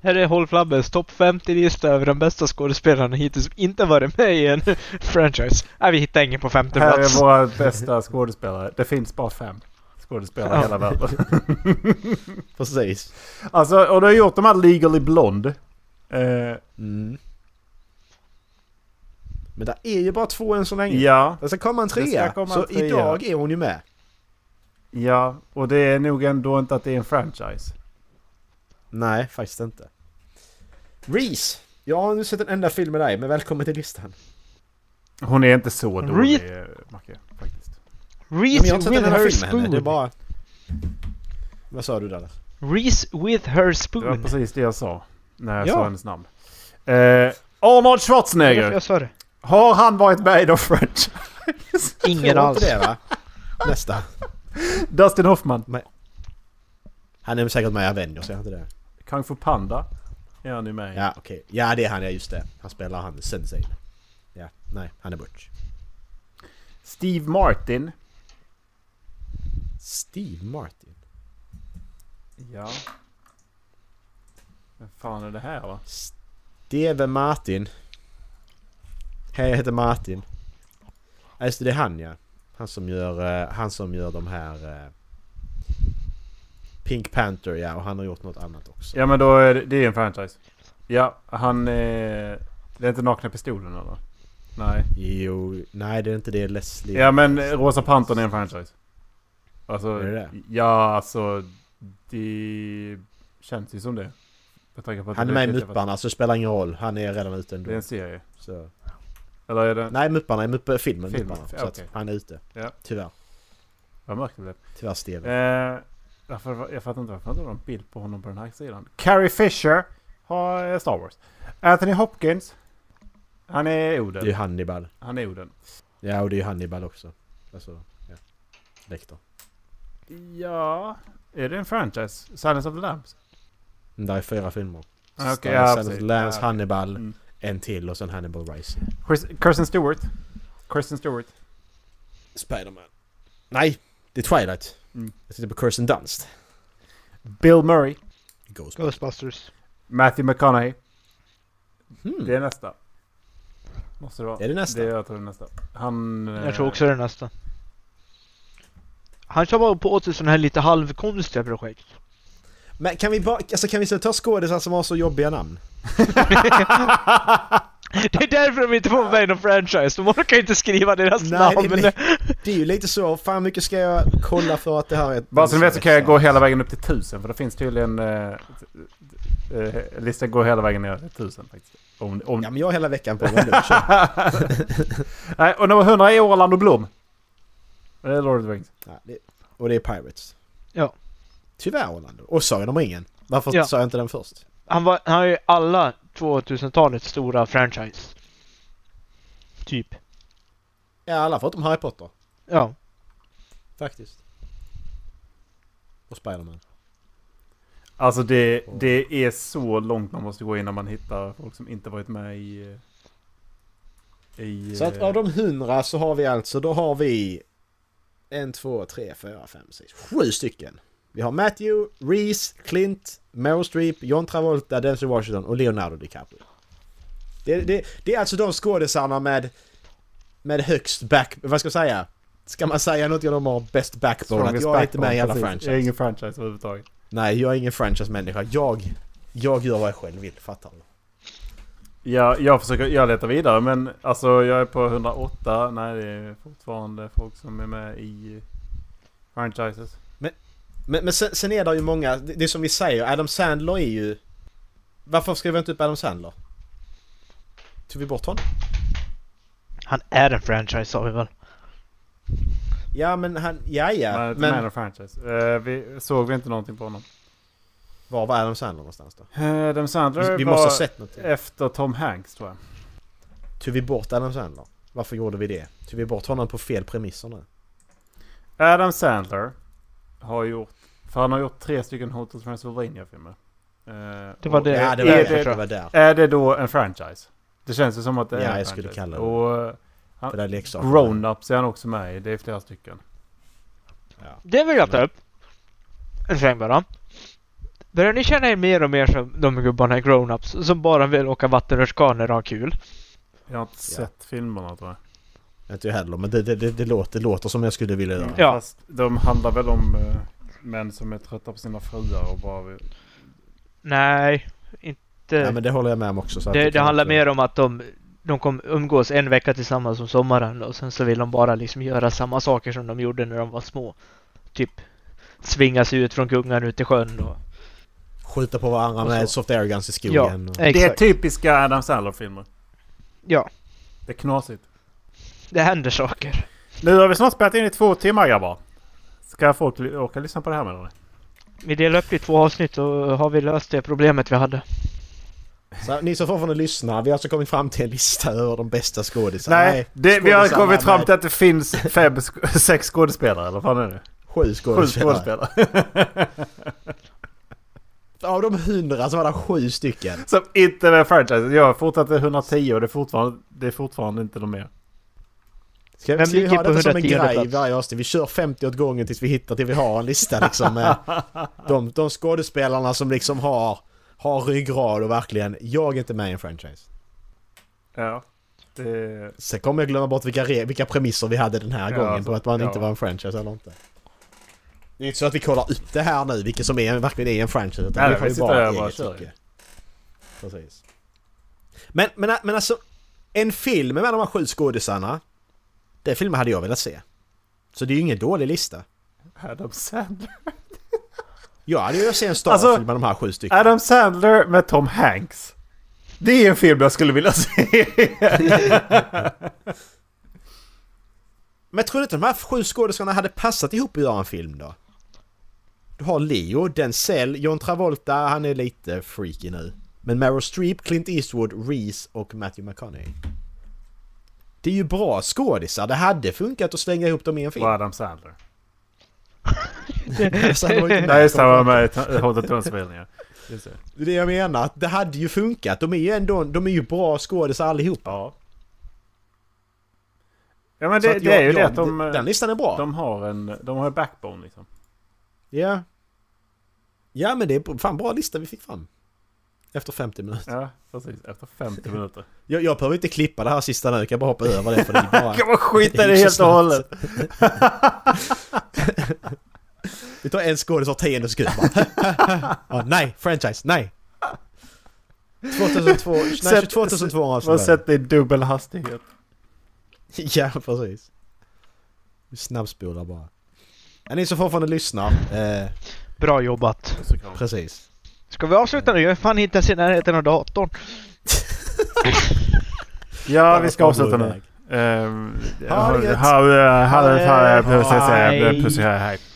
Speaker 1: Här är Håll Flabbens topp 50-lista över de bästa skådespelarna hittills som inte varit med i en [LAUGHS] franchise. Nej, vi hittar ingen på femte
Speaker 3: Här är
Speaker 1: plats.
Speaker 3: våra bästa skådespelare. Det finns bara fem skådespelare i
Speaker 1: Ja.
Speaker 3: hela världen.
Speaker 2: Precis.
Speaker 3: Alltså, och du har gjort de här Legally Blonde. Eh,
Speaker 2: Mm. Men det är ju bara två än så länge.
Speaker 3: ja.
Speaker 2: Det ska komma en
Speaker 3: Det ska
Speaker 2: trea.
Speaker 3: komma
Speaker 2: så
Speaker 3: en trea.
Speaker 2: idag är hon ju med.
Speaker 3: Ja, och det är nog ändå inte att det är en franchise.
Speaker 2: Nej, faktiskt inte. Reese! Jag har nu sett en enda film med dig, men välkommen till listan.
Speaker 3: Hon är inte så dålig, eh, Macke. Faktiskt.
Speaker 2: Men jag har
Speaker 1: Reese
Speaker 2: inte sett en
Speaker 1: with
Speaker 2: enda
Speaker 1: her
Speaker 2: film med henne. Det är
Speaker 1: spoon.
Speaker 2: bara... Vad sa du där?
Speaker 1: Reese with her
Speaker 3: Det var
Speaker 1: spoon.
Speaker 3: precis det jag sa när jag
Speaker 1: Ja.
Speaker 3: sa hennes namn. Eh,
Speaker 1: Det
Speaker 3: Arnold
Speaker 1: var därför
Speaker 3: Schwarzenegger!
Speaker 1: jag sa det.
Speaker 3: Har han varit med i The French?
Speaker 1: Ingen
Speaker 2: Tror inte
Speaker 1: alls.
Speaker 2: det va? Nästa.
Speaker 3: [LAUGHS] Dustin Hoffman.
Speaker 2: Han är säkert med i Avengers, är han inte det?
Speaker 3: Kung Fu Panda är han ju med i.
Speaker 2: Ja, okej. Ja, det är han, ja just det. Han spelar han Sensei. Ja, nej, han är Butch.
Speaker 3: Steve Martin.
Speaker 2: Steve Martin.
Speaker 3: Ja. Vem fan är det här va?
Speaker 2: Steve Martin. Hej, jag heter Martin. Ja, just det, det är han ja. Han som gör, eh, han som gör de här... eh, Pink Panther ja, och han har gjort något annat också.
Speaker 3: Ja men då är det, det är en franchise. Ja, han är... Det är inte Nakna Pistolen eller? Nej.
Speaker 2: Jo, nej det är inte det Leslie...
Speaker 3: Ja men eh, Rosa Pantern är en franchise. Alltså,
Speaker 2: Är det det?
Speaker 3: ja alltså det känns ju som det. Med tanke på att
Speaker 2: Han är
Speaker 3: det
Speaker 2: med i
Speaker 3: blev tillfället.
Speaker 2: Mupparna så det spelar ingen roll. Han är redan ute ändå.
Speaker 3: Det är en serie.
Speaker 2: Så.
Speaker 3: Eller är det...
Speaker 2: Nej, Mupparna är Mupp- eh, filmen
Speaker 3: Filmen,
Speaker 2: Mupparna. Så
Speaker 3: ja,
Speaker 2: att
Speaker 3: okej.
Speaker 2: han är ute.
Speaker 3: Ja.
Speaker 2: Tyvärr.
Speaker 3: Vad mörkt det blev.
Speaker 2: Tyvärr Steven.
Speaker 3: Eh, varför, jag fattar inte varför han inte har någon bild på honom på den här sidan. Carrie Fisher har eh, Star Wars. Anthony Hopkins. Han är
Speaker 2: Det är ju
Speaker 3: Oden.
Speaker 2: Hannibal.
Speaker 3: Han är Oden.
Speaker 2: Ja, och det är ju Hannibal också. Alltså, ja. Lektor.
Speaker 3: Ja... Är det en franchise? Silence of the Lambs?
Speaker 2: Mm, Där är fyra filmer.
Speaker 3: Ah, okej,
Speaker 2: Star Wars,
Speaker 3: ja,
Speaker 2: Silence of
Speaker 3: precis.
Speaker 2: the Lambs,
Speaker 3: Ja, okej.
Speaker 2: Hannibal,
Speaker 3: Mm.
Speaker 2: en till och sen Hannibal Rising.
Speaker 3: Chris- Kirsten Stewart. Kirsten Stewart.
Speaker 2: Spiderman. Nej! Det är Twilight.
Speaker 3: Mm.
Speaker 2: Jag sitter på Kirsten Dunst.
Speaker 3: Bill Murray.
Speaker 2: Ghostbusters.
Speaker 1: Ghostbusters.
Speaker 3: Matthew McConaughey.
Speaker 2: Mm.
Speaker 3: Det är nästa. Måste det vara.
Speaker 2: Är det nästa?
Speaker 3: Det är, jag tror det är nästa. Han... eh,
Speaker 1: Jag tror
Speaker 3: [LAUGHS]
Speaker 1: också [LAUGHS] det är nästa. Han kör bara på åt sådana här lite halvkonstiga projekt. [LAUGHS]
Speaker 2: Men kan vi bara... Alltså kan vi så ta skådisar som har så jobbiga namn?
Speaker 1: Det är därför de inte får med i någon franchise. De orkar inte skriva deras
Speaker 3: Alltså,
Speaker 2: Nej,
Speaker 1: namn.
Speaker 2: det, är, li- det är ju lite så. Fan mycket ska jag kolla för att det här är... ett-
Speaker 3: Bara så ni vet så kan jag gå hela vägen upp till tusen. För det finns tydligen... Eh, eh, listan går hela vägen ner till tusen faktiskt. Om, om,
Speaker 2: Ja
Speaker 3: [LAUGHS]
Speaker 2: men jag har hela veckan på mig nu.
Speaker 3: Nej, och nummer 100 är Orlando Blom. Det är Lord of the Rings.
Speaker 2: Nej, det, och det är Pirates.
Speaker 1: Ja.
Speaker 2: Tyvärr Orlando. Och Sagan om ringen. Varför
Speaker 1: Ja.
Speaker 2: sa jag inte den först?
Speaker 1: Han, var, han har ju alla 2000-talets stora franchise. Typ.
Speaker 2: Ja, alla förutom Harry Potter.
Speaker 1: Ja.
Speaker 2: Faktiskt. Och Spiderman.
Speaker 3: Alltså det, det är så långt man måste gå innan man hittar folk som inte varit med i... eh, i
Speaker 2: Så att
Speaker 3: eh,
Speaker 2: av de hundra så har vi alltså, då har vi en, två, tre, fyra, fem, sex, sju stycken. Vi har Matthew, Reese, Clint, Meryl Streep, John Travolta, Denzel Washington och Leonardo DiCaprio. Det, det, det är alltså de skådisarna med, med högst back... Vad ska jag säga? Ska man säga något om de har bäst backbone? Att
Speaker 3: Strongest
Speaker 2: jag är inte med i
Speaker 3: backbone,
Speaker 2: alla
Speaker 3: precis.
Speaker 2: franchise.
Speaker 3: Jag är ingen franchise överhuvudtaget.
Speaker 2: Nej, jag är ingen franchise-människa. Jag, jag gör vad jag själv vill, fattar du?
Speaker 3: Ja, jag försöker, jag letar vidare men alltså jag är på 108. Nej det är fortfarande folk som är med i franchises.
Speaker 2: Men, men sen, sen är det ju många, det, det är som vi säger, Adam Sandler är ju... Varför skrev vi inte upp Adam Sandler? Tog vi bort honom?
Speaker 1: Han är en franchise sa vi väl?
Speaker 2: Ja men han, ja
Speaker 3: Man är
Speaker 2: ja.
Speaker 3: inte med i
Speaker 2: Men
Speaker 3: någon franchise. Eh, vi, såg vi inte någonting på honom?
Speaker 2: var var Adam Sandler någonstans då?
Speaker 3: Uh, Dem Sandler
Speaker 2: Vi, vi
Speaker 3: var
Speaker 2: måste ha sett någonting.
Speaker 3: efter Tom Hanks tror jag.
Speaker 2: Tog vi bort Adam Sandler? Varför gjorde vi det? Tog vi bort honom på fel premisser nu?
Speaker 3: Adam Sandler har gjort, för han har gjort tre stycken Hotel Transylvania filmer. Eh,
Speaker 1: Det var det.
Speaker 2: Ja det
Speaker 1: är det,
Speaker 2: var, det,
Speaker 1: tror
Speaker 2: det,
Speaker 1: jag.
Speaker 2: var där.
Speaker 3: Är det då en franchise? Det känns ju som att det är
Speaker 2: Ja,
Speaker 3: en
Speaker 2: jag skulle
Speaker 3: franchise.
Speaker 2: kalla det.
Speaker 3: Och eh,
Speaker 2: För där leksaken.
Speaker 3: Grown-Ups är han också med i. Det är flera stycken.
Speaker 2: Ja.
Speaker 1: Det vill jag
Speaker 2: Mm.
Speaker 1: ta upp. En sväng bara. Börjar ni känna er mer och mer som de gubbarna i Grown-Ups som bara vill åka vattenrutschkana när de har kul?
Speaker 3: Jag har inte sett filmerna tror jag.
Speaker 2: Inte jag heller men det, det, det, det, låter, det låter som jag skulle vilja göra.
Speaker 1: Ja.
Speaker 3: Fast de handlar väl om eh, män som är trötta på sina fruar och bara vill...
Speaker 1: Nej, inte.
Speaker 2: Ja men det håller jag med om också. Så att
Speaker 1: det, det
Speaker 2: kan
Speaker 1: handlar
Speaker 2: inte-
Speaker 1: mer om att de, de kom, umgås en vecka tillsammans om sommaren och sen så vill de bara liksom göra samma saker som de gjorde när de var små. Typ svinga sig ut från gungan ut i sjön och...
Speaker 2: Skjuta på varandra
Speaker 1: Och
Speaker 2: med
Speaker 1: så.
Speaker 2: soft air guns i skogen.
Speaker 1: Alltså. Ja,
Speaker 2: och...
Speaker 3: Det är
Speaker 1: exakt.
Speaker 3: typiska Adam Sandler-filmer.
Speaker 1: Ja,
Speaker 3: Det är knasigt.
Speaker 1: det händer saker.
Speaker 3: Nu har vi snart spelat in i två timmar grabbar. Ska folk li- orka lyssna på det här med eller?
Speaker 1: Vi delar upp det i två avsnitt och har vi löst det problemet vi hade.
Speaker 2: Så ni som fortfarande lyssnar, vi har alltså kommit fram till en lista över de bästa skådisarna.
Speaker 3: Nej, det, vi har
Speaker 2: skådisarna,
Speaker 3: kommit fram
Speaker 2: nej,
Speaker 3: till att det finns fem, sk- [LAUGHS] sex skådespelare eller vad fan är det?
Speaker 2: Sju
Speaker 3: Sju
Speaker 2: skådespelare.
Speaker 3: skådespelare. [LAUGHS]
Speaker 2: Av de hundra så var det sju stycken.
Speaker 3: Som inte är med i franchisen. Jag har fortsatt till 110 och det är fortfarande, det är fortfarande inte de med.
Speaker 2: Ska,
Speaker 1: Vem
Speaker 2: ska vi
Speaker 1: ligger
Speaker 2: ha
Speaker 1: på
Speaker 2: detta som en
Speaker 1: 110
Speaker 2: grej i
Speaker 1: plats?
Speaker 2: varje avsnitt? Vi kör 50 åt gången tills vi hittar, till vi har en lista liksom med de, de skådespelarna som liksom har, har ryggrad och verkligen, jag är inte med i en franchise.
Speaker 3: Ja. Det,
Speaker 2: Sen kommer jag glömma bort vilka, re, vilka premisser vi hade den här
Speaker 3: Ja,
Speaker 2: gången
Speaker 3: alltså,
Speaker 2: på att man
Speaker 3: ja.
Speaker 2: inte var en franchise eller inte. Det är inte så att vi kollar upp det här nu, vilket som är, verkligen är en franchise. Utan
Speaker 3: Nej,
Speaker 2: vi
Speaker 3: vi
Speaker 2: har ju
Speaker 3: sitter här
Speaker 2: bara
Speaker 3: och bara
Speaker 2: eget
Speaker 3: kör.
Speaker 2: tycke. Precis. Men, men, men alltså, en film med de här sju skådisarna. Den filmen hade jag velat se. Så det är ju ingen dålig lista.
Speaker 3: Adam Sandler.
Speaker 2: Jag hade ju velat se en Star
Speaker 3: Alltså,
Speaker 2: film med de här sju stycken.
Speaker 3: Adam Sandler med Tom Hanks. Det är en film jag skulle vilja se.
Speaker 2: Men tror du inte de här sju skådespelarna hade passat ihop att göra en film då? Du har Leo, Denzel, John Travolta, han är lite freaky nu. Men Meryl Streep, Clint Eastwood, Reese och Matthew McConaughey. Det är ju bra skådisar, det hade funkat att slänga ihop dem i en film.
Speaker 3: [LAUGHS] Och Adam Sandler.
Speaker 2: Så hade varit-
Speaker 3: Nej, just det. Han var med i Ta- Haunted Transylvania. Just det.
Speaker 2: Det är det jag menar, att det hade ju funkat. De är ju ändå, de är ju bra skådisar allihopa.
Speaker 3: Ja. Ja men
Speaker 2: Så
Speaker 3: det,
Speaker 2: att
Speaker 3: det är ju
Speaker 2: jag-
Speaker 3: det
Speaker 2: jag-
Speaker 3: att de,
Speaker 2: Den listan är bra.
Speaker 3: de har en... De har en backbone liksom.
Speaker 2: Ja. Ja men det är fan bra lista vi fick fram. Efter 50 minuter.
Speaker 3: Ja, precis. Efter 50 minuter.
Speaker 2: Jag, jag behöver inte klippa det här sista nu, jag kan bara hoppa över det för det är
Speaker 3: [LAUGHS]
Speaker 2: bara...
Speaker 3: Kan man skita i
Speaker 2: Det
Speaker 3: det
Speaker 2: är ju
Speaker 3: helt
Speaker 2: så
Speaker 3: och
Speaker 2: snabbt.
Speaker 3: hållet?
Speaker 2: Vi tar en skådis var tionde sekund bara.
Speaker 3: [LAUGHS]
Speaker 2: ja, Nej, franchise, nej! 2002, nej
Speaker 3: Sätt-
Speaker 2: 2002
Speaker 3: Man
Speaker 2: avsnitt.
Speaker 3: sätter i dubbel hastighet.
Speaker 2: Ja, precis. Vi snabbspolar bara. Ja, ni som fortfarande lyssnar, eh,
Speaker 1: Bra jobbat.
Speaker 2: precis.
Speaker 1: Ska vi avsluta nu? Jag är fan inte ens i närheten av datorn.
Speaker 3: Ja, vi ska avsluta nu. Ehm,
Speaker 2: Harriet.
Speaker 3: har- har- har- har-
Speaker 2: Harriet.
Speaker 3: precis, eh,
Speaker 1: Hej.
Speaker 3: precis, hej, hej.